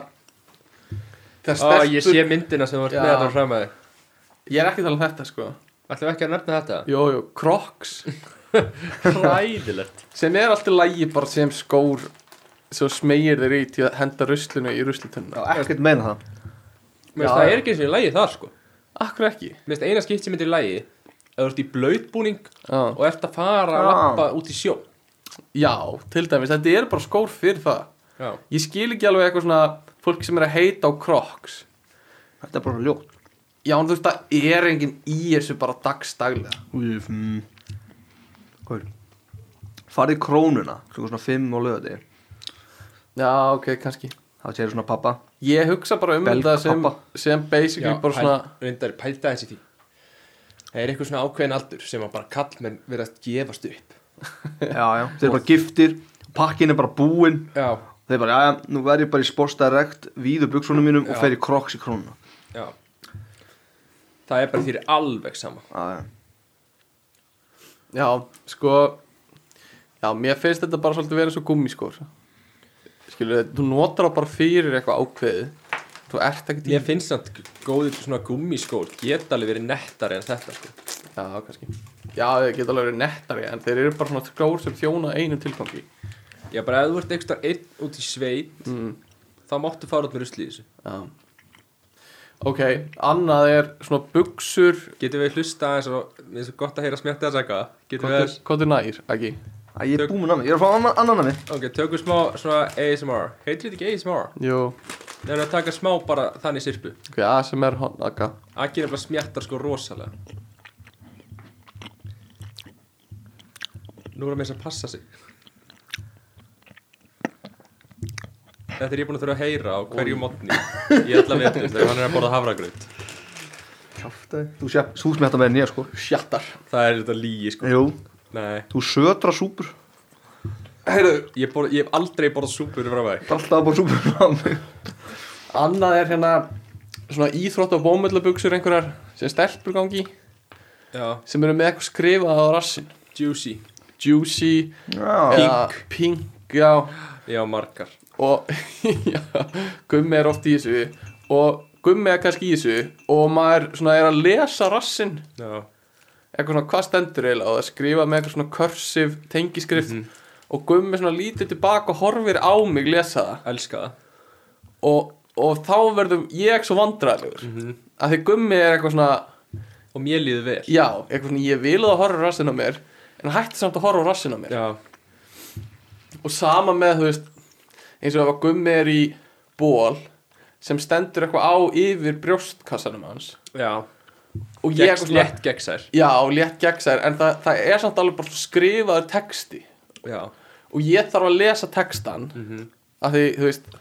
Speaker 2: Það
Speaker 1: Ó,
Speaker 2: stelpur
Speaker 1: Ég sé myndina sem þú ert
Speaker 2: Já.
Speaker 1: með þetta fram að þig
Speaker 2: Ég er ekki að tala um þetta sko
Speaker 1: Ætlum við ekki að nefna þetta?
Speaker 2: Jú, jú, Crocs
Speaker 1: Hræðilegt
Speaker 2: Sem er alltaf lægi bara sem skór Svo smegir þeir í til að henda ruslinu í
Speaker 3: Já,
Speaker 2: ruslutunna
Speaker 3: ekkert meina það
Speaker 1: Mér
Speaker 2: Já.
Speaker 1: finnst það er ekki eins og í lagi þar sko Mér
Speaker 2: Akkur ekki
Speaker 1: finnst eina skipt sem er í lagi að þú ert í blautbúning
Speaker 2: Já.
Speaker 1: og ert að fara að
Speaker 3: Já.
Speaker 1: lappa út í sjó
Speaker 2: Já, til dæmis, þetta er bara skór fyrir það
Speaker 1: Já,
Speaker 2: Ég skil ekki alveg eitthvað svona Fólk sem er að heita á Crocs
Speaker 3: Þetta er bara ljótt
Speaker 2: Já, en þú veist, það er enginn í þessu bara dagstaglega
Speaker 3: Úf, mm. Hvað er Farið í krónuna Klukkur svona 5 á lögði
Speaker 2: Já, ok, kannski
Speaker 3: Það segir svona pappa
Speaker 2: Ég hugsa bara um
Speaker 3: Belg,
Speaker 2: þetta sem,
Speaker 3: pappa.
Speaker 2: sem basically
Speaker 1: Já,
Speaker 2: bara svona
Speaker 1: pæl- reyndar pælta þessi því það er eitthvað svona ákveðin aldur sem að bara kallmenn verið að gefast upp
Speaker 3: Já, já Þeir eru bara giftir Pakkin er bara búinn
Speaker 1: já,
Speaker 3: Þeir bara, já, já, nú verð ég bara í sportdirekt Víðu buksunum mínum
Speaker 1: Já.
Speaker 3: Og fer í kroks í krónuna
Speaker 1: já það er bara því alveg sama
Speaker 3: Já, já
Speaker 2: Já, sko Já, mér finnst þetta bara svolítið verið eins og gummiskór Skilur þetta, þú notar það bara fyrir eitthvað ákveðið Þú ert ekkert í
Speaker 1: ég finnst samt góðið svona gummiskór geta alveg verið nettari en þetta sko.
Speaker 2: Já, kannski Já, þeir geta alveg verið nettari En þeir eru bara svona skór sem þjóna einum tilfangi
Speaker 1: já, bara ef þú ert eitthvað einn út í sveit
Speaker 2: mm.
Speaker 1: þá máttu fara út með rusli í þessu
Speaker 2: Já Ok, annað er svona buksur
Speaker 1: getum við hlusta eins og, eins og gott að heyra smjáttið að segja getum
Speaker 2: Hvað
Speaker 1: við,
Speaker 2: þú- Hvað þú nær, ekki?
Speaker 3: Æ, ég er
Speaker 1: Tök-
Speaker 3: búinn að mig Ég er að fá annan, annan að mig
Speaker 1: ok, tökum smá svona ASMR heitir þetta ekki ASMR?
Speaker 2: Jú
Speaker 1: nefnum að taka smá bara þannig sirpu
Speaker 2: Ok, ASMR honaka
Speaker 1: Akir er bara smjattar sko rosalega Nú er það með þess að passa sig Þetta er ég búin að þurfa að heyra á hverju mótni Ég ætla að veitum þegar hann er að borða hafragraut
Speaker 3: Kjáftæði Þú sé, þú smetta með nýja sko
Speaker 2: Sjattar
Speaker 1: Það er þetta lígi sko
Speaker 3: Jú
Speaker 1: Nei,
Speaker 3: Þú södra súpur
Speaker 2: Heyrðu
Speaker 1: ég, borð, ég hef aldrei borðað súpur frá mig
Speaker 3: Alltaf bara súpur fram mig
Speaker 2: Annað er hérna svona íþrótt og bómullabuxur einhverjar sem stelpur gangi í,
Speaker 1: Já,
Speaker 2: sem eru með eitthvað skrifað á rassin
Speaker 1: juicy
Speaker 2: Juicy,
Speaker 3: Já,
Speaker 2: Pink, Pink, já
Speaker 1: Já, margar
Speaker 2: og já, gummi er oft í þessu og gummi er kannski í þessu og maður svona er að lesa rassin
Speaker 1: Já,
Speaker 2: eitthvað svona hvað stendur eiginlega og það er skrifað með eitthvað svona kursiv tengiskrift og gummi svona lítur tilbaka og horfir á mig lesa það
Speaker 1: elska það
Speaker 2: og, og þá verðum ég svo vandræðilegur að því gummi er eitthvað svona
Speaker 1: Og mér líður vel
Speaker 2: já, eitthvað svona ég vil að það horfa á rassin á mér en hætti samt að horfa á rassin á mér
Speaker 1: Já,
Speaker 2: og sama með þú veist eins og ef að gummi er í ból sem stendur eitthvað á yfir brjóstkassanum hans
Speaker 1: já
Speaker 2: og
Speaker 1: Gegns,
Speaker 2: ég eitthvað svona
Speaker 1: Létt gegnsær
Speaker 2: já, létt gegnsær, en það, það er samt alveg bara svona skrifaður texti
Speaker 1: Já,
Speaker 2: og ég þarf að lesa textan af því, þú veist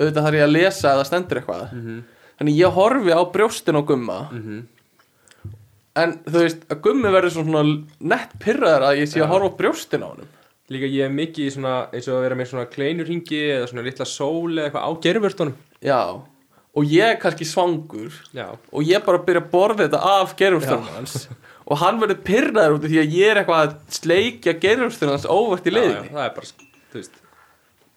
Speaker 2: auðvitað þarf ég að lesa eða stendur eitthvað þannig ég horfi á brjóstin á gumma en þú veist, að gummi verður svona nett pyrraður að ég sé að horfa á brjóstin á honum
Speaker 1: líka ég er mikið í svona eins og að vera með svona kleinurhingi eða svona litla sól eða eitthvað á gerfurtunum
Speaker 2: já, og ég er kannski svangur
Speaker 1: Já,
Speaker 2: og ég bara byrja að borða þetta af gerumstörnum hans og hann verður pyrraður út af því að ég er eitthvað að sleikja gerumstörnum hans óvart í
Speaker 1: já, já,
Speaker 2: leiðinni
Speaker 1: það er bara, sk- þú veist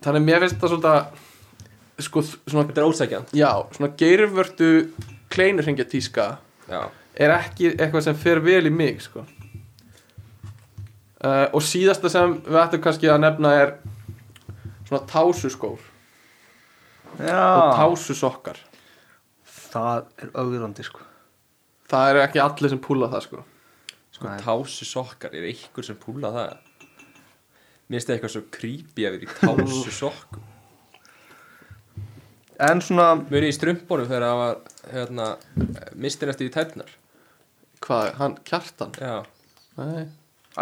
Speaker 2: þannig að mér finnst það svolítið sko, svona,
Speaker 1: Þetta er ósækjand
Speaker 2: já, svona gerumvörtu kleinurhengja tíska
Speaker 1: Já,
Speaker 2: er ekki eitthvað sem fer vel í mig sko. uh, og síðasta sem við ættum kannski að nefna er svona tásuskór og
Speaker 3: já
Speaker 2: tásusokkar
Speaker 3: Það er augrandi sko
Speaker 2: það eru ekki allir sem púla það sko
Speaker 1: sko
Speaker 3: Nei.
Speaker 1: tásu sokkar er einhver sem púla það Mér finnst það eitthvað svo creepy að vera í tásu sokkum
Speaker 3: En svona,
Speaker 1: Mér er í strumpónum þegar það var, hérna, mistin eftir í tæpnar
Speaker 2: hvað, hann kjartan
Speaker 1: Já,
Speaker 2: nei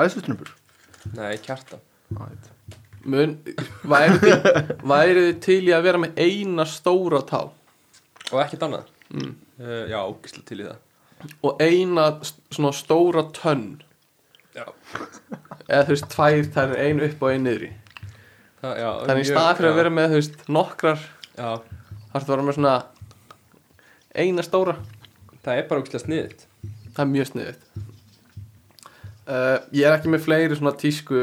Speaker 3: æðsutnubur
Speaker 1: nei, kjartan
Speaker 2: Mun, væri, þið, væri þið til í að vera með eina stóra tá
Speaker 1: Og ekkert annað
Speaker 2: Mm.
Speaker 1: uh, Já, ógislega til í það
Speaker 2: og eina st- svona stóra tönn
Speaker 1: Já.
Speaker 2: eða þú veist tvær tær einu upp og einu niðri
Speaker 1: Það, já,
Speaker 2: þannig í
Speaker 1: mjög-
Speaker 2: staða fyrir
Speaker 1: já,
Speaker 2: að vera með þú veist nokkrar
Speaker 1: Já,
Speaker 2: þarf að vera með svona eina stóra
Speaker 1: það er bara ógislega sniðið
Speaker 2: það er mjög sniðið uh, ég er ekki með fleiri svona tísku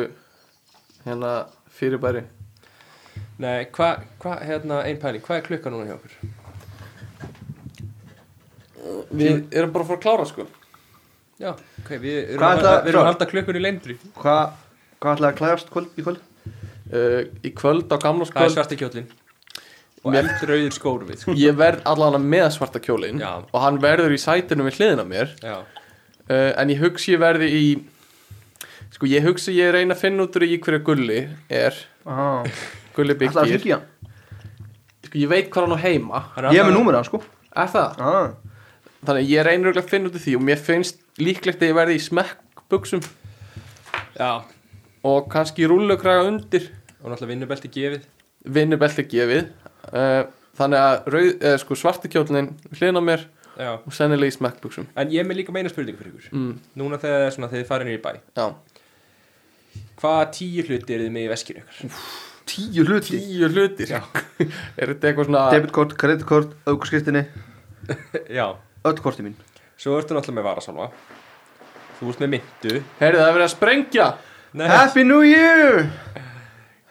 Speaker 2: hérna fyrirbæri
Speaker 1: Nei, hvað, hva, hérna, ein pæling, hvað er klukka núna hjá okkur?
Speaker 2: við erum bara að fara að klára sko
Speaker 1: Já, ok, við erum,
Speaker 3: Hvað
Speaker 1: að,
Speaker 3: er það-
Speaker 1: við erum að
Speaker 3: Rán?
Speaker 1: halda klukkunni lendri
Speaker 3: Hvað hva ætlaði að klæðast kvöld í kvöld?
Speaker 2: uh, í kvöld á gamla
Speaker 1: Það er
Speaker 2: skvöld
Speaker 1: svarti kjólin Og eldrauður skór við sko.
Speaker 2: ég verð allan með svarta kjólin
Speaker 1: Já.
Speaker 2: og hann verður í sætinu við hliðina á mér
Speaker 1: Já,
Speaker 2: uh, en ég hugsi ég verði í sko ég hugsi ég reyna að finna út úr í hverju gulli er
Speaker 3: Ah,
Speaker 2: gulli
Speaker 3: ætlaði að
Speaker 2: byggir
Speaker 3: hringja í hann?
Speaker 2: sko ég veit hvað hann á heima
Speaker 1: Hann
Speaker 3: Ég
Speaker 1: alltaf-
Speaker 3: er með númerið hans sko
Speaker 2: er það
Speaker 3: ah,
Speaker 2: þannig að ég reyna örugglega að finna út úr því og mér finnst líklegt að ég verði í smekkbuksum
Speaker 1: Já,
Speaker 2: og kannski rúllukraga undir
Speaker 1: og náttúrulega vinnubelti gefið
Speaker 2: vinnubelti gefið uh, þannig að rauð, eh, sko, svarti kjólin hliðina á mér
Speaker 1: Já,
Speaker 2: og sennilega í smekkbuksum
Speaker 1: en ég er með líka meina spurningu fyrir ykkur
Speaker 2: Mm.
Speaker 1: Núna þegar það er svona, þegar þið farið niður í bæ
Speaker 2: já
Speaker 1: Hvaða tíu hluti eru þið með í veskinu ykkur?
Speaker 3: Tíu hluti
Speaker 2: tíu hlutir er þetta eitthvað svona
Speaker 3: Debitkort, kreditkort, aukurskristinni
Speaker 1: Já,
Speaker 3: Öll korti mín
Speaker 1: svo ertu náttúrulega með varasalva Þú ert með myndu
Speaker 2: heyrðu það er verið að sprengja
Speaker 1: Nei,
Speaker 3: Happy New Year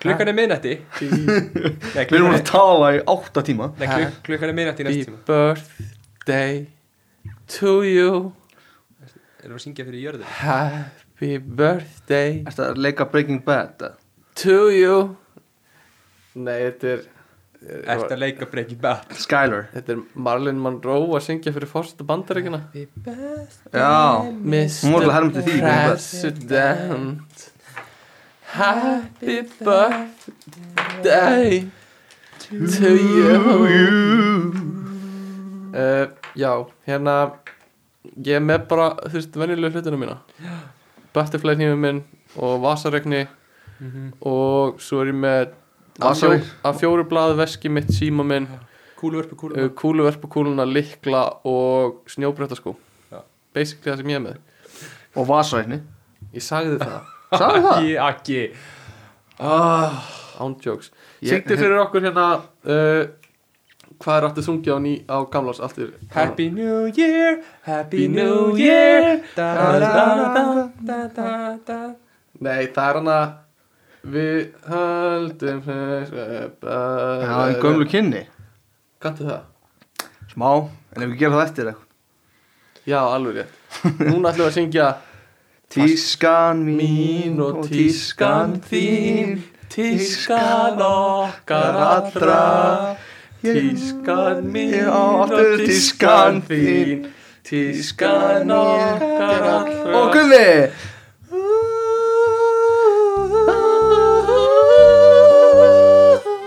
Speaker 1: klukkan er miðnætti Nei,
Speaker 3: Við erum
Speaker 1: klukkan
Speaker 3: búin
Speaker 1: er,
Speaker 3: að tala í átta tíma
Speaker 1: nei, kluk, klukkan er miðnætti í
Speaker 2: Happy
Speaker 1: næst tíma
Speaker 2: birthday to you
Speaker 1: Erum við að syngja fyrir jörðu?
Speaker 2: Happy birthday
Speaker 3: Þetta er að leika Breaking Bad eða?
Speaker 2: to you Nei, þetta er
Speaker 1: Ertu að leika Breaking Bad?
Speaker 3: Skyler
Speaker 2: Þetta er Marlon Monroe að syngja fyrir fórstu bandaríkina
Speaker 3: Já
Speaker 2: Mr.
Speaker 3: Hún var alveg að herma eftir því, Breaking Bad.
Speaker 2: President Happy birthday to you uh, Já, hérna Ég er með bara, þú veist, venjulegu hlutina mína Butterfly hnífum minn og vasaregni
Speaker 1: Mhm.
Speaker 2: og svo er ég með að fjó,
Speaker 3: Vasaregn.
Speaker 2: að fjóru blaðu veski mitt síma minn
Speaker 1: Kúluverpu, kúluverpu
Speaker 2: uh, kúluverpu kúluna, likla og snjóbrettaskó
Speaker 1: Já.
Speaker 2: basically það sem ég er með
Speaker 3: Og vasarætni
Speaker 2: ég sagði það
Speaker 3: Sagði það?
Speaker 1: Akki, akki
Speaker 2: ándjóks
Speaker 1: Ah.
Speaker 3: Ég-
Speaker 2: syngdi fyrir okkur hérna uh, hvað er aftur sungið á, ný, á gamlás aftur?
Speaker 1: Happy New Year, Happy New Year da da da da da da da
Speaker 2: Nei, það er hann að Við höldum Já,
Speaker 3: Já, en gömlu kynni
Speaker 2: Kanntu það?
Speaker 3: Smá, en ef við gerum það eftir eitthvað
Speaker 2: Já, alveg rétt Núna ætlum við að syngja
Speaker 3: Tískan
Speaker 2: Mín
Speaker 3: mín
Speaker 2: og tískan þín Tískan okkar allra Tískan mín
Speaker 3: Já,
Speaker 2: og
Speaker 3: aftur
Speaker 2: tískan
Speaker 3: tískan
Speaker 2: þín Tískan okkar allra
Speaker 3: Og gummi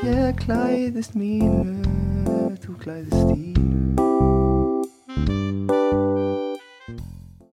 Speaker 3: Ég klæðist mínu Þú klæðist þínu